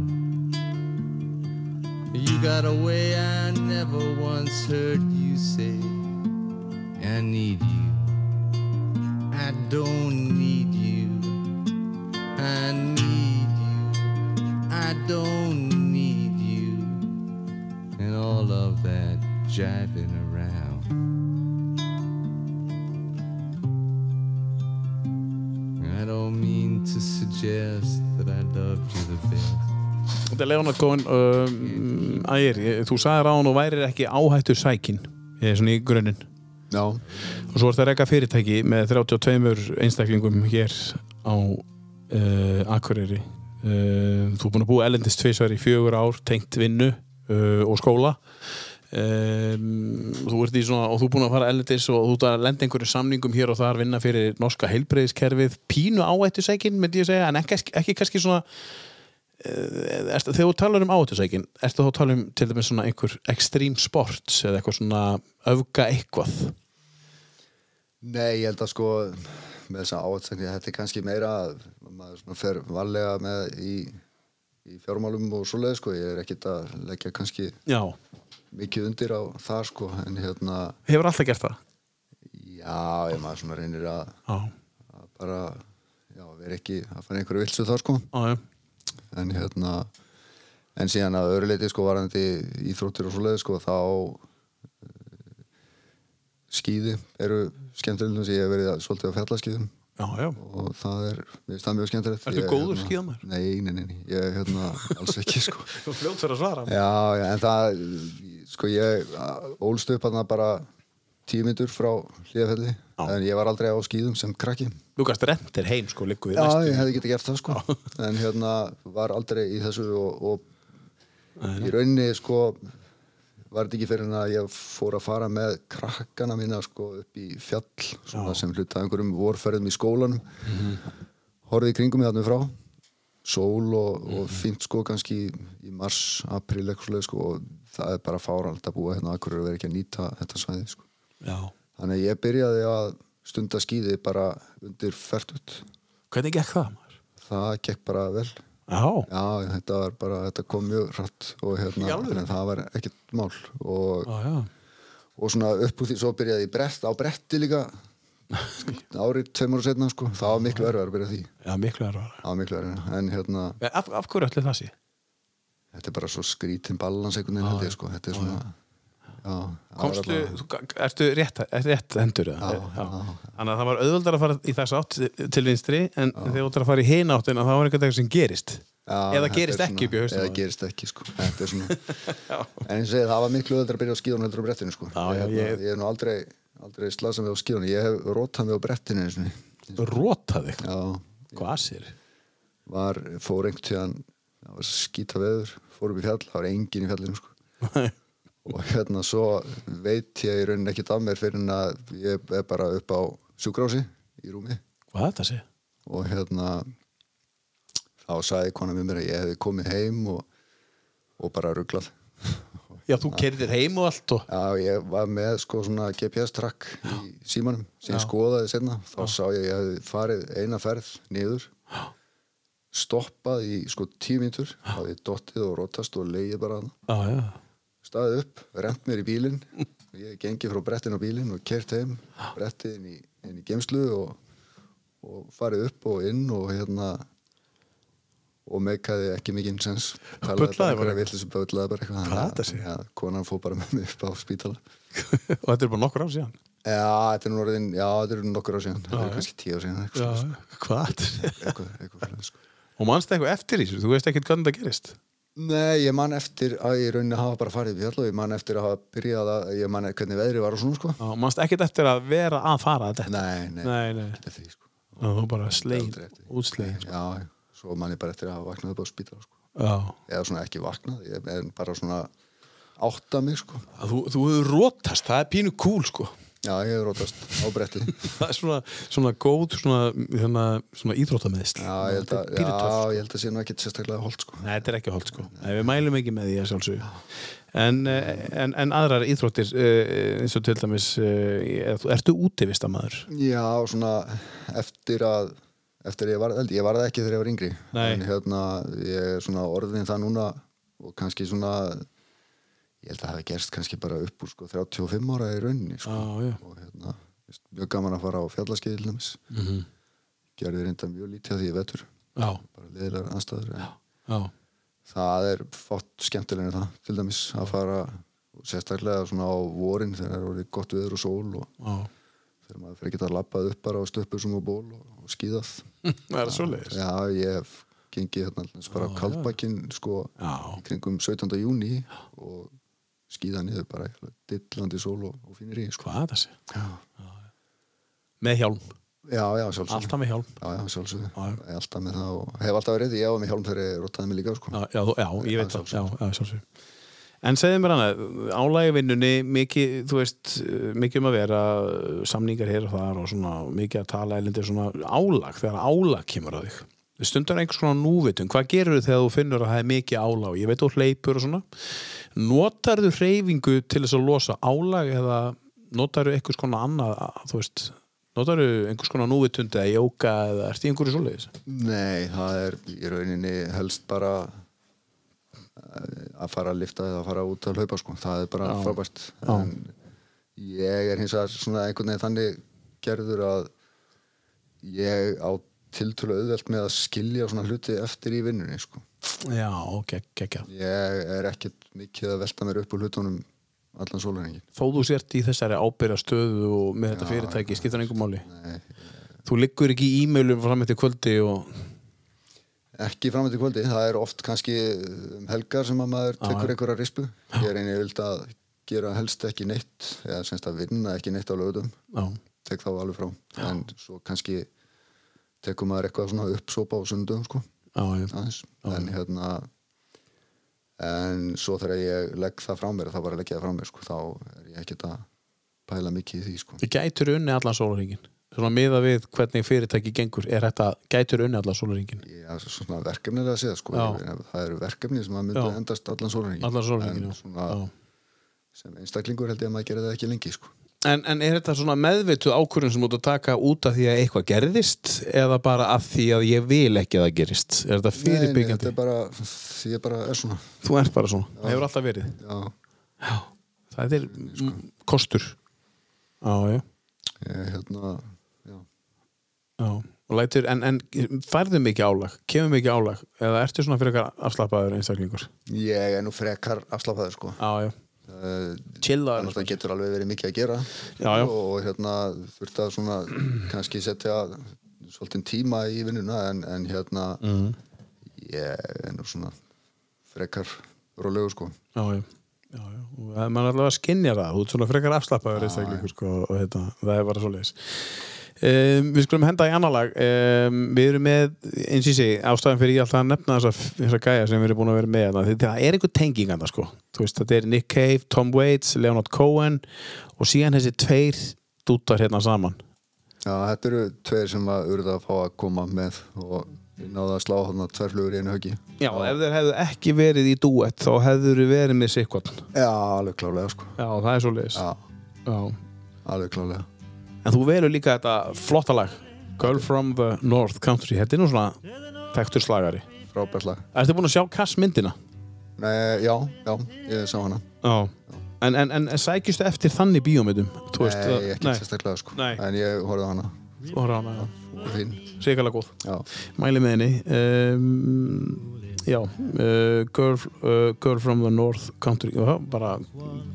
S6: You got away, I never once heard you say, I need you. I don't need you. I need you. I don't need you. And all of that jiving around. I don't mean to suggest that I loved you the best.
S1: Þetta er Leonard Cohen um, Ægir, ég- þú sagði ráðan og værir ekki áhættu sækin Ég er svona í grunninn
S2: Já,
S1: Og svo er það reyka fyrirtæki með 32 einstaklingum hér á uh, Akureyri uh, Þú er búin að búa elendist tvisvar í fjögur ár tengt vinnu uh, og skóla um, þú ert í svona og þú er búin að fara elendis og þú ert að lenda einhverju samningum hér og þar vinna fyrir norska heilbreyðiskerfið pínu áættusækin myndi ég segja en ekki, ekki kannski svona eh, ertu, þegar þú talar um áættusækin ertu þá að tala um til dæmis svona einhver ekstrím sports eða eitthvað svona öfga eitthvað
S2: nei, ég held að sko með þessa áhættsækni, þetta er kannski meira að maður svona fer varlega með í, í fjármálum og svoleið sko, ég er ekkert að leggja kannski
S1: Já,
S2: mikið undir á það sko, en hérna
S1: hefur alltaf gert það
S2: já, ég maður svona reynir að,
S1: Já,
S2: að bara já, vera ekki að fara í einhverju vilsu þar sko
S1: já, já,
S2: en hérna en síðan að öruleiti sko varandi íþróttir og svoleiði sko þá eh, skíði eru skemmtilegum sem ég hef verið að, svolítið á fjallaskíðum
S1: já, já.
S2: og það er, mér finnst það mjög skemmtilegt
S1: Ertu
S2: Ég,
S1: góður
S2: hérna,
S1: skíðamaður?
S2: Nei, nei, nei, nei, ég er hérna alls ekki sko
S1: Þú fljótur að svara
S2: já, já, en það sko ég a- ólst upp hann bara tímyndur frá hlíðafelli en ég var aldrei á skíðum sem krakki
S1: Lúkast rendir heim sko, liggur við
S2: Já,
S1: næstu.
S2: ég hefði getið gert það sko en hérna var aldrei í þessu og, og í rauninni sko var þetta ekki fyrir en að ég fór að fara með krakkana mína sko upp í fjall svona sem hluta af einhverjum vorferðum í skólanum horfið í kringum mig þarna frá sól og, og fínt sko kannski í mars, april eitthvað svoleiðis, sko og það er bara fáralt að búa hérna akkur er að vera ekki að nýta þetta svæði sko
S1: já.
S2: þannig að ég byrjaði að stunda skýði bara undir fertut
S1: Hvernig gekk það? maður?
S2: það gekk bara vel
S1: Já,
S2: já, þetta var bara, þetta kom mjög hratt og
S1: Í Ah.
S2: hérna,
S1: alvöru?
S2: en það var ekkert mál og,
S1: já, já,
S2: og svona upp úr því svo byrjaði ég brett, á bretti líka árið tveimur og setna sko, það var miklu erfið að byrja á því
S1: já, miklu erfara
S2: það var miklu erfið, en hérna
S1: Af, af hverju allir það sé?
S2: þetta er bara svo skrítin ballans einhvern veginn held ég sko, þetta er svona já, það var
S1: Komstu,
S2: bara-
S1: þú, ertu rétt, ertu rétt hendur eða?
S2: Já, já,
S1: Þannig að það var auðvöldar að fara í þess átt til vinstri en þegar þú ætlar að fara í hina áttina þá var eitthvað eitthvað sem gerist
S2: Já,
S1: Eða
S2: þetta
S1: gerist
S2: er
S1: ekki upp í
S2: svona-
S1: hausnum á
S2: eða
S1: þér.
S2: gerist ekki sko, þetta er svona en ég segi það var miklu öðru að byrja á skíðunum heldur á brettinu sko
S1: Já, já,
S2: ég,
S1: ég-
S2: ég, ég er nú aldrei, aldrei slasað mig á skíðunum ég hef rótað mig á brettinu einu sinni.
S1: Rótaði,
S2: já,
S1: hvað sér?
S2: var, fór einhvern tíðan það var skýta veður, fór upp í fjall það var engin í fjallinu sko og hérna svo veit ég í rauninni ekkert af mér fyrir en að ég er bara upp á sjúkrási í rúmi
S1: Hvað þetta sé?
S2: og hérna þá sagði konan með mér að ég hefði komið heim og, og bara rugglað
S1: Já, þú kerðir heim og allt og
S2: Já, ég var með sko svona GPS-trakk í símanum sem ég skoðaði senna þá sá ég að ég hefði farið eina ferð niður stoppað í sko tíu mínútur hafði dottið og rótast og leiði bara hana
S1: Já, já,
S2: staðið upp, rent mér í bílinn ég gengi frá brettin á bílinn og kert heim brettið inn í, inn í gemslu og, og farið upp og inn og hérna og meikaði ekki mikinn sens
S1: Bullaði bara
S2: talaði bara einhverja
S1: eitthvað?
S2: villisum bullaði bara eitthvað
S1: Hvað
S2: Þannig
S1: þetta
S2: að-
S1: sé?
S2: Já, konan fór bara með mig upp á spítala
S1: og þetta er bara nokkur ár síðan
S2: Já, þetta er nú orðin, já, þetta er nokkur á síðan Þetta er kannski tíu á síðan eitthvað,
S1: Já,
S2: svoleiðis,
S1: hvað þetta sé?
S2: eitthvað, eitthvað, eitthvað, sko.
S1: Og mannst eitthvað eftir því, þú veist ekkert hvernig það gerist
S2: Nei, ég man eftir að ég raunin að hafa bara farið upp í fjall og ég man eftir að hafa byrjað að ég man hvernig veðri var og svona, sko
S1: Já, mannst ekkert eftir að vera að fara að þetta
S2: Nei, nei,
S1: Nei, nei,
S2: Ekki eftir því, sko
S1: Já, þú bara slein,
S2: Aldrei eftir því.
S1: útslegin sko.
S2: Já, já, svo man ég bara eftir að hafa vaknað upp á spítala, sko
S1: Já,
S2: Eða svona ekki vaknað, ég er bara svona átta mig, sko
S1: þú, þú hefur rótast, það er pínu kúl sko
S2: Já, ég hef rótast á bretti
S1: það er svona, svona góð svona, hérna, svona íþróttameðist
S2: Já, ég held að, já, ég held að sé nú ekkit sérstaklega holdt sko
S1: sko. Nei, þetta er ekki holdt sko Nei, Við mælum ekki með því að sjálfsögðu en, eh, en, en aðrar íþróttir eh, eins og til dæmis eh, er- Ertu útivistamaður?
S2: Já, svona eftir að eftir að ég varð eldi, ég varð ekki þegar ég var yngri
S1: Nei.
S2: en hérna, ég er svona orðin það núna og kannski svona ég held að það hafi gerst kannski bara upp úr sko 35 ára í rauninni sko.
S1: já
S2: og hérna, veist, mjög gaman að fara á fjallaskeið til dæmis,
S1: mm -hmm.
S2: gerði reynda mjög lítið af því ég vetur,
S1: Já,
S2: bara leðilegar anstæður en
S1: já,
S2: það er fótt skemmtilegni það, til dæmis að fara sérstaklega svona á vorin þegar það er orðið gott veður og sól og
S1: já
S2: þegar maður fyrir ekki að labbað upp bara á stöppusum og ból og, og skýðað
S1: Það er svoleiðis
S2: já, ég hef gengið hérna allins bara á kaldbakkin sko
S1: Já,
S2: í kringum 17. júni og skýða niður bara í dillandi sól og, og fínir í sko.
S1: hvað er þessi?
S2: já,
S1: Með hjálm,
S2: já, já sjálfsögðu
S1: alltaf með hjálm
S2: já, já, sjálfsögðu,
S1: Já, já.
S2: Ég er alltaf með það og hef alltaf verið því, ég var með hjálm þegar ég rotaði mig líka sko.
S1: Já, já, þú- já ég veit
S2: Já,
S1: það, já, já, sjálfsög En segðu mér annað, álægi vinnunni mikið, þú veist, mikið um að vera samningar hér og þar og svona mikið að tala elendir svona álag þegar álag kemur að þig stundar einhvers konar núvitun, hvað gerur þegar þú finnur að það er mikið álag, ég veit þú hleypur og svona, notarðu hreyfingu til þess að losa álag eða notarðu einhvers konar annað þú veist, notarðu einhvers konar núvitund eða jóka eða ert í einhverju svoleiðis
S2: Nei, það er í rauninni helst bara eh, að fara að lifta eða að fara út að hlaupa sko, það er bara frábært en ég er hins vegar svona einhvern veginn þannig gerður að ég á tiltölu auðvelt með að skilja svona hluti eftir í vinnunni sko
S1: Já, ok, ekki
S2: ég er ekkert mikið að velta mér upp úr hlutunum allan sólarhengin
S1: þó þú sért í þessari ábyrra stöðu og með þetta fyrirtæki, skiptar einhver máli
S2: Nei,
S1: þú liggur ekki í e-mailum fram eftir kvöldi og
S2: ekki fram til kvöldi, það er oft kannski um helgar sem að maður tekur einhverja rispu ég er einnig vild að gera helst ekki neitt eða semst að vinna ekki neitt á lögutum
S1: já,
S2: tek þá alveg frá en svo kannski tekur maður eitthvað svona uppsópa á sundum sko,
S1: já, já,
S2: aðeins en hérna en svo þegar ég legg það frá mér þá bara legg ég það frá mér sko, þá er ég ekkert að pæla mikið í því sko.
S1: þú gætur unni allan sólaringin svona miða við hvernig fyrirtæki gengur er þetta, gætur unni allan sólaringin
S2: ég er svona verkefnilega að segja sko,
S1: Já.
S2: Ég- það eru verkefni sem að myndi
S1: Já.
S2: endast allan sólurinn
S1: allan sólaringin,
S2: en svona
S1: já, já.
S2: sem einstaklingur held ég að maður gera það ekki lengi sko.
S1: En, en er þetta svona meðvitu ákvörðun sem út að taka út af því að eitthvað gerðist eða bara af því að ég vil ekki að það gerist? Er þetta
S2: Nei, nei, þetta
S1: fyrirbyggjandi?
S2: er bara, því ég bara er svona
S1: Þú ert bara svona, það hefur alltaf verið.
S2: já, Sko.
S1: Það er mm, kostur. Já, já.
S2: ég, hérna já.
S1: Já, og lætur, en, en færðu mikið álag, kemur mikið álag eða ertu svona fyrir eitthvað afslappaður einstaklingur?
S2: ég er nú frekar afslappaður sko.
S1: Já, já.
S2: uh,
S1: Chillaður.
S2: það getur alveg verið mikið að gera
S1: Já, já.
S2: og hérna þurft að svona kannski setja svolítið tíma í vinnuna en, en hérna
S1: Mhm.
S2: ég er nú svona frekar rólegu sko
S1: Já, já. Já, já. Og það- maður er allavega að skinja það, þú ert svona frekar afslappaður einstaklingur sko, og þetta, það er bara svoleiðis. Um, við skulum henda í annar lag um, við erum með, eins og ég segi ástæðan fyrir ég alltaf að nefna þessa, þessa gæja sem við erum búin að vera með þarna, því það er einhver tenging annað sko, þú veist, þetta er Nick Cave Tom Waits, Leonard Cohen og síðan þessi tveir dútar hérna saman
S2: Já, þetta eru tveir sem að urða að fá að koma með og náða að slá hann að tverflugur í einu höggi.
S1: Já, ef þeir hefðu ekki verið í duett þá hefður þeir verið með sikkvall Já,
S2: Já, alveg klálega sko.
S1: það er svo leiðis
S2: Já,
S1: En
S2: alveg klálega.
S1: þú velur líka þetta flotta lag Girl from the North Country Þetta er nú svona tektur slagari
S2: Frábært lag.
S1: Ertu búin að sjá kassmyndina?
S2: Nei, já, já, ég sá hana.
S1: Já En, en, en sækjustu eftir þannig bíómyndum? Þú veist,
S2: nei,
S1: að-
S2: ekki sérstaklega sko.
S1: Nei.
S2: En ég horfði á hana.
S1: Þú horfir á hana,
S2: Hún er Fín.
S1: já. Sýkala góð
S2: Já,
S1: Mæli með henni um, Já uh, girl, uh, girl from the North Country Já, Bara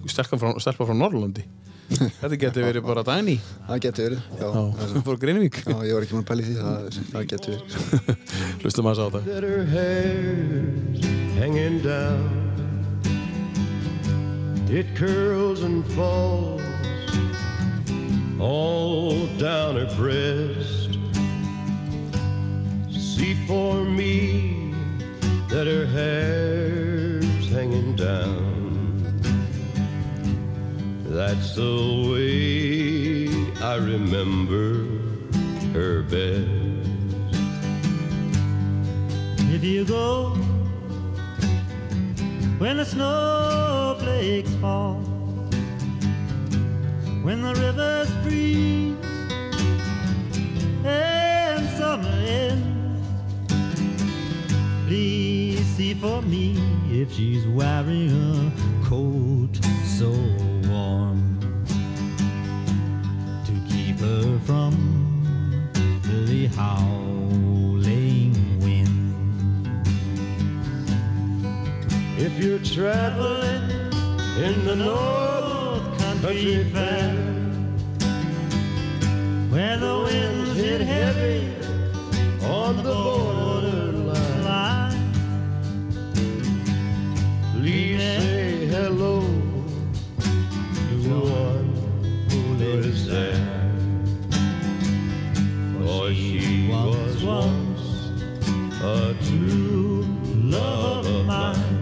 S1: stelpa frá, stelpa frá Norrlandi Þetta getur verið bara Dæni
S2: það getur verið. Já,
S1: Já, frá Greinvík
S2: já ég var ekki múin að pæla í því, það, það getur verið.
S1: Hlustum að það
S5: that her hair's hanging down. It curls and falls all down her breast. See for me that her hair's hanging down. That's the way
S7: I remember her best.
S8: If you go when the snowflakes fall, when the rivers freeze and summer ends, please see for me if she's wearing a coat so warm to keep her from the howling wind.
S7: If you're traveling in the North Country Fair,
S8: Where the winds hit heavy
S7: on the borderline,
S8: line,
S7: please say hello to the one who lives there. For she was once a true love of mine.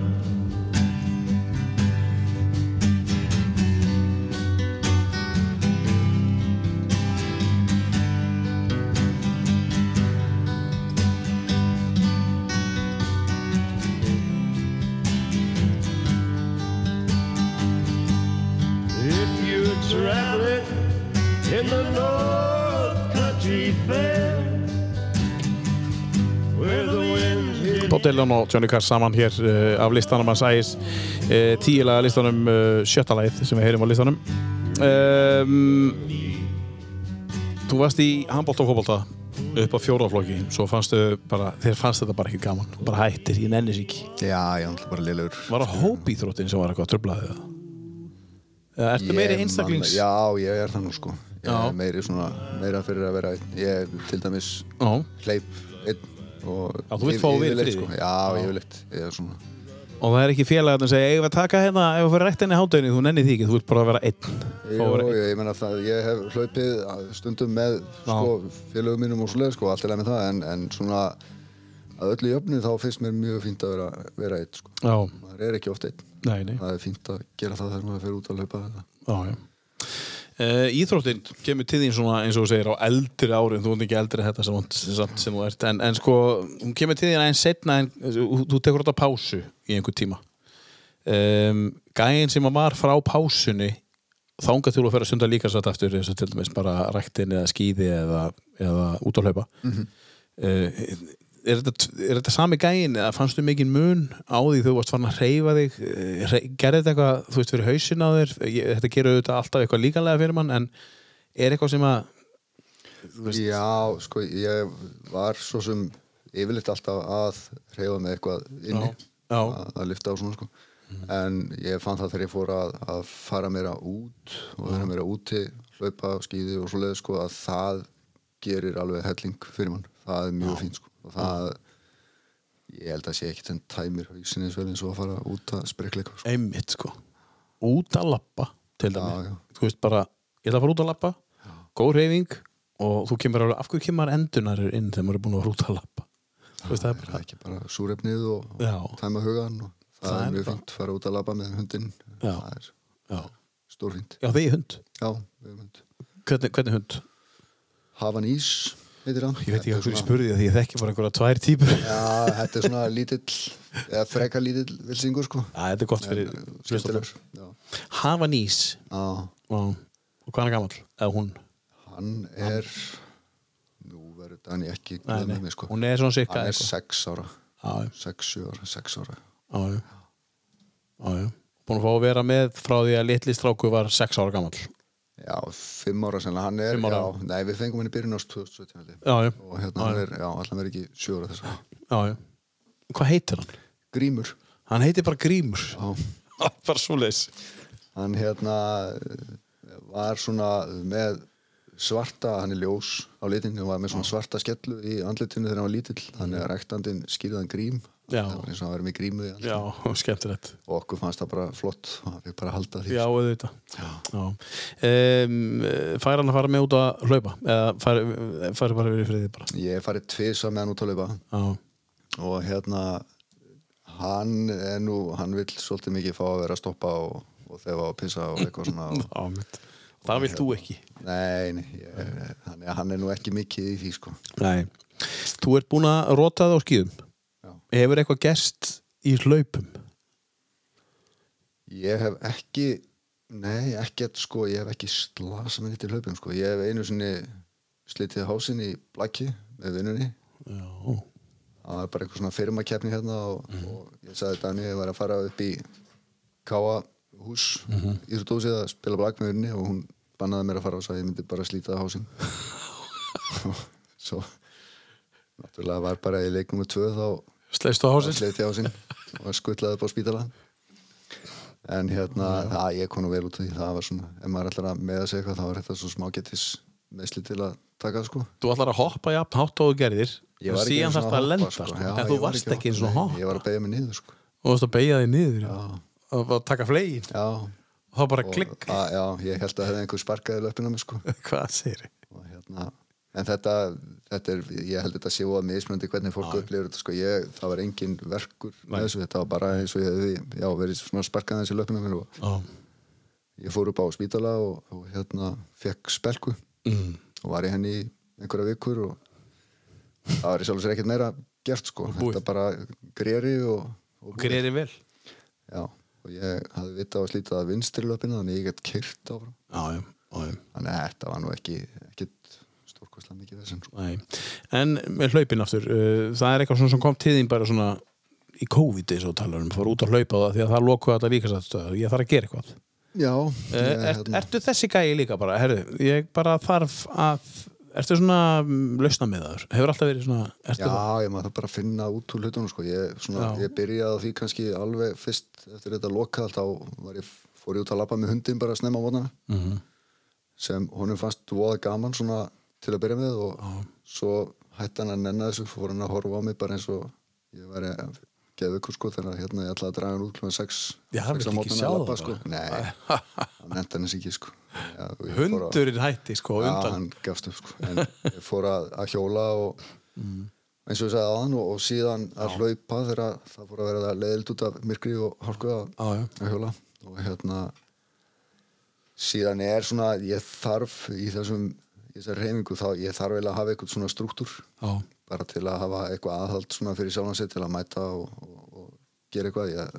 S7: If you're traveling in the North Country Fair, where the wind hit
S1: Bob Dylan og Johnny Cash saman hér uh, af listanum hans ægis uh, tíulega listanum uh, sjötta lagið sem við heyrim á listanum um, Þú varst í handbólta og fótbolta upp á fjóraflokki svo fannstu bara, þér fannst þetta bara ekki gaman Þú bara hættir, ég nenni sér ekki
S2: Já, ég er náttúrulega bara liðlegur.
S1: Var það hópíþróttin sem var eitthvað að trubla þig eða ertu meiri
S2: Ég
S1: einstaklings
S2: man- Já, ég er það nú sko Ég
S1: Já.
S2: er meiri svona, meira fyrir að vera einn. Ég er til dæmis
S1: Já,
S2: hleyp einn og
S1: Já, þú vilt
S2: yf-
S1: fá að vera í
S2: yfirleitt,
S1: friði.
S2: sko. Já, ég vil eitt Ég er svona
S1: og það er ekki félagarnir að segja eigum við að taka hérna, ef við fyrir rektinni hátauðinni þú nenni því ekki, þú vilt bara vera einn Fá að
S2: Jó,
S1: vera einn.
S2: ég, ég meina það, ég hef hlaupið að- stundum með sko, félögum mínum og svoleið sko, allt er leið með það, en, en svona að öllu jöfnu þá finnst mér mjög fínt að vera, vera einn, sko.
S1: Já,
S2: Maður er ekki oft einn.
S1: nei, nei
S2: Það er fínt að gera það þegar maður fer út að hlaupa þetta.
S1: Já, já. Uh, íþróttin kemur til þín svona eins og þú segir á eldri árin, þú ert ekki eldri en þetta sem, sem, sem þú ert, en, en sko hún kemur til þín aðeins setna en þú, þú tekur þetta pásu í einhver tíma um, gæin sem að var frá pásunni þangað til að fyrir að sunda líka satt aftur eins og til dæmis bara ræktin eða skýði eða, eða út að hlaupa Eh, mm er, þetta, er þetta sami gæin eða fannstu mikinn mun á því þú varst farin að hreyfa þig eh, hrey, gerði þetta eitthvað, þú veist, fyrir hausin á þér Ég- þetta gerur auðvitað alltaf eitthvað líkanlega fyrir mann en er eitthvað sem að
S2: Já, sko, ég var svo sem yfirleitt alltaf að hreyfa með eitthvað
S1: Já,
S2: inni
S1: Mhm. já.
S2: Að, að lifta á svona sko en ég fann það þegar ég fór að, að fara meira út og vera meira úti hlaupa, skýði og svoleið sko að það gerir alveg helling fyrir mann það er mjög fínt sko og það, ég held að sé ekkit sem tæmir hausin eins vel eins og að fara út að sprekla eitthvað sko.
S1: einmitt sko út að lappa til
S2: Já,
S1: dæmi
S2: já.
S1: þú veist bara, ég ætla að fara út að lappa góð reyfing og þú kemur alveg af hverju kemur endunar inn þegar maður er búin að fara út að lappa þú veist það er
S2: það
S1: bara
S2: er ekki sko. bara súrefnið og
S1: Já.
S2: tæma hugan og það,
S1: Það er
S2: er mjög
S1: bara-
S2: fínt, fara út að labba með hundin
S1: Já.
S2: það er
S1: já,
S2: stórfínt
S1: já þið er hund,
S2: Já, við höfum hund.
S1: hvernig, hvernig hund
S2: Hafan Ís, heitir hann.
S1: ég veit ekki
S2: Þetta er
S1: hvað ég
S2: svona-
S1: spurði því að því ég þekki bara einhverja tvær típur já,
S2: Já, þetta er svona lítill, eða freka lítill vilsingur, sko. uh,
S1: þetta er gott fyrir
S2: Skemmtilegur. Já.
S1: hafa nýs
S2: Já,
S1: og hvað er gammal, eða hún
S2: hann er, nú verður hann ekki
S1: Nei,
S2: glemur
S1: nei.
S2: mig, sko.
S1: hún er svona
S2: Hann
S1: sikka
S2: er sex ára,
S1: já,
S2: sex, sjö ára, sex ára.
S1: já, já. Já, já. búin að fá að vera með frá því að litli stráku var 6 ára gammal já,
S2: Já, fimm ára sennilega, hann er,
S1: Fimm ára.
S2: já, nei, við fengum hann í byrjun ást 2017, held ég.
S1: já,
S2: Og hérna, hann er, já, allan verður ekki sjö ára þess að.
S1: já, já. hvað heitir hann?
S2: Grímur,
S1: hann heitir bara Grímur
S2: já.
S1: bara svo leis
S2: hann hérna eh, var svona með svarta, hann er ljós á litinn, hann var með svona svarta skellu í andlitinu þegar hann var lítill, þannig að ræktandinn skýrði hann grím,
S1: Já.
S2: það var eins og hann verið með grímu í andlitinu
S1: já, skemmtilegt
S2: og okkur fannst það bara flott og hann fikk bara að halda því
S1: já, auðvitað já. Um, fær hann að fara með út að hlaupa eða fær, fær bara verið friði bara
S2: ég hef farið tvisa með hann út að laupa
S1: já,
S2: og hérna hann er nú, hann vill svolítið mikið fá að vera að stoppa og, og þefa og pissa og eitthvað svona og,
S1: ámitt það vilt þú ekki
S2: Nei, nei ég, hann, er, hann er nú ekki mikið í því sko.
S1: Nei, þú ert búin að rota það á skýðum
S2: Já.
S1: Hefur eitthvað gerst í hlaupum?
S2: Ég hef ekki Nei, ekkert sko, ég hef ekki slasa með þetta í hlaupum sko. Ég hef einu sinni slitið hásinn í blæki með vinnunni
S1: Já
S2: það var bara eitthvað svona firmakefni hérna og, og ég sagði Dani ég var að fara upp í Káa hús mm -hmm. íþrótúsið að spila blag með henni og hún bannaði mér að fara og sagði ég myndi bara slíta það hásinn svo náttúrulega var bara í leiknum og tvö þá
S1: Sleist á hásinn?
S2: sleiti á sinn og skuttlaði upp á spítala en hérna, það, ég kom nú vel út af því það var svona, ef maður ætlar að meða sig eitthvað þá var þetta svo smá getis meðsli til að taka sko
S1: Þú ætlar að hoppa jafn hátt og þú gerðir
S2: Ég
S1: en
S2: var ekki
S1: síðan
S2: einu sinni
S1: þarfst að
S2: hoppa,
S1: lenda
S2: sko.
S1: sko.
S2: Já,
S1: en
S2: ég
S1: þú
S2: var
S1: varst ekki eins og
S2: að
S1: að
S2: hoppa,
S1: hoppa
S2: nei, ég var að beigja mig niður sko
S1: og þú varst að beigja þig niður og bara taka flegin
S2: já,
S1: og þá bara
S2: og,
S1: klikk
S2: að, já, ég held að hefði einhver sparkaði löpina mig sko
S1: Hvað segir þið?
S2: og hérna En þetta, þetta er, ég held þetta sé óað mismunandi hvernig fólk upplifir þetta sko, ég, það var engin verkur með þessu, þetta var bara eins og ég hefði, já, verið svona sparkaði þessi löpina mér og ég fór upp á spítala og, og hérna fekk spelku mm. og var í henni í einhverja vikur og það var í sjálf sér ekkert meira gert sko,
S1: búið.
S2: þetta bara greri og, og,
S1: Og gerðið vel
S2: já, og ég hafði vitað að slíta það vinstri löpina þannig að ég gett kyrt áfram
S1: Já, já, já, já.
S2: þannig að þetta var nú ekki ekkit stórkostlega mikið þessum sko.
S1: Nei. En með hlaupin aftur, uh, það er eitthvað svona sem kom til þín bara svona í COVID eins og þú talar um, fór út að hlaupa á það því að það lokuði alltaf líkastastöðu, ég þarf að gera eitthvað.
S2: já,
S1: Uh,
S2: ég, hérna,
S1: er, ertu þessi gæi líka bara, herðu, ég bara þarf að, ertu svona um, lausna með þaður, hefur alltaf verið svona, ertu
S2: já,
S1: það?
S2: ég maður það bara að finna út úr hlutunum sko, ég, svona,
S1: Já.
S2: ég byrjaði á því kannski alveg fyrst eftir þetta lokað þá var ég, fór ég út að lappa með hundin bara að snemma á vonana
S1: Mhm.
S2: sem honum fannst voða gaman svona til að byrja með og svo hætti hann að nenna þessu fór hann að horfa á mig bara eins og ég væri að gefa ykkur sko þannig að hérna ég ætlaði að draga hann út klukkan 6
S1: Já, hann vildi ekki sjá það
S2: sko.
S1: bara.
S2: Nei, hann nefndi hann þess ekki sko Já, og ég fór að-
S1: Hundurinn hætti sko
S2: Já,
S1: undan.
S2: hann gafst upp sko en ég fór að, að hjóla og
S1: Mm.
S2: eins og ég sagði á hann og, og síðan að hlaupa þegar það fór að vera leiðild út af myrkri og hálku að,
S1: Já, já.
S2: að hjóla og hérna síðan er svona ég þarf í þessum í þessar reyfingu þá ég þarf eiginlega að hafa eitthvað svona struktúr
S1: Já,
S2: bara til að hafa eitthvað aðhald svona fyrir sjálfan sig til að mæta og, og, og gera eitthvað ég,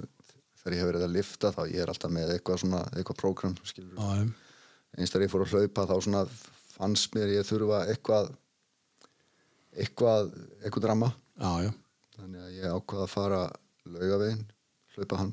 S2: þegar ég hef verið að lifta þá ég er alltaf með eitthvað svona eitthvað prógram skilur
S1: já, já.
S2: einst þegar ég fór að hlaupa þá svona fannst mér ég þurfa eitthvað eitthvað, eitthvað drama
S1: já, já.
S2: þannig að ég ákvaða að fara laugavegin, hlaupa hann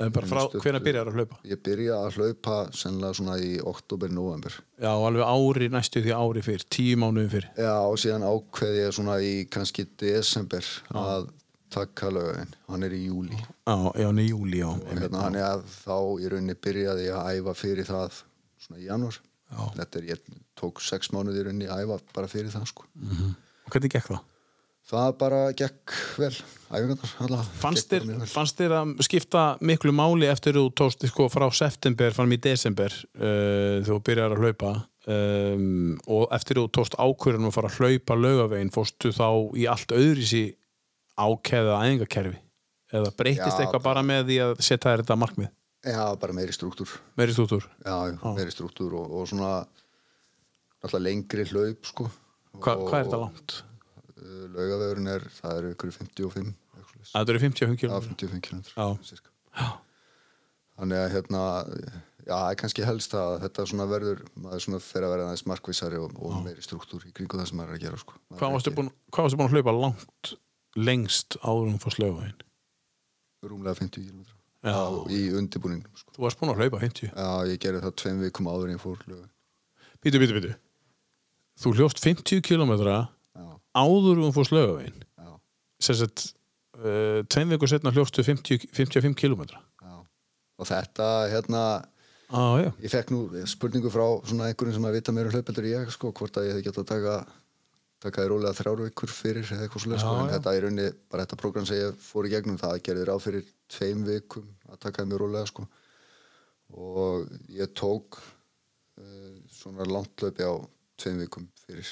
S1: En bara frá,
S2: Stuttur.
S1: hvenær byrjar að hlaupa?
S2: ég byrja að hlaupa sennilega svona í oktober, november
S1: Já, alveg ári næstu því ári fyrr, tíu mánuðum fyrr.
S2: já og síðan ákveði ég svona í kannski desember að taka laugavegin, hann er í júli
S1: Já, já, hann er júli, já.
S2: Og hérna, þannig að þá í rauninni byrjaði ég að æfa fyrir það svona í janúar
S1: Já.
S2: þetta er, ég tók sex mánuði í rauninni að æfa bara fyrir það sko
S1: Og hvernig gekk það?
S2: Það bara gekk vel, æfingarnar allavega.
S1: Fannst
S2: Gekk
S1: þér,
S2: bara mjög vel.
S1: fannst þér að skipta miklu máli eftir þú tókst sko, frá september fram í desember uh, þegar þú byrjar að hlaupa um, og eftir þú tókst ákvörðunum að fara að hlaupa laugavegin fórstu þá í allt öðrisi ákæða æðingakerfi eða breytist
S2: Já,
S1: eitthvað bara með því að setja þér þetta markmið
S2: Já, bara meiri struktúr.
S1: meiri stútur
S2: Já, já, meiri struktúr og, og svona alltaf lengri hlaup, sko.
S1: Hva,
S2: Og-
S1: hvað er þetta langt?
S2: uh, Laugavegurinn er, það eru ykkur 55, eitthvað svoleiðis.
S1: Að þetta eru 55
S2: já,
S1: km
S2: 55 km.
S1: Já.
S2: Cirka. Þannig að hérna, já, það er kannski helst að þetta svona verður, maður svona fer að vera aðeins markvissari og, og meiri struktúr í kringu það sem maður er að gera, sko. Maður
S1: Hvað
S2: er
S1: varstu
S2: ekki-
S1: búin, hvað varstu búin að hlaupa langt lengst áður en þú fórst laugavegin?
S2: Rúmlega 50 km.
S1: Já.
S2: Í undirbúningum, sko.
S1: Þú varst búin að hlaupa 50
S2: Já, ég gerði það tveim vikum áður en ég fór lögum.
S1: Býtu, býtu, býtu Þú hljóst 50 km
S2: Já,
S1: áður um fórst laugavegin
S2: já,
S1: sem sagt uh, tveim viku setna hljóstu 50, 55 km
S2: já. Og þetta, hérna,
S1: ah, já.
S2: ég fekk nú spurningu frá svona einhverjum sem að vita meira hlaupeldur ég, sko, hvort að ég hefði gett að taka taka þér rólega þrjár vikur fyrir eða eitthvað svolítið, sko, en þetta er raunni bara þetta program sem ég fór í gegnum, það gerði ráð fyrir tveim vikum að taka þér mjög rólega, sko og ég tók uh, svona langt laupi á tveim vikum fyrir,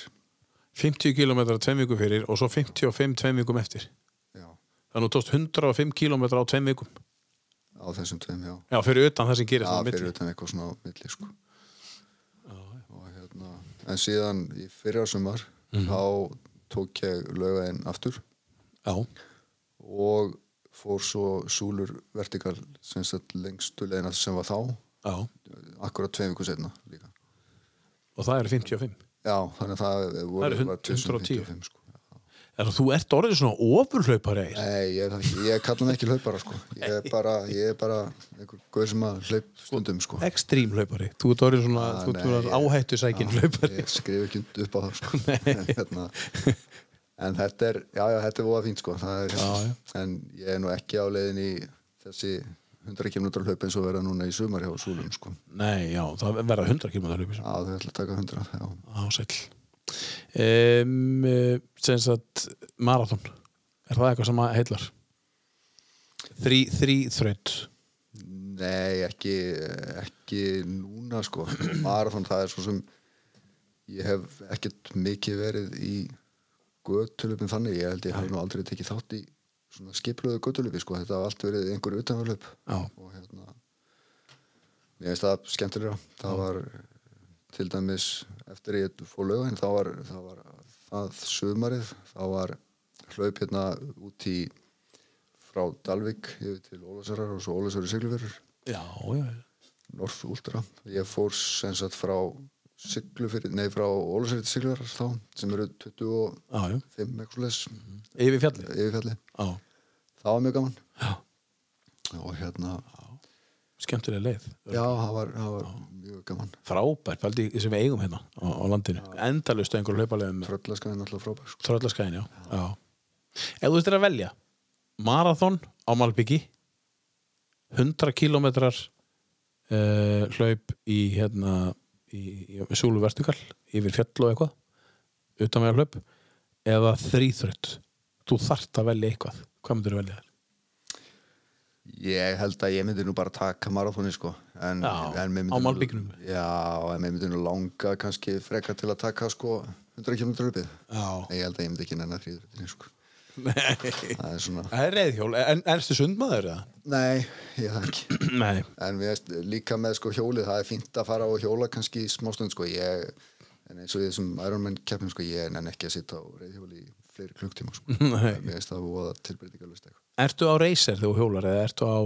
S1: 50 km tveim viku fyrir og svo 55 tveim vikum eftir
S2: já,
S1: þannig að þú tókst 105 km á tveim vikum
S2: á þessum tveim, já
S1: já, fyrir utan það sem gerist
S2: Já,
S1: þarna á milli.
S2: fyrir utan eitthvað svona á milli, sko hérna, en síðan í fyrra sumar
S1: Mhm.
S2: þá tók ég laugaðinn aftur
S1: Já,
S2: og fór svo súlur vertikal sem sagt lengstu leiðina sem var þá
S1: já.
S2: akkurat tveim viku setna líka
S1: Og það eru 55.
S2: já, þannig að það
S1: Það eru
S2: voru
S1: hund-
S2: var 1055,
S1: 110.
S2: sko.
S1: Er, þú ert orðið svona ofurhlaupari eir.
S2: nei, ég, er það ekki- ég kalla hann ekki hlaupara sko. ég er bara, ég er bara einhver guður sem að hlaup stundum sko.
S1: Ekstrím hlaupari. Þú ert orðið svona,
S2: Ah,
S1: þú ert orðið
S2: nei, ég-
S1: áhættu sækin hlaupari.
S2: ég skrif ekki upp á það sko. en, hérna, en þetta er já, já, þetta er voða fínt sko. Það er,
S1: Já,
S2: en ég er nú ekki á leiðin í þessi 100 km hlaup eins og verða núna í sumar hjá Súlum sko.
S1: Nei, já, það verða 100 km hlaupi.
S2: já, þau ætla að taka 100 já.
S1: Ásæll. Um, sem sagt, marathon. Er það eitthvað sem að heillar? Þrý, þrý þraut.
S2: nei, ekki ekki núna sko. marathon, það er svo sem ég hef ekkert mikið verið í göttulöpum þannig ég held ég hef nú aldrei tekið þátt í svona skipluðu göttulöpi sko. þetta haf allt verið einhver utanverðlöp
S1: Já,
S2: og hérna mér finnst það skemmtilega það var til dæmis eftir ég fór lögin þá var það, var, það sumarið þá var hlaup hérna út í frá Dalvik yfir til Ólasarar og svo Ólasari Siglufjörður
S1: já, já.
S2: North Ultra ég fór sem sagt frá Siglufjörður, nei frá Ólasari til Siglufjörður þá sem eru 25
S1: Já, já.
S2: eitthvað leis
S1: Yfir fjallið.
S2: yfirfjalli
S1: Já,
S2: það var mjög gaman
S1: já.
S2: og hérna,
S1: Skemmtilega leið.
S2: já það var, það var mjög gaman
S1: Frábært, pældi í- sem við eigum hérna á, á landinu. Endalust á einhverju hlaupalegum.
S2: Tröllaskaðin alltaf frábær sko.
S1: Tröllaskæðin, já. já. Ef þú ættir að velja marathon á Malbyggi 100 kilometrar uh, hlaup í hérna í, í Súlu Vertikal yfir fjall og eitthvað utan með hlaup eða þrýþrött þú þart að velja eitthvað hvað myndir þú velja þér?
S2: Ég held að ég myndi nú bara taka marathóni sko en,
S1: Já,
S2: en mér myndi
S1: á
S2: nú-
S1: malbiknum.
S2: Já, en mér myndi nú langa kannski frekar til að taka sko 100 km uppið
S1: Já,
S2: En ég held að ég myndi ekki nenni að þrýðrutinni sko Það er svona,
S1: það er reyðhjól en erstu sundmaður eða?
S2: nei, ég það ekki
S1: Nei,
S2: En við veist, líka með sko hjólið, það er fínt að fara á hjóla kannski í smástund sko ég, En eins og ég sem Ironman keppnum sko, ég nenni ekki að sitja á reyðhjóli í fleiri klukktíma sko
S1: Nei.
S2: Mér veist það voða tilbreytingalust eitthvað
S1: ertu á reyser þegar þú hjólar eða ertu á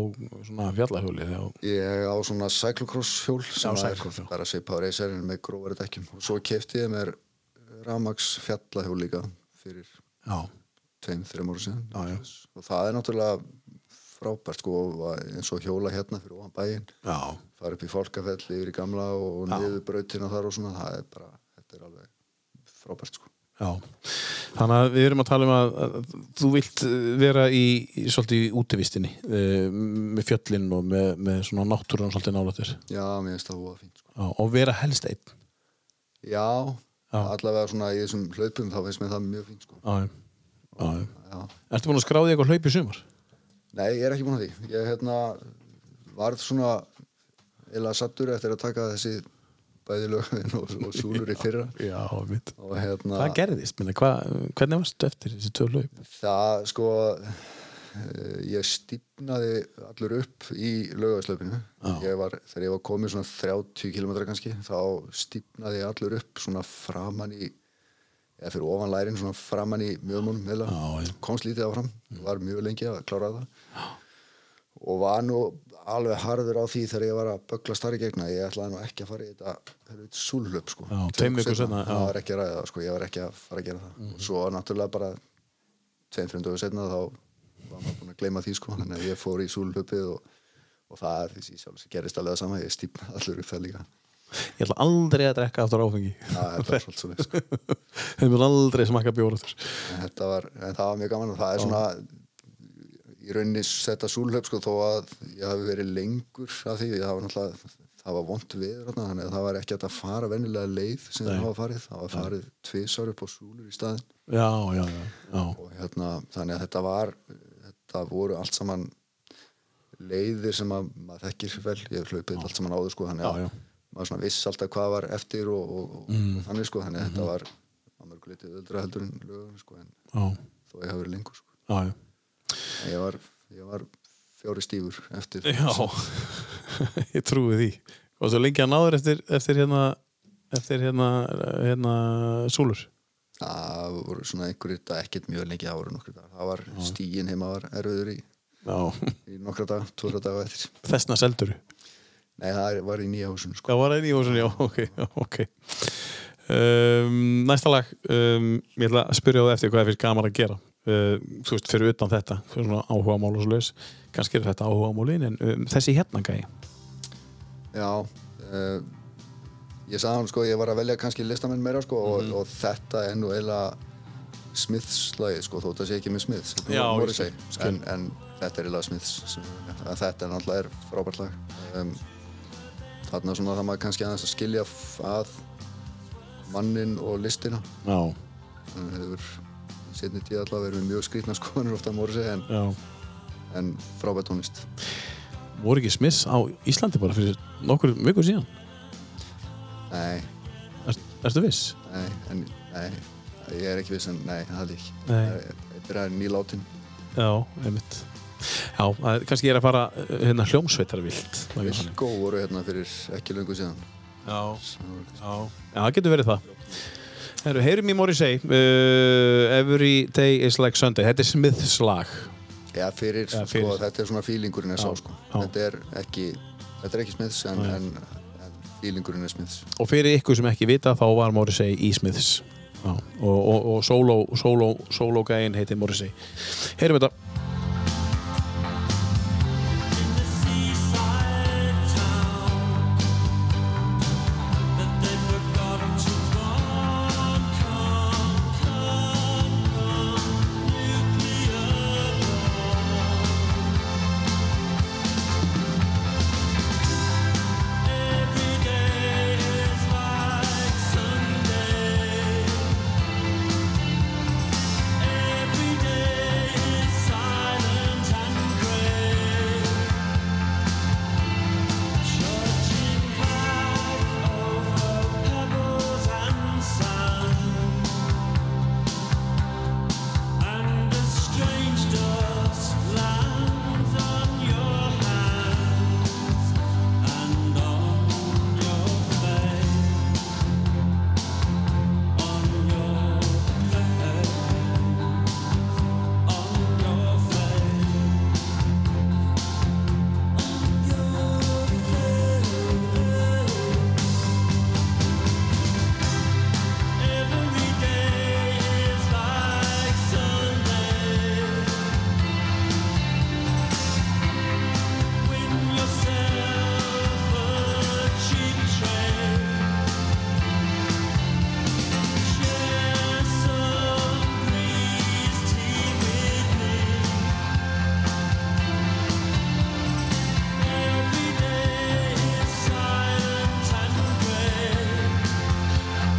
S1: svona fjallahjóli þegar þú-
S2: Ég á svona cyclocross hjól sem
S1: Já,
S2: er
S1: cyclocross, já.
S2: bara svipað á reyserinn með grófari dekkjum og svo kefti ég mér Ramax fjallahjól líka fyrir
S1: Já,
S2: tveim, þreim ára síðan
S1: Já, já.
S2: og það er náttúrulega frábært sko, og eins og hjóla hérna fyrir ofan bæinn
S1: já,
S2: fara upp í fólkafell yfir í gamla og
S1: Já.
S2: niður brautina þar og svona það er bara, þetta er alveg frábært sko
S1: Já, þannig að við erum að tala um að, að þú vilt eh, vera í, í svolítið í útivistinni eh, með fjöllin og með, með svona náttúrun svolítið nálættir
S2: Já, mér finnst það voða fínt sko
S1: og vera helst einn
S2: Já,
S1: Já.
S2: allavega svona í þessum hlaupum þá finnst mér það mjög fínt sko
S1: Já, já, já
S2: Já.
S1: Ertu búin að skráði eitthvað hlaup í sumar?
S2: Nei, ég er ekki búin að því. Ég hérna, varð svona eila sattur eftir að taka þessi bæði lögvin og, og súlur í fyrra
S1: Já, mitt
S2: og hérna,
S1: Hvað gerðist? Minna, hva, hvernig varstu eftir þessi tvö hlaup?
S2: það sko eh, ég stífnaði allur upp í lögvæðslaupinu
S1: Já.
S2: ég var, þegar ég var komið svona 30 km kannski, þá stífnaði ég allur upp svona framan í eða fyrir ofan lærin svona framan í mjögumunum heila,
S1: Já, já. Mm.
S2: komst lítið áfram var mjög lengi að klára það og var nú alveg harður á því þegar ég var að bögla starri gegna ég ætlaði nú ekki að fara í þetta súlhlöp sko,
S1: Já,
S2: Tveim
S1: tveim vikum seinna, já. Mhm.
S2: það var ekki að ræða það sko, ég var ekki að fara að gera það og svo náttúrulega bara tveim, þreim dögur setna þá var maður búin að gleyma því sko þannig að ég fór í súlhlöpið og, og það er því sjálf sem gerist alveg það sama ég stífna allur upp það líka
S1: Ég ætla aldrei að drekka aftur áfengi
S2: það er bara svolítið svona sko.
S1: Þeim vil aldrei smakka bjóra þess
S2: en, þetta var, en það var mjög gaman og það er svona í rauninni þetta súlhlöp sko þó að ég hafi verið lengur af því það var náttúrulega það var vond viður þarna þannig að það var ekki hægt að fara venjulega leið sem
S1: Nei.
S2: það hafa farið það var farið tvisar upp á súlur í staðin
S1: Já, já, já, já.
S2: og hérna þannig að þetta var þetta voru allt saman leiðir sem að maður þekkir vel ég hef hlaupið allt saman áður sko þannig að
S1: Já, Mm. já.
S2: maður svona viss alltaf hvað var eftir og, og, og þannig sko þannig að
S1: Mhm.
S2: þetta var að mörg litið öldra heldur en lögun sko en
S1: Já,
S2: þó ég hafi verið lengur sko
S1: já, já.
S2: en ég var, ég var fjóri stífur eftir
S1: Já, ég trúi því og svo lengi að náður eftir, eftir hérna eftir hérna, hérna súlur
S2: Það voru svona einhverjir dag, ekkert mjög lengi, það voru nokkri dag. Það var stíin heima var erfiður í,
S1: Já,
S2: í nokkra dag, tvoðra dag eftir.
S1: þessna seldur
S2: Nei, það var í nýja húsinu, sko.
S1: Það var einn í húsin, já, ok, já, ok um, Næsta lag um, Ég ætla að spyrja á það eftir hvað það fyrir gaman að gera uh, Þú veist, fyrir utan þetta fyrir svona áhuga mál og svo laus kannski er þetta áhuga málin, en um, þessi hérna gæi
S2: Já, uh, ég sagði hann sko, ég var að velja kannski listamenn meira sko
S1: Mhm.
S2: og, og þetta er nú eiginlega Smiths lagið sko, þótt að sé ekki með Smiths, þetta
S1: Já,
S2: er
S1: ég
S2: Morrissey,
S1: skil.
S2: en, en þetta er eiginlega Smiths, sem- að þetta er náttúrulega er frábært lag. Um, þarna svona það maður kannski aðeins að skilja f- að mannin og listina,
S1: Já,
S2: hann hefur setni tíð allavega verið með mjög skrýtna skoðanir ofta Morrissey en,
S1: já
S2: en frábært tónlist.
S1: voru ekki smiss á Íslandi bara fyrir nokkur vikur síðan
S2: Nei,
S1: er, Ertu viss?
S2: Nei, en, nei, ég er ekki viss en nei, það held ég ekki.
S1: Nei.
S2: Það er- Þetta er aðeins nýlátin.
S1: Já, einmitt Já, það er- kannski ég er að fara uh, hérna hljómsveitarvilt það er þannig.
S2: Viskó voru hérna fyrir ekki löngu síðan.
S1: Já, já Já, það getur verið það Herru, heyrum í Morrissey uh, Every day is like Sunday Þetta er Smiths lag
S2: Já, fyrir,
S1: Já, fyrir.
S2: Sko, þetta er svona fílingurinn er sá, sko.
S1: já.
S2: Þetta er ekki, þetta er ekki Smiths, en, en, en fílingurinn er Smiths.
S1: og fyrir ykkur sem ekki vita þá var Morrissey í Smiths Já, og, og, og solo, solo, solo gæin heiti Morrissey Heyrum þetta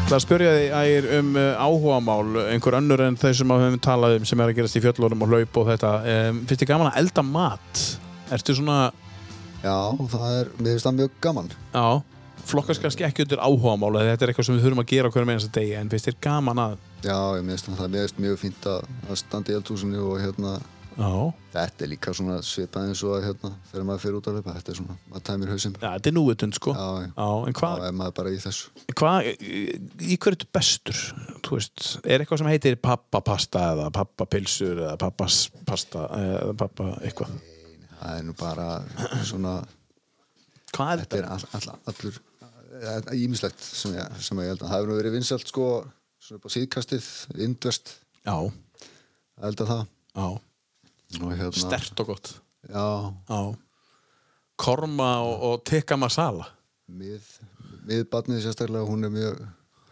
S1: Það að spyrja því ægir um uh, áhugamál einhver önnur en þau sem að við höfum talað um sem er að gerast í fjöllunum og hlaup og þetta um, finnst þið gaman að elda mat ertu svona,
S2: Já, það er, mér finnst það mjög gaman.
S1: já flokkast kannski ekki undir áhugamál eða þetta er eitthvað sem við þurfum að gera á hverjum einasta degi en finnst þér gaman að
S2: Já, ég minnst það, mér finnst mjög fínt að, að standa í eldhúsinu og hérna,
S1: já,
S2: þetta er líka svona svipað eins og að hérna, þegar maður fyrir út að löpa, þetta er svona, maður tæmir hausinn.
S1: ja, þetta er núutund sko
S2: Já, já.
S1: en hvað
S2: Þá er maður bara í þessu.
S1: hva, í hverju ertu bestur þú veist, er eitthvað sem heitir pappapasta eða pappapilsur eða pappaspasta eða pappa eitthvað
S2: Það er nú bara svona
S1: hvað er
S2: Þetta er all, all, allur það er ímislegt sem ég, sem ég held að það hefur nú verið vinsalt sko svona upp á síðkastið, indverst
S1: já,
S2: ég held að það
S1: já,
S2: og hérna
S1: stert og gott
S2: já,
S1: Já. Korma og, og tikka masala.
S2: mið, miðbarnið sérstaklega hún er mjög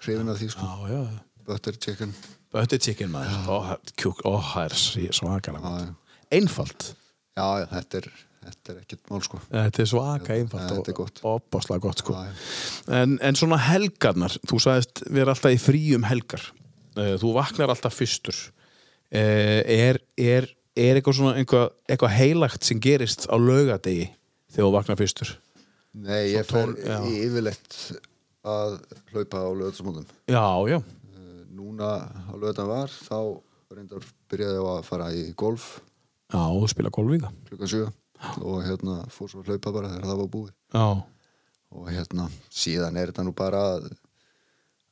S2: hrifin af því sko
S1: Já, já.
S2: butter chicken
S1: Butter chicken maður. Ó, það- kjúk, ó, það er sí- svakalega
S2: Já,
S1: gott. Einfalt.
S2: já, já, þetta er, þetta er ekkert mál sko
S1: Þetta er svaka einfalt
S2: já, þetta er
S1: og
S2: gott.
S1: opaslega gott sko.
S2: Já, já.
S1: En, en svona helgarnar, þú sagðist við erum alltaf í fríum helgar. Eh, Þú vaknar alltaf fyrstur. Eh, Er, er, er eitthvað svona eitthvað, eitthvað heilagt sem gerist á laugadegi þegar þú vaknar fyrstur?
S2: Nei, ég fer
S1: tól- já.
S2: yfirleitt að hlaupa á lögðarsmóðum
S1: Já, já.
S2: núna á lögðan var þá reyndar byrjaði ég á að fara í golf
S1: Já, þú spila golfíða.
S2: klukkan 7 og hérna fór svo að hlaupa bara þegar það var búið
S1: Já.
S2: og hérna síðan er þetta nú bara að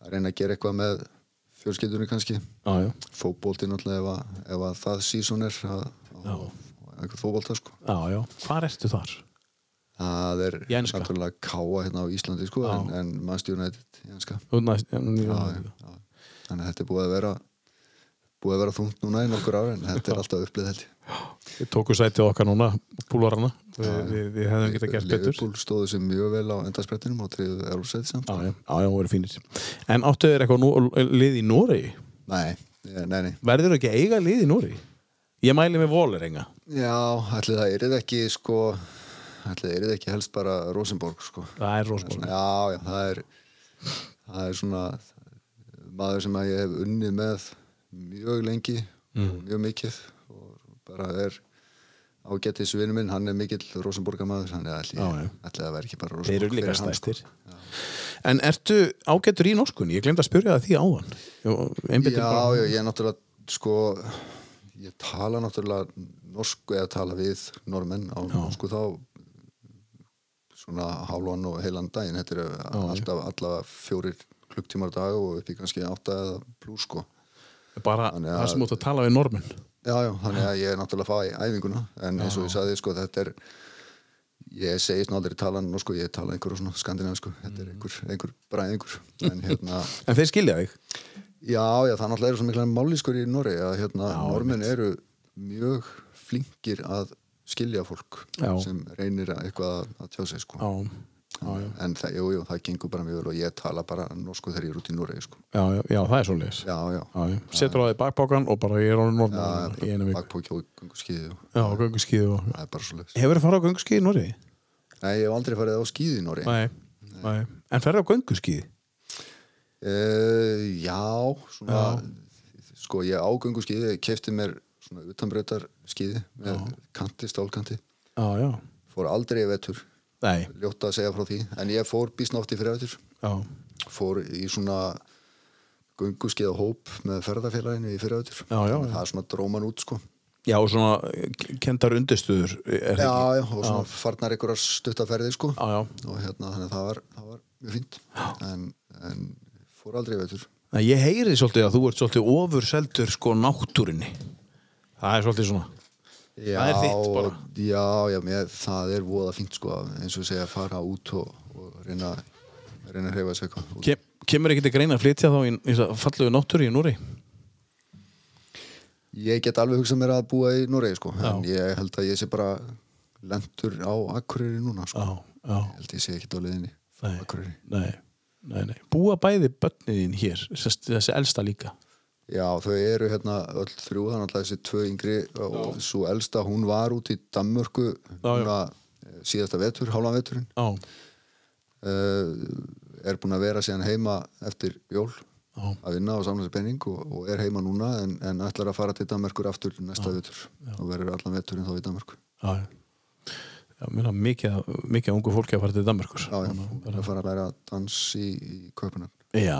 S2: að reyna að gera eitthvað með fjölskyldunni kannski
S1: já, já,
S2: fótbolti náttúrulega ef að, ef að það sísón er að, að, einhver fótbolta sko
S1: já, já. Hvar ertu þar?
S2: það er
S1: Í enska.
S2: náttúrulega káa hérna á Íslandi sko en, en Manchester United í enska
S1: Þú ert næst- já, já,
S2: já, já. þannig að þetta er búið að vera búið að vera þungt núna í nokkur ára en þetta er alltaf upplið held ég
S1: Við tókum sætið okkar núna, púlarana Við, við, við hefðum getað gert betur
S2: Liverpool stóðu sem mjög vel á endarsprettinum og triðu Európsæti samt
S1: Já, já, já, já, voru fínir En áttu þér eitthvað nú, lið í Nóri?
S2: nei, ég- nei, nei
S1: Verður ekki að eiga lið í Nóri? Ég mæli með Volerenga
S2: já, ætli það erið ekki sko ætli það erið ekki helst bara Rosenborg sko
S1: Það er
S2: Svona,
S1: Rósborg
S2: já, já, það er það er svona maður sem að ég hef unnið með mjög lengi
S1: Mm.
S2: og mjög mikið og bara er ágættis vinnu minn, hann er mikill Rosenborgamaður, hann er allir,
S1: Já, já.
S2: allir að vera ekki bara
S1: Þeir
S2: Rosenborg
S1: eru líka
S2: fyrir hann, sko.
S1: stæstir En ertu ágættur í norskunni? Ég glemd að spyrja það því áðan Einbyttir
S2: Já,
S1: bara
S2: já, ég er náttúrulega sko, ég tala náttúrulega norsku eða tala við normenn á norsku þá svona hálfan og heilan daginn þetta eru alltaf allavega fjórir klukktímar á dag og upp í kannski átta eða pluss sko
S1: Bara
S2: Þannig að-
S1: það sem út að tala við normin
S2: Já, já, þannig að ég er náttúrulega að fá í æfinguna en eins og ég sagði, sko, þetta er ég segist nú aldrei tala norsku, ég tala einhverju svona skandinavisku, þetta er einhver, einhver bræðingur, en hérna
S1: En þeir skilja þig
S2: Já, já, það náttúrulega eru svo mikla mállýskur í Noregi að hérna, normin eru mjög flinkir að skilja fólk
S1: Já.
S2: sem reynir að eitthvað að- að tjá sig sko.
S1: Já, já, já,
S2: en það, jú, jú, það gengur bara mjög vel og ég tala bara norsku þegar ég er út í Noregi sko.
S1: já, já, já það er svoleiðis
S2: Já, já,
S1: Já, já. Setur á því bakbókan og bara ég er orðin normin í einu vik
S2: bakpóki og gunguskíði og
S1: Já, gönguskíðu og
S2: það er bara svo leiðis
S1: Hefur þið farið á gönguskíði í Norri?
S2: Nei, ég hef aldrei farið á skíði í Noregi
S1: Nei, nei. En ferðu á gönguskíði?
S2: Uh, já, svona sko ég ágöngu skíði, ég kefti mér svona utanbreytar skíði með kanti, stálkanti
S1: Já, já
S2: fór aldrei í vetur,
S1: Nei,
S2: ljótt að segja frá því en ég fór bísnátti fyrir eftir
S1: já,
S2: fór í svona gunguskeiða hóp með ferðarfélaginu í fyrir eftir
S1: Já, já, já.
S2: það er svona dróman út sko
S1: já og svona eh, k- kendar undirstöður eh, er
S2: já,
S1: það ekki?
S2: já, og svona farnar einhverjar stuttaferði sko
S1: Já, já.
S2: og hérna þannig að það var, það var mjög fínt en, en fór aldrei í vetur
S1: Nei, Ég heyri svolítið að þú ert svolítið ofurseldur sko náttúrinni Það er svolítið svona
S2: já,
S1: Það er þitt bara.
S2: og- já, já, mér, það er voða fínt sko eins og segja að fara út og, og reyna, reyna að hreyfa sig eitthvað
S1: Kem, Kemur ekki til greina að flytja þá í, í þessa fallegu náttúri í Núri?
S2: Ég get alveg hugsað mér að búa í Noregi sko, en ég held að ég sé bara lendur á Akureyri núna sko.
S1: já,
S2: Ég held ég sé ekki á leiðinni á
S1: Nei.
S2: Akureyri.
S1: nei, nei, nei Búa bæði börniðin hér, þessi, þessi elsta líka
S2: Já, þau eru hérna öll þrjú, þannig að þessi tvö yngri og svo elsta, hún var út í Danmörku
S1: Já, já.
S2: núna eh, síðasta vetur, hálfan veturinn
S1: Já,
S2: uh, er búin að vera síðan heima eftir jól
S1: Já.
S2: að vinna og samla sér penning og, og er heima núna en, en ætlar að fara til Danmörkur aftur næsta vetur og verður allan veturinn þá í Danmörku
S1: já, já Já, mér er mikið, mikið af ungu fólki að fara til Danmarkur
S2: Já, já, hún er að fara að læra dans í, í Kaupunar
S1: Já,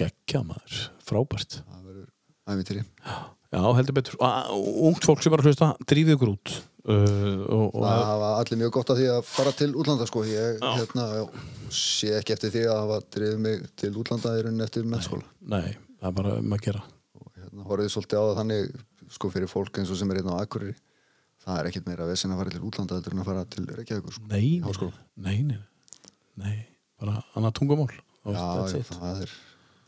S1: geggja maður, frábært
S2: það verður ævintýri
S1: Já, heldur betur og Ungt fólk sem bara hlusta, drífið ykkur út uh, og, og
S2: það hafa allir mjög gott að því að fara til útlanda sko. ég hérna, já, sé ekki eftir því að hafa drifið mig til útlanda í rauninni eftir mennskóla
S1: Nei, það er bara um að gera
S2: og hérna horfið svolítið á það þannig sko fyrir fólk eins og sem er hérna á Akureyri það er ekkert meira vesen að fara til útlanda heldur en að fara til Reykjavíkur sko.
S1: Nei,
S2: Já, sko.
S1: nei, nei, nei Bara annað tungumál og Oh, that's
S2: já, já,
S1: it.
S2: það er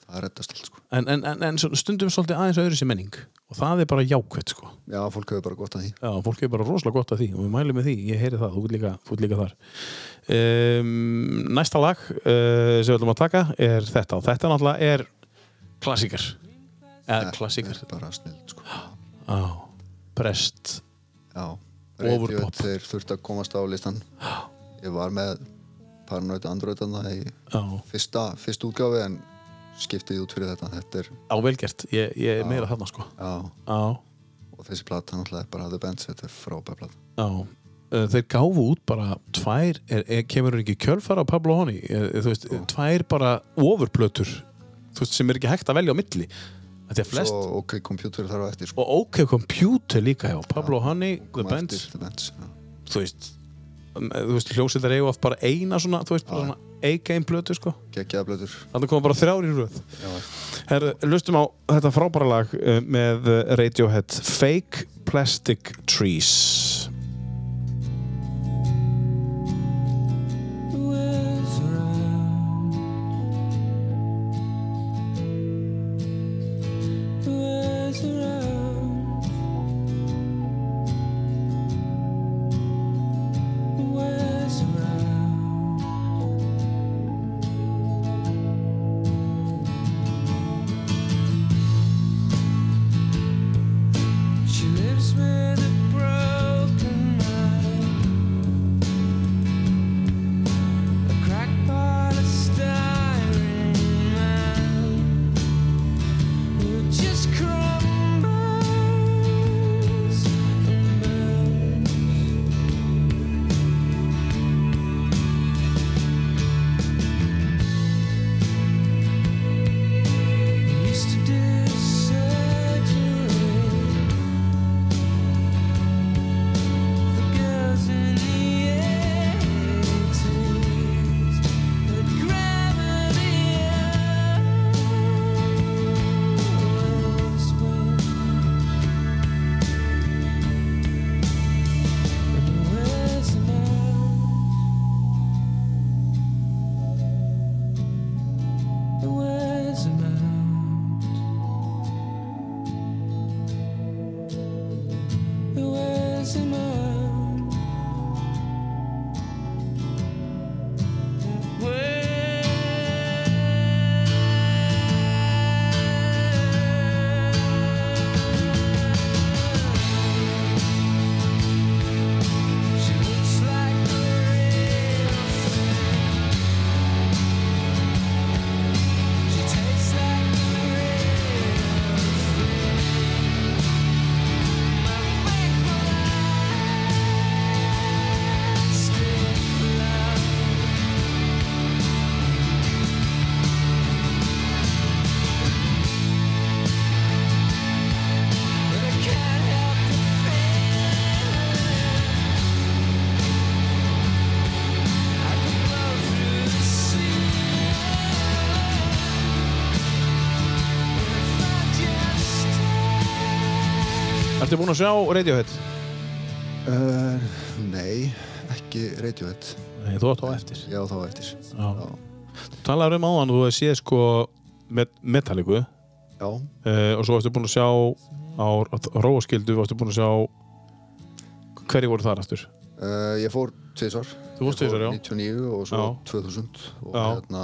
S2: það er rettast allt sko.
S1: En, en, en, en svo- stundum svolítið aðeins öðru sem menning og það er bara jákvætt sko
S2: já, fólk hefur bara gott að því
S1: Já, fólk er bara rosalega gott að því og við mælum með því, ég heyri það, þú ert líka, þú ert líka þar um, Næsta lag uh, sem við ætlum að taka er þetta og þetta náttúrulega er klassíkar eða klassíkar
S2: Það er bara snild sko.
S1: á, Prest
S2: já,
S1: Overpop.
S2: Radiohead, þeir þurfti að komast á listan ég var með Paranoid Android þarna í
S1: á,
S2: fyrsta, fyrsta útgáfi en skiptið út fyrir þetta þetta er,
S1: á velgert, ég, ég er meira þarna sko
S2: já,
S1: á,
S2: og þessi plata náttúrulega er bara The Bands, þetta er frábær plata
S1: á Uh, þeir gáfu út bara tvær er, er, kemur ekki kjölfara á Pablo Honi er, er, þú veist, tvær bara ofurplötur þú veist, sem er ekki hægt að velja á milli Af því að flest
S2: svo OK Computer þar á eftir sko.
S1: og OK Computer líka hjá Pablo Honey, The
S2: Kom á
S1: Bends
S2: eftir The Bands já.
S1: eh, þú veist, um, þú veist hljósið þær eigu oft bara eina svona, þú veist, bara svona A-game plötu sko
S2: geggjaða blöður
S1: Þannig kom bara þrjár í röð Herru, lustum á þetta frábæra lag eh, með eh, Radiohead Fake Plastic Trees
S9: She lives with a broken mind, a cracked polystyrene mind who just crumbles and burns. Used to do surgery. Amount. The words amount. She looks like the real She tastes like the real Just
S1: Ertu búinn að sjá Radiohead?
S2: uh, nei, ekki Radiohead
S1: Nei, þú átt á eftir
S2: já þá á eftir
S1: Já.
S2: já,
S1: Talar um áðan, þú hefði séð sko met Metallicu uh,
S2: já.
S1: og svo varstu búinn að sjá á Róaskildu, varstu búinn að sjá hverju voru þar aftur?
S2: Uh, ég fór tvisar
S1: Þú fórst tvisvar, já.
S2: 99 og svo
S1: Já.
S2: 2000 og
S1: Já.
S2: hérna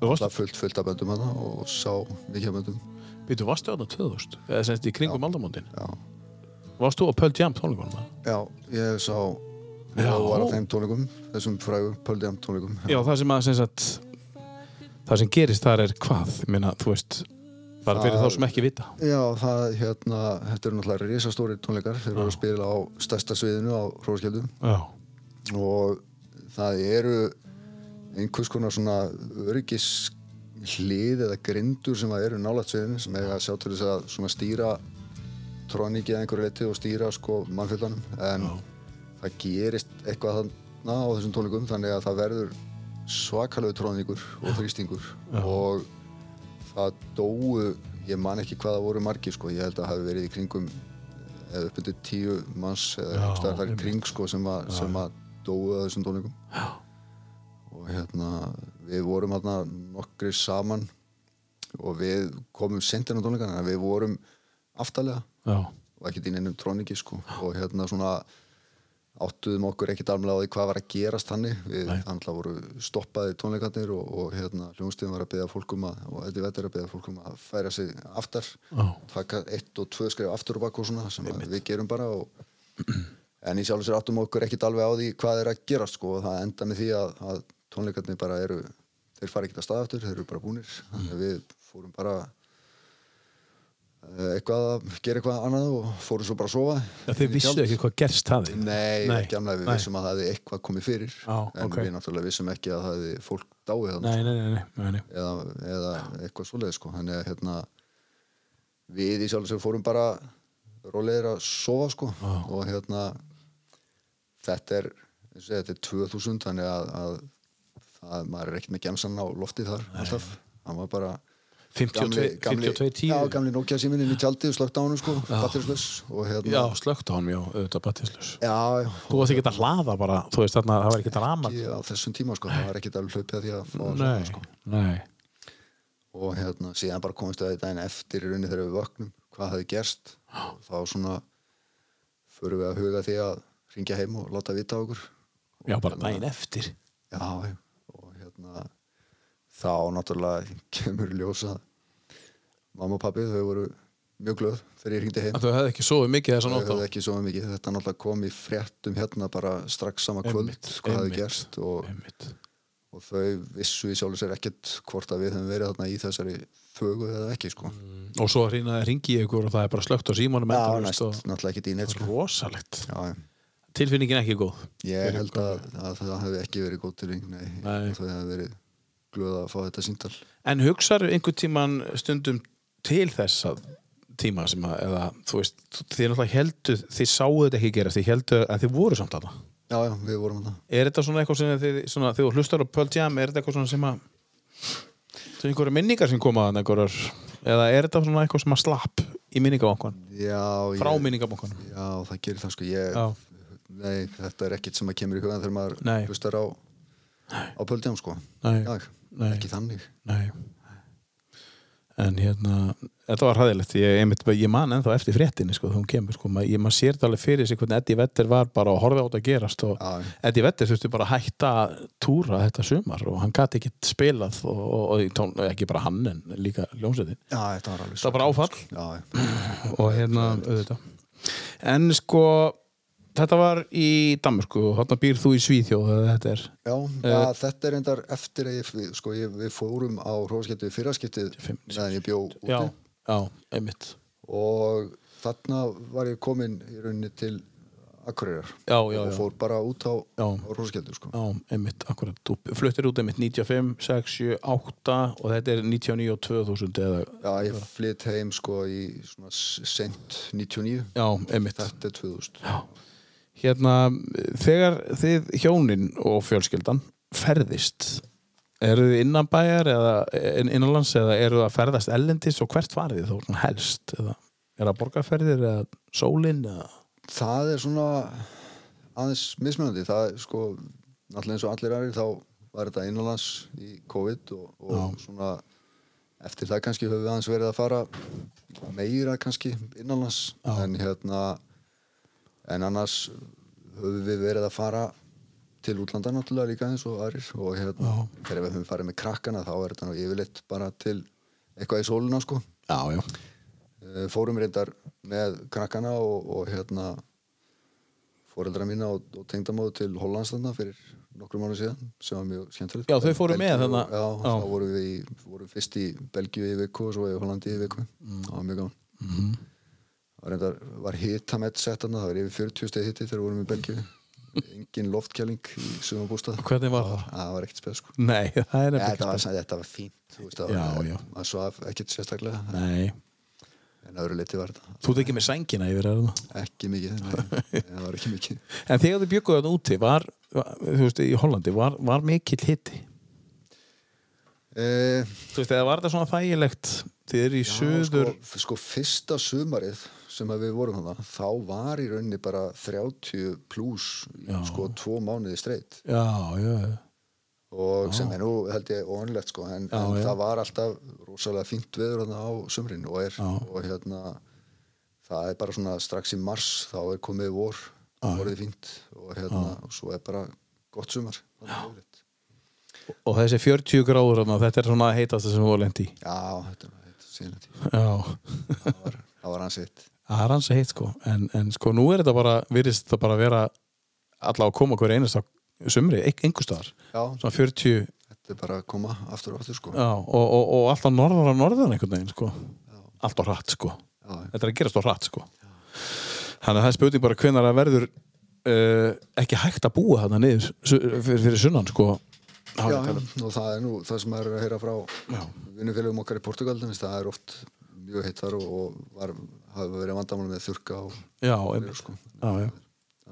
S1: Þú varst,
S2: alltaf fullt, fullt af böndum hérna og sá mikið af böndum
S1: býttu, varstu þarna 2000? Eða semst í kringum aldamóndin?
S2: já,
S1: Varst þú á Pearl Jam tónleikunum? eða?
S2: já ég sá
S1: Já.
S2: og var á þeim tónleikum þessum frægum pöldjum tónleikum
S1: Já, það sem að sem sagt, það sem gerist þar er hvað, Ég meina, þú veist bara fyrir
S2: Það-
S1: þá sem ekki vita
S2: já, það hérna þetta eru náttúrulega risastóri tónleikar þeir eru að spila á stærsta sviðinu á Hróskjöldu
S1: Já,
S2: og það eru einhvers konar svona öryggis hlið eða grindur sem að eru nálægt sviðinu sem eiga að sjá til þess að svona stýra tróningi að einhverju leiti og stýra sko mannfjöldanum en það gerist eitthvað þarna á þessum tónleikum þannig að það verður svakalegu tróningur og þrýstingur og það dóu ég man ekki hvað það voru margir sko ég held að hafi verið í kringum eða upp undir tíu manns eða
S1: Já,
S2: einhverstaðar þar í
S1: einmitt.
S2: kring sko sem að, sem að dóu að þessum tónleikum Já. og hérna við vorum hérna nokkri saman og við komum sent inn á tónleikana en við vorum aftalega
S1: já,
S2: og ekkert í neinum tróningi sko og hérna svona áttuðum okkur ekkert alveg á því hvað var að gerast þannig við handla voru stoppaði tónleikarnir og, og hérna hljónstíðum var að beða fólkum að, og þetta vettur að beða fólkum að færa sig aftar
S1: já,
S2: taka eitt og tvö skrif aftur og bakk og svona sem að við gerum bara og, en í sjálf sér áttum okkur ekkert alveg á því hvað er að gera sko og það enda með því að, að tónleikarnir bara eru þeir fara ekkert að stað aftur, þeir eru bara búnir þannig að við fórum bara eh, eitthvað að gera eitthvað annað og fórum svo bara að sofa
S1: já Þið
S2: Í
S1: vissu
S2: tjald.
S1: ekki hvað gerst hafi
S2: Nei,
S1: Nei,
S2: ekki annað, við
S1: nei.
S2: vissum að það hefði eitthvað komið fyrir
S1: Á,
S2: en
S1: ok.
S2: við náttúrulega vissum ekki að það hefði fólk dáið þannig
S1: Nei, nei, nei, nei, nei, nei.
S2: eða, eða eitthvað svoleið sko. þannig að hérna við í sjálf sem fórum bara rólegir að sofa sko. og hérna þetta er eins og ég segi, þetta er 2000 þannig að, að það, maður er ekkert með gemsan á lofti þar alltaf, hann var bara
S1: 52 52
S2: já,
S1: 10
S2: gamli Nokia síminn inn í tjaldið og slögt á hann sko, batterislaus og hérna
S1: Já, slögt á hann, já, auðvitað battislus
S2: já, já,
S1: Þú varst ekki að hlaða bara, þú veist þarna, það var ekki sko. að rama
S2: ekki á þessum tíma sko, það var ekkert alveg hlaupið að því að sko. fá að
S1: Nei, nei
S2: og hérna, síðan bara komist að daginn eftir í rauninni þegar við vöknum, hvað hafði gerst og þá svona förum við að huga að því að ringja heim og láta vita á okkur
S1: Já, bara daginn eftir
S2: já, já, og hérna þá náttúrulega kemur ljósa mamma og pappi, þau voru mjög glöð þegar ég ringdi heim
S1: Að Þau hefði ekki sofið mikið þessa
S2: þau
S1: nótt á
S2: höfðu ekki svo mikið, þetta náttúrulega kom í fréttum hérna bara strax sama kvöld
S1: Einmitt,
S2: hvað hafði
S1: einmitt,
S2: gerst og,
S1: Einmitt.
S2: og þau vissu í sjálfur sér ekkert hvort að við höfum verið þarna í þessari fögu eða ekki sko
S1: Og svo hringi ringi ég ykkur og það er bara slögt á símanum
S2: Já,
S1: endalaust
S2: næst,
S1: og
S2: náttúrulega ekki dýnett sko.
S1: Rosalegt
S2: Já, já.
S1: Tilfinningin ekki góð
S2: Ég held að, að það hefði ekki verið góð til nei,
S1: Nei.
S2: það hefði verið glöð að fá þetta síntal
S1: En hugsaðu einhvern tíman stundum til þessa tíma sem að, eða, þú veist, þið náttúrulega heldu, þið sáu þetta ekki gerast, þið heldu að þið voru samt þarna.
S2: Já, já, við vorum þarna
S1: Er þetta svona eitthvað sem þið, svona, þegar þú hlustar á Pearl Jam, er þetta eitthvað svona sem að, sem einhverja minningar sem koma þannig einhverjar, eða er þetta svona eitthvað sem að slapp í minningabankan,
S2: Já,
S1: frá
S2: ég,
S1: minningabankan?
S2: já það gerir það sko ég,
S1: Já.
S2: Nei, þetta er ekkert sem að kemur í hugan þegar maður
S1: Nei.
S2: hlustar á, á pöldjám sko
S1: Nei.
S2: Dag,
S1: Nei.
S2: Ekki þannig
S1: Nei. En hérna, þetta var hræðilegt, ég, einmitt, bara- ég man ennþá eftir fréttinni, sko, þegar hún kemur, sko, maður mað sér þetta alveg fyrir sig hvernig Eddie Vedder var bara að horfa á þetta gerast og
S2: Já, já.
S1: Eddie Vedder þurfti bara að hætta að túra þetta sumar og hann gæti ekki spilað og, og, og í tón, ekki bara hann en líka ljónsveitin.
S2: Já, þetta var alveg
S1: Það var bara áfall
S2: Já, já,
S1: og hérna, auðvitað. En sko, þetta var í Danmörku og hérna býr þú í Svíþjóð eða þetta er
S2: já, já þetta er endar eftir að ég, við- sko, ég, við fórum á hrófaskiptið fyrraskiptið
S1: Fimm-
S2: meðan ég bjó úti
S1: Já, já, einmitt.
S2: og þarna var ég komin í rauninni til Akureyrar
S1: Já, já,
S2: og
S1: já.
S2: fór bara út á,
S1: Já.
S2: á Róskjöldu sko.
S1: Já, einmitt, akkurat, þú fluttir út einmitt 95, 6, 7, 8 og þetta er 99 og 2000 eða,
S2: Já, ég flytt heim sko í svona s- seint 99
S1: já, einmitt
S2: þetta er 2000
S1: já. Hérna, þegar þið hjónin og fjölskyldan ferðist eru þið innanbæjar eða inn- innanlands eða eru það að ferðast ellendis og hvert farið þið þó svona helst eða er það borgarferðir eða sólin eða
S2: Það er svona aðeins mismunandi það er sko, náttúrulega eins og allir aðrir þá var þetta innanlands í COVID og, og svona eftir það kannski höfum við aðeins verið að fara meira kannski innanlands en hérna en annars höfum við verið að fara til útlanda náttúrulega líka eins og aðrir og hérna, þegar við höfum farið með krakkana þá er þetta nú yfirleitt bara til eitthvað í sóluna sko
S1: Já, já
S2: Eh, fórum reyndar með krakkana og, og hérna fóreldra mína og, og tengdamóðu til Hollands þarna fyrir nokkrum mánu síðan sem var mjög skemmtilegt Hérna
S1: Já, þau fóru með
S2: Belgíu-
S1: þarna.
S2: Já,
S1: Já.
S2: þá vorum við í, vorum fyrst í Belgíu í viku og svo í Hollandi í viku
S1: Mm.
S2: það var mjög gaman
S1: Mhm.
S2: það var reyndar, var hitamett sett þarna það var yfir 40 stið hiti þegar við vorum í Belgíu engin loftkjæling í sumabústað
S1: Hvernig var það?
S2: það var ekkert spes sko
S1: Nei, það er
S2: Ja,
S1: nefnilega
S2: þetta var, þetta var fínt þú veist, það var-
S1: Já, já.
S2: maður svaf ekkert sérstaklega
S1: Nei,
S2: en öðru leiti var þetta
S1: þú ert ekki með sængina yfir eða
S2: ekki mikið nei, það var ekki mikið
S1: En þegar þið bjökuðu þarna úti var, var, þú veist, í Hollandi var, var mikill hitti
S2: e,
S1: Þú veist, eða var þetta svona þægilegt þið eru í söður
S2: sko, sko fyrsta sumarið sem að við vorum hana þá var í rauninni bara 30 pluss sko tvo mánuði streitt
S1: Já, já, já.
S2: og sem er nú held ég óanlegt sko en, en
S1: já.
S2: það var alltaf rosalega fínt veður hana á sumrin og er og hérna það er bara svona strax í mars þá er komið vor, vorið er fínt og hérna og svo er bara gott sumar já,
S1: Og þessi 40 gráður þarna, þetta er svona heitast sem við voru lendi í
S2: já þetta var þetta sínlega tíma
S1: Já,
S2: það var, það var hans eitt
S1: það er hans heitt sko en, en sko nú er þetta bara, virðist þetta bara vera alla að koma hverju einasta sumri, ein- einhvers staðar
S2: Já.
S1: Svona 40
S2: Þetta er bara að koma aftur og aftur sko.
S1: Já, og, og, og alltaf norðan að norðan einhvern veginn sko. alltaf hratt sko.
S2: Já.
S1: þetta er að gerast á hratt sko. þannig að það er spurning bara hvenær að verður uh, ekki hægt að búa þarna niður su- fyrir, fyrir sunnan sko. Já,
S2: Já,
S1: já.
S2: og það er nú það sem maður er að heyra frá vinnufélagum okkar í Portugal, þannig það er oft mjög heitt þar og, sko. og var, hafa verið vandamál með þurka og
S1: já, einmitt. já, já.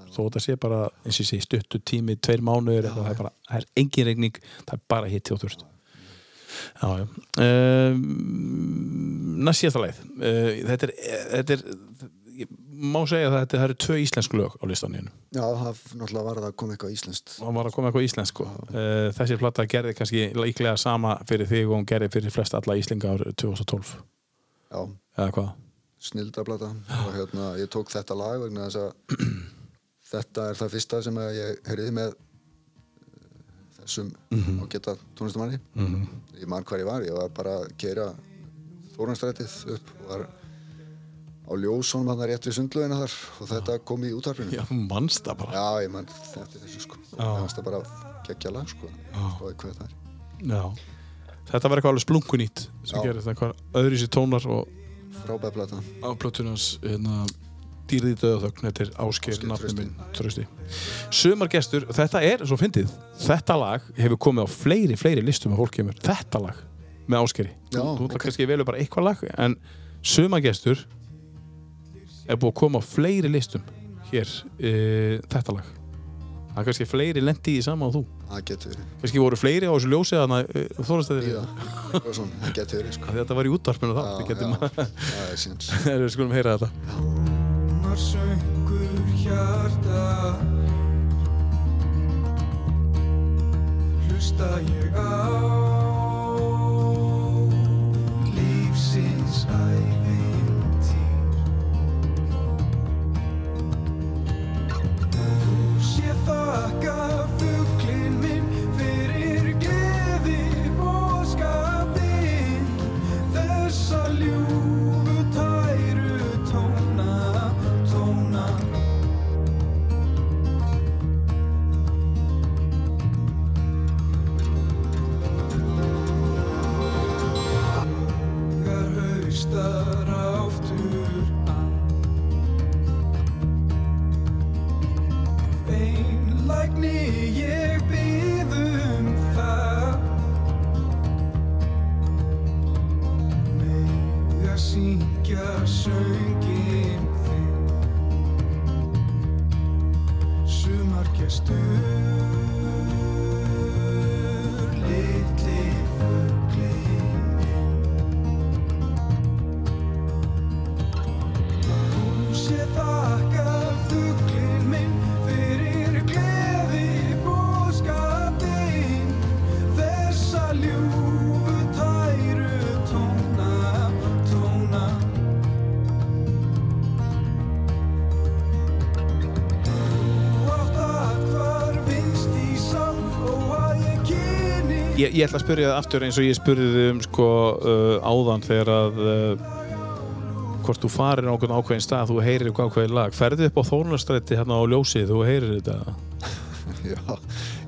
S1: þó þetta sé bara, eins og ég sé, stuttu tími tveir mánuður, það er bara, það er engin regning það er bara hitti og þurft Já, já um, Næst síðasta leið uh, Þetta er, þetta er ég má segja að þetta það eru tvö íslensk lög á listaninu
S2: Já, það náttúrulega var það að koma eitthvað íslenskt
S1: og hann var að koma eitthvað íslensk sko. uh, þessi platta gerði kannski líklega sama fyrir þig og hún gerði fyrir flest alla Íslinga ár 2012
S2: Já,
S1: eða hvað
S2: snildablata og hérna, ég tók þetta lag vegna þess að þetta er það fyrsta sem að ég heyrði með eh, þessum mm
S1: Mhm.
S2: -hmm. og geta tónlistumanni ég man hvar ég var, ég var bara að keira Þórnarstrætið upp og var á ljósónum hann rétt við sundlöðina þar og þetta kom í útarpinu
S1: Ah. já, Ah. mannst það bara
S2: Já, ég mann þetta er þessu sko Það varst það bara geggja lag sko
S1: Ah.
S2: Spáði hvað það er
S1: já. þetta var eitthvað alveg splunkunýtt sem
S2: Já.
S1: gerði þetta eitthvað öðru sér tónar og
S2: Frábæð plata
S1: á plötunans hérna, dýrði döðaþögn þetta er Ásgeir,
S2: Ásgeir
S1: nafnum
S2: Trausti.
S1: minn, trösti sumar gestur, þetta er, svo fyndið þetta lag hefur komið á fleiri, fleiri listum af fólk kemur, þetta lag með Ásgeiri,
S2: Já,
S1: þú þú ætlar
S2: ok.
S1: kannski að velja bara eitthvað lag en sumar gestur er búið að koma á fleiri listum hér, e, þetta lag það er kannski fleiri lendi í því sama og þú
S2: Það getur verið
S1: kannski voru fleiri á þessu ljósið þarna, e, þóðastæðir,
S2: Bíða og svona, Það getur verið sko
S1: þetta var í útvarpinu þá,
S2: Já,
S1: það getur
S2: já,
S1: maður
S2: Það er síðan
S1: við skulum heyra þetta
S10: Söngur hjarta Hlusta ég á Lífsins ævintýr Þú sé þakka fuglinn minn Fyrir gleði og skapinn Þessa ljúfu tæru tóna, tóna Þegar haustar aftur að Einlægni ég býð um það Mega syngja söngin þinn Sumargestur Litli fuglinn Þú sé þakka fuglinn minn Fyrir gleði bóðskapinn Þessa ljúfu tæru tóna, tóna
S1: Ég, ég ætla að spyrja það aftur eins og ég spurði þig um sko uh, áðan þegar að uh, hvort þú farir á einhvern ákveðin stað, þú heyrir eitthvað ákveðin lag ferðu upp á þórnastrætti hérna á ljósið þú heyrir þetta,
S2: Já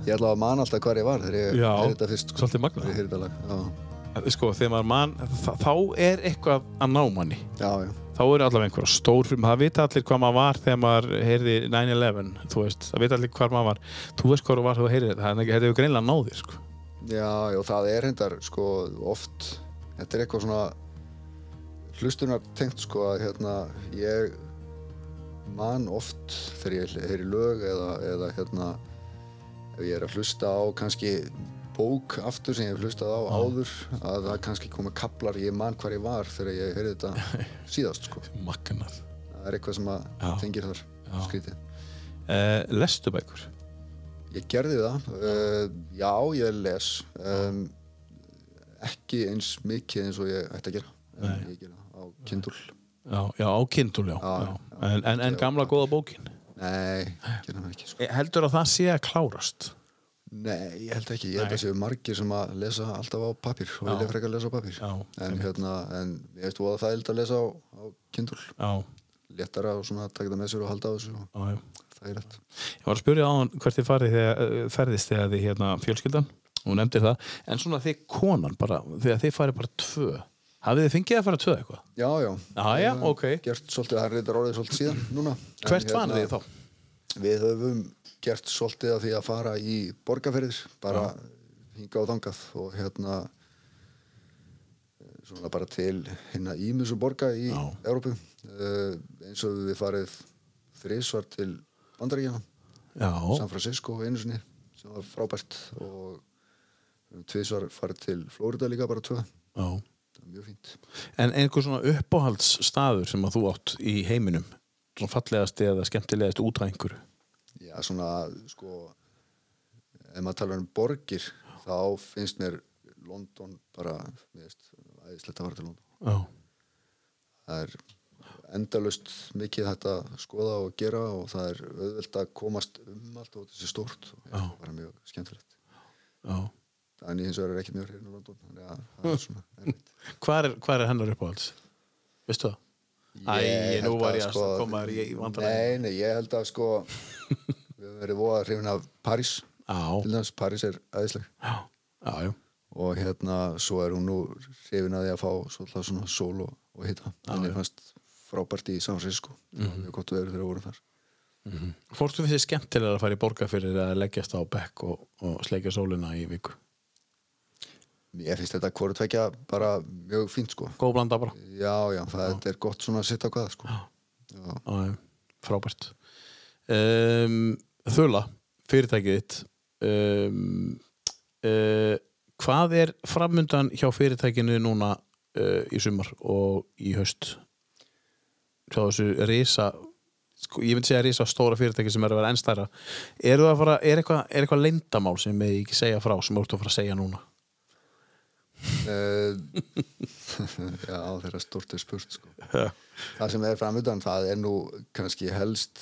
S2: Ég ætla að man alltaf hvar ég var Þegar ég
S1: Já,
S2: heyrði þetta fyrst sko
S1: svolítið magnað.
S2: Þegar ég heyrði þetta lag Já,
S1: sko þegar maður mann þa- þá er eitthvað að ná manni
S2: já, já
S1: þá eru allavega einhverja stórfilm það vita allir hvað maður var þegar maður heyrði 9-11, þú veist, það vita allir hvað maður var þú veist hvað þú var þegar þú heyrir þetta þannig að þetta hefur greinlega náðir sko.
S2: Já, já, það er hendar sko oft þetta er eitthvað svona hlustunar tengt sko að hérna ég man oft þegar ég heyri lög eða, eða hérna ef ég er að hlusta á kannski bók aftur sem ég hef hlustað á áður að það kannski komið kaplar ég man hvar ég var þegar ég heyrði þetta síðast sko
S1: magnað
S2: það er eitthvað sem að
S1: Já.
S2: tengir þar skrítið
S1: uh, lestu bækur
S2: Ég gerði það, uh, já ég les, um, ekki eins mikið eins og ég ætti að gera, en ég gera það á Kindle.
S1: já, já á kindul já,
S2: Já,
S1: já. En, en, en gamla góða bókin
S2: Nei, gera það ekki sko.
S1: Eh, heldur að það sé að klárast
S2: Nei, ég held ekki, ég held að séu margir sem að lesa alltaf á pappir og vilja frekar lesa á pappir.
S1: Já,
S2: en hérna, en ég veist þú að það er held að lesa á, á Kindle,
S1: já,
S2: léttara og svona taka það með sér og halda á þessu og
S1: já, já.
S2: það er rétt.
S1: ég var að spyrja á hann hvert þið farið þegar, eh, ferðist þegar þið hérna fjölskyldan og nefndir það, en svona þið konan bara, þegar þið farið bara tvö hafið þið fengið að fara tvö eitthvað?
S2: Já, já.
S1: Já, já,
S2: Ég hef
S1: ok.
S2: Gert svolítið, það er reyndar orðið svolítið síðan núna. En hérna-
S1: hvert vanið þið þá?
S2: Við höfum gert svolítið af því að fara í borgarferðir, bara hinga og þangað og hérna eh, svona bara til hérna Eh, ímjömsu borga í Európu uh, eins og við farið þrísvar til Bandaríkjana,
S1: Já,
S2: San Francisco einu sinni sem var frábært og tviðsvar farið til Flórida líka bara tvö,
S1: já.
S2: það er mjög fínt
S1: En einhver svona uppáhaldsstaður sem að þú átt í heiminum svona fallegast eða skemmtilegast út af einhverju
S2: Já, svona, sko ef maður talar um borgir þá finnst mér London bara, mér veist æðislegt að fara til London
S1: Já,
S2: það er endalust mikið hægt að skoða og gera og það er auðvelt að komast um allt og þetta er stórt og það er bara mjög skemmtilegt
S1: já
S2: Þannig hins vegar er ekki mjög hrifin á London þannig að það er svona erfitt
S1: Hvar er, hvar er hennar uppáhalds? Veistu það? Æ,
S2: Ég
S1: nú
S2: held sko-
S1: var ég að koma þér í- í vandræði.
S2: Nei, nei, ég held að sko við höfum verið voða hrifin af París til
S1: Já,
S2: þess, París er æðisleg
S1: já, já, já.
S2: og hérna svo er hún nú hrifin að því að fá svolítið svona sól og, og hitta þannig fannst frábært í San Francisco mm -hmm. mjög gott veður þegar vorum þar
S1: Fórstu þessi skemmtilega að fara í borga fyrir að leggjast á bekk og, og sleikja sólina í viku?
S2: ég finnst þetta hvort tvekja bara mjög fínt sko
S1: Góð blanda bara
S2: já já það þetta er gott svona að sitta á hvað sko já.
S1: Já, já, frábært um, Þula, fyrirtækið þitt um, uh, Hvað er framundan hjá fyrirtækinu núna uh, í sumar og í haust? Hjá þessu risa sko, ég myndi segja risa stóra fyrirtæki sem er að vera ennstæra Er, fara, er eitthvað er eitthva leyndamál sem ég ekki segja frá sem þú ert að fara að segja núna?
S2: Eh, já þeirra stort er spurt sko það sem er framöndan það er nú kannski helst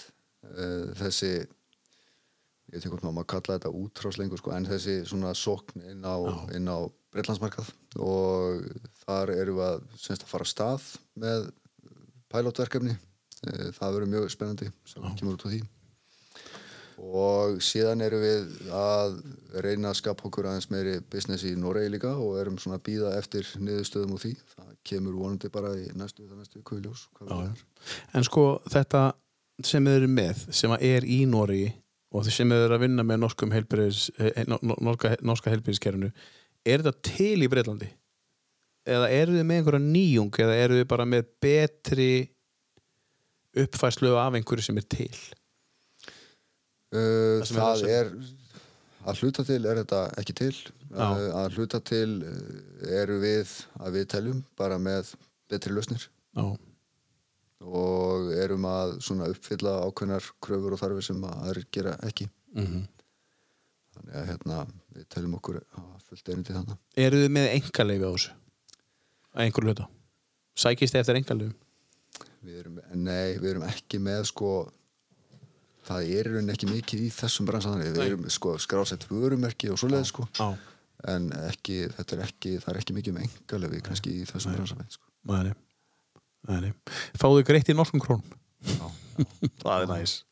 S2: uh, þessi ég veit ekki hvort maður má kalla þetta útrás lengur sko, en þessi svona sókn inn á, inn á Breitlandsmarkað og þar erum við að, semst, að fara af stað með pælótverkefni Eh, það verður mjög spennandi sem kemur út á því og síðan erum við að reyna að skapa okkur aðeins meiri business í Noregi líka og erum svona að býða eftir niðurstöðum úr því það kemur vonandi bara í næstu, það næstu kvöljós hvað við erum
S1: En sko þetta sem þið eru með, sem að er í Nóri og þið sem þið eru að vinna með norskum eh, heilbyrðis, norska, norska heilbyrðiskerfinu er þetta til í Breitlandi? Eða eru þið með einhverja nýjung eða eru þið bara með betri uppfærslu af einhverju sem er til?
S2: Uh,
S1: sem er
S2: það
S1: rosa-
S2: er að hluta til er þetta ekki til uh, að hluta til uh, eru við að við teljum bara með betri lausnir
S1: Já,
S2: og erum að svona uppfylla ákveðnar kröfur og þarfir sem að aðrir gera ekki
S1: Mhm.
S2: -hmm. þannig að hérna við teljum okkur að fullt erindi þannig
S1: eru þið með engaleifi á þessu? Að einhverju hluta? Sækist þið eftir engaleifum?
S2: við erum, nei, við erum ekki með sko það er í rauninni ekki mikið í þessum bransanir við erum sko skrásett vörumerki og svoleiði sko
S1: Já.
S2: en ekki, þetta er ekki það er ekki mikið með engalegi kannski í þessum bransanir sko.
S1: Nei, nei, nei. Fáðu greitt í norskum krónum? Það er næs.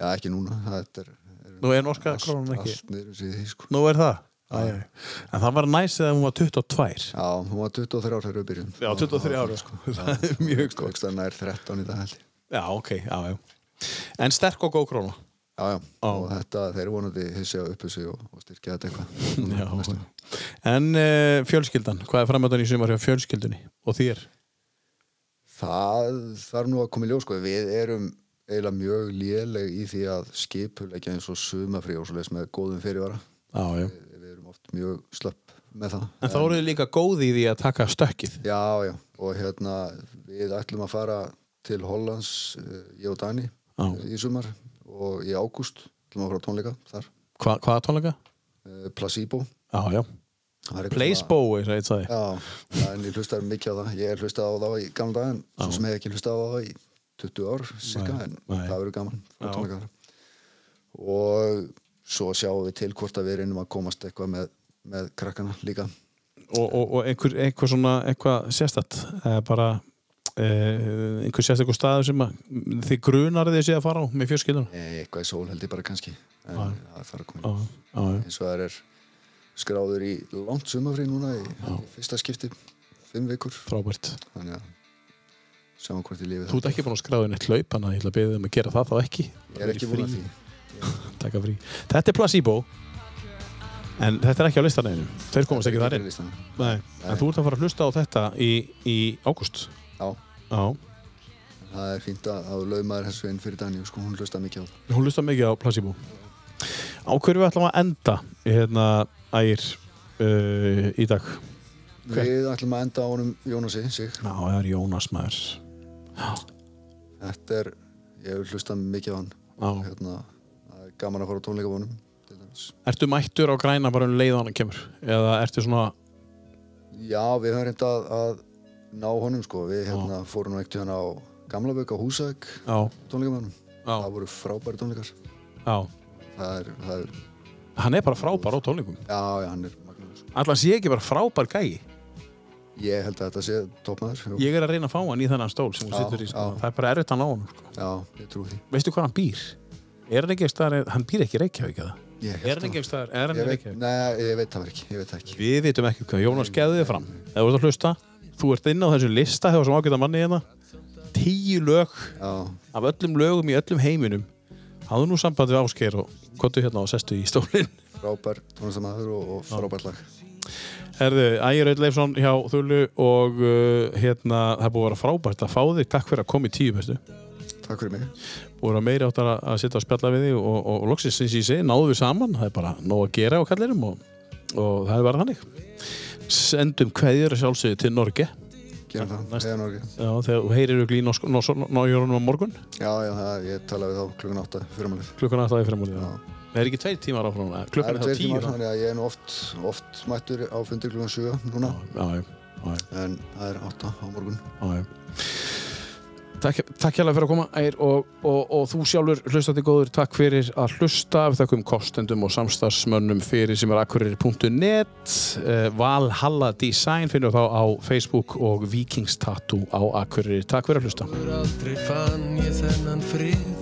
S2: já, ekki núna, þetta er, er
S1: Nú er norska krónan ekki.
S2: allt niður sér því sko
S1: Nú er það Æ, æ. En það var næs eða hún var 22
S2: já, hún var 23 ár þegar við byrjum
S1: Já, 23 ára sko. Það er mjög sko
S2: sko. nær 13 í dag held ég
S1: Já, ok, já, já En sterk og góð króna
S2: Já, já, og þetta, þeir eru vonandi hissi á uppu sig og, og styrkja þetta eitthvað
S1: Já.
S2: Næstu.
S1: En uh, fjölskyldan, hvað er framöndan í sumar hjá fjölskyldunni og þér?
S2: Það þarf nú að koma í ljós sko. við erum eiginlega mjög léleg í því að skipulegja eins og sumafrí og svoleiðis með góðum fyrirvara
S1: Já, já
S2: við, við erum oft mjög slöpp með það
S1: En þá eru þið líka góð í því að taka stökkið
S2: Já, já, og hérna við ætlum að fara til Hollands eh, ég og Dani
S1: Já.
S2: eh, í sumar og í ágúst ætlum að fara á tónleika þar
S1: Hva, Hvaða tónleika?
S2: eh, Placebo
S1: Já, já
S2: Það er eitthvað svona-
S1: Placebo, eins og eitt sagði
S2: Já, en ég hlustaði mikið á það ég er hlustað á það í gamla dag en svo sem hef ekki hlustað á það í 20 ár cirka,
S1: Nei,
S2: en
S1: nei.
S2: það verður gaman að tónleika þar. og svo sjáum við til hvort að við reynum að komast eitthvað með, með krakkana líka
S1: Og, og, og einhver, einhver svona, eitthvað sérstætt eh, Bara eh, einhver sérstættur staður sem að þið grunar þið sé að fara á með fjölskyldunum
S2: Eh, eitthvað í sól held ég bara kannski en það þarf að koma í
S1: Já,
S2: ljós.
S1: já, já
S2: eins og það er skráður í langt sumafrí núna í, í fyrsta skipti fimm vikur
S1: Frábært
S2: þannig að sjáum hvort ég lifi
S1: Þú ert ekki búin að skráða inn eitt laup, þannig að ég ætla að beða um að gera það þá ekki.
S2: ég er ekki búin að því
S1: Taka frí. Þetta er placebo, en þetta er ekki á listaneginu. Þeir komast ekki þar inn.
S2: Listanum.
S1: Nei. En þú ert að fara að hlusta á þetta í, í ágúst.
S2: Já,
S1: Já.
S2: það er fínt að, að laumaður þessu inn fyrir Daniel sko, hún hlusta mikið á það
S1: Hún lustar mikið á Placebo Á hverju við ætlum að enda hérna ægir uh, í dag? Hver?
S2: Við ætlum að enda á honum Jónasi sig.
S1: Já, það er Jónas maður
S2: Þetta er, ég hef hlusta mikið á hann
S1: Já.
S2: hérna, það er gaman að fara á tónleika á honum til dæmis.
S1: Ertu mættur á græna bara um leið og hann kemur? Eða ertu svona
S2: Já, við höfum reynda að, að ná honum sko, við hérna, fórum nú ekkert hérna á Gamla Bögg á Húsæk
S1: Já,
S2: tónleika með honum,
S1: Já.
S2: það voru frábæri tónleikar
S1: já
S2: það er, það er,
S1: Hann er bara frábær á tónleikum
S2: já, já, hann er magnum, sko.
S1: Alltaf sé ekki bara frábær gæi
S2: ég held að þetta sé toppmaður jú.
S1: Ég er að reyna að fá hann í þennan stól sem hún
S2: Já,
S1: situr í sko.
S2: já.
S1: Það er bara erfitt að ná hann sko.
S2: já, ég trúi því
S1: Veistu hvað hann býr? Er hann ekki ekki staðar, hann býr ekki í Reykjavík eða?
S2: Ég
S1: Er
S2: held
S1: hann
S2: það.
S1: ekki ekki staðar, er hann
S2: Ég
S1: í
S2: veit,
S1: Reykjavík?
S2: nei, ég veit það ekki, ég veit það ekki.
S1: Við vitum ekki hvað Jónas geði þið fram Ef þú ert að hlusta, þú ert inn á þessu lista hjá sem ágæta manni hérna Tíu lög
S2: Já,
S1: af öllum lögum í öllum heiminum Háðu nú samband við Ásgeir og kottu hérna og sestu í stólinn
S2: frábær tónlistamæður og, og frábær lag.
S1: Herðu, Ægir Öll Leifsson hjá Þullu og uh, hérna, það er búið að vera frábært að fá þig Takk fyrir að koma í tíu bestu
S2: Takk fyrir mig.
S1: Búið að vera meiri áttar að- að sitja og spjalla við þig og, og, og loksins sinns ég segi, náðu við saman Það er bara nóg að gera á kallirum og, og það er bara þannig Sendum kveðjur að sjálfsögðu til Norge
S2: Gerum það,
S1: næst.
S2: heiðan orðið.
S1: Já, þegar þú heyrir ykkur í nájörunum á morgun
S2: Já, já, það, ég tala við þá klukkan átta fyrir málið.
S1: klukkan alltaf í fremúli Það er ekki tveir tímar áfram eða?
S2: Það
S1: klukkan
S2: er
S1: er það
S2: tveir
S1: tíu
S2: tímar, þannig að ég er nú oft, oft mættur á fundir klukkan 7 núna,
S1: Já, já, já,
S2: en það er átta á morgun.
S1: já, já. Takk, takk hérlega fyrir að koma Ægir, og, og, og þú sjálfur hlustandi góður takk fyrir að hlusta við þakkum kostendum og samstarfsmönnum fyrir sem er akkurir.net Eh, Valhalla Design finnur þá á Facebook og Vikings Tattoo á akkurir Takk fyrir að hlusta
S6: Aldrei fann ég þennan frið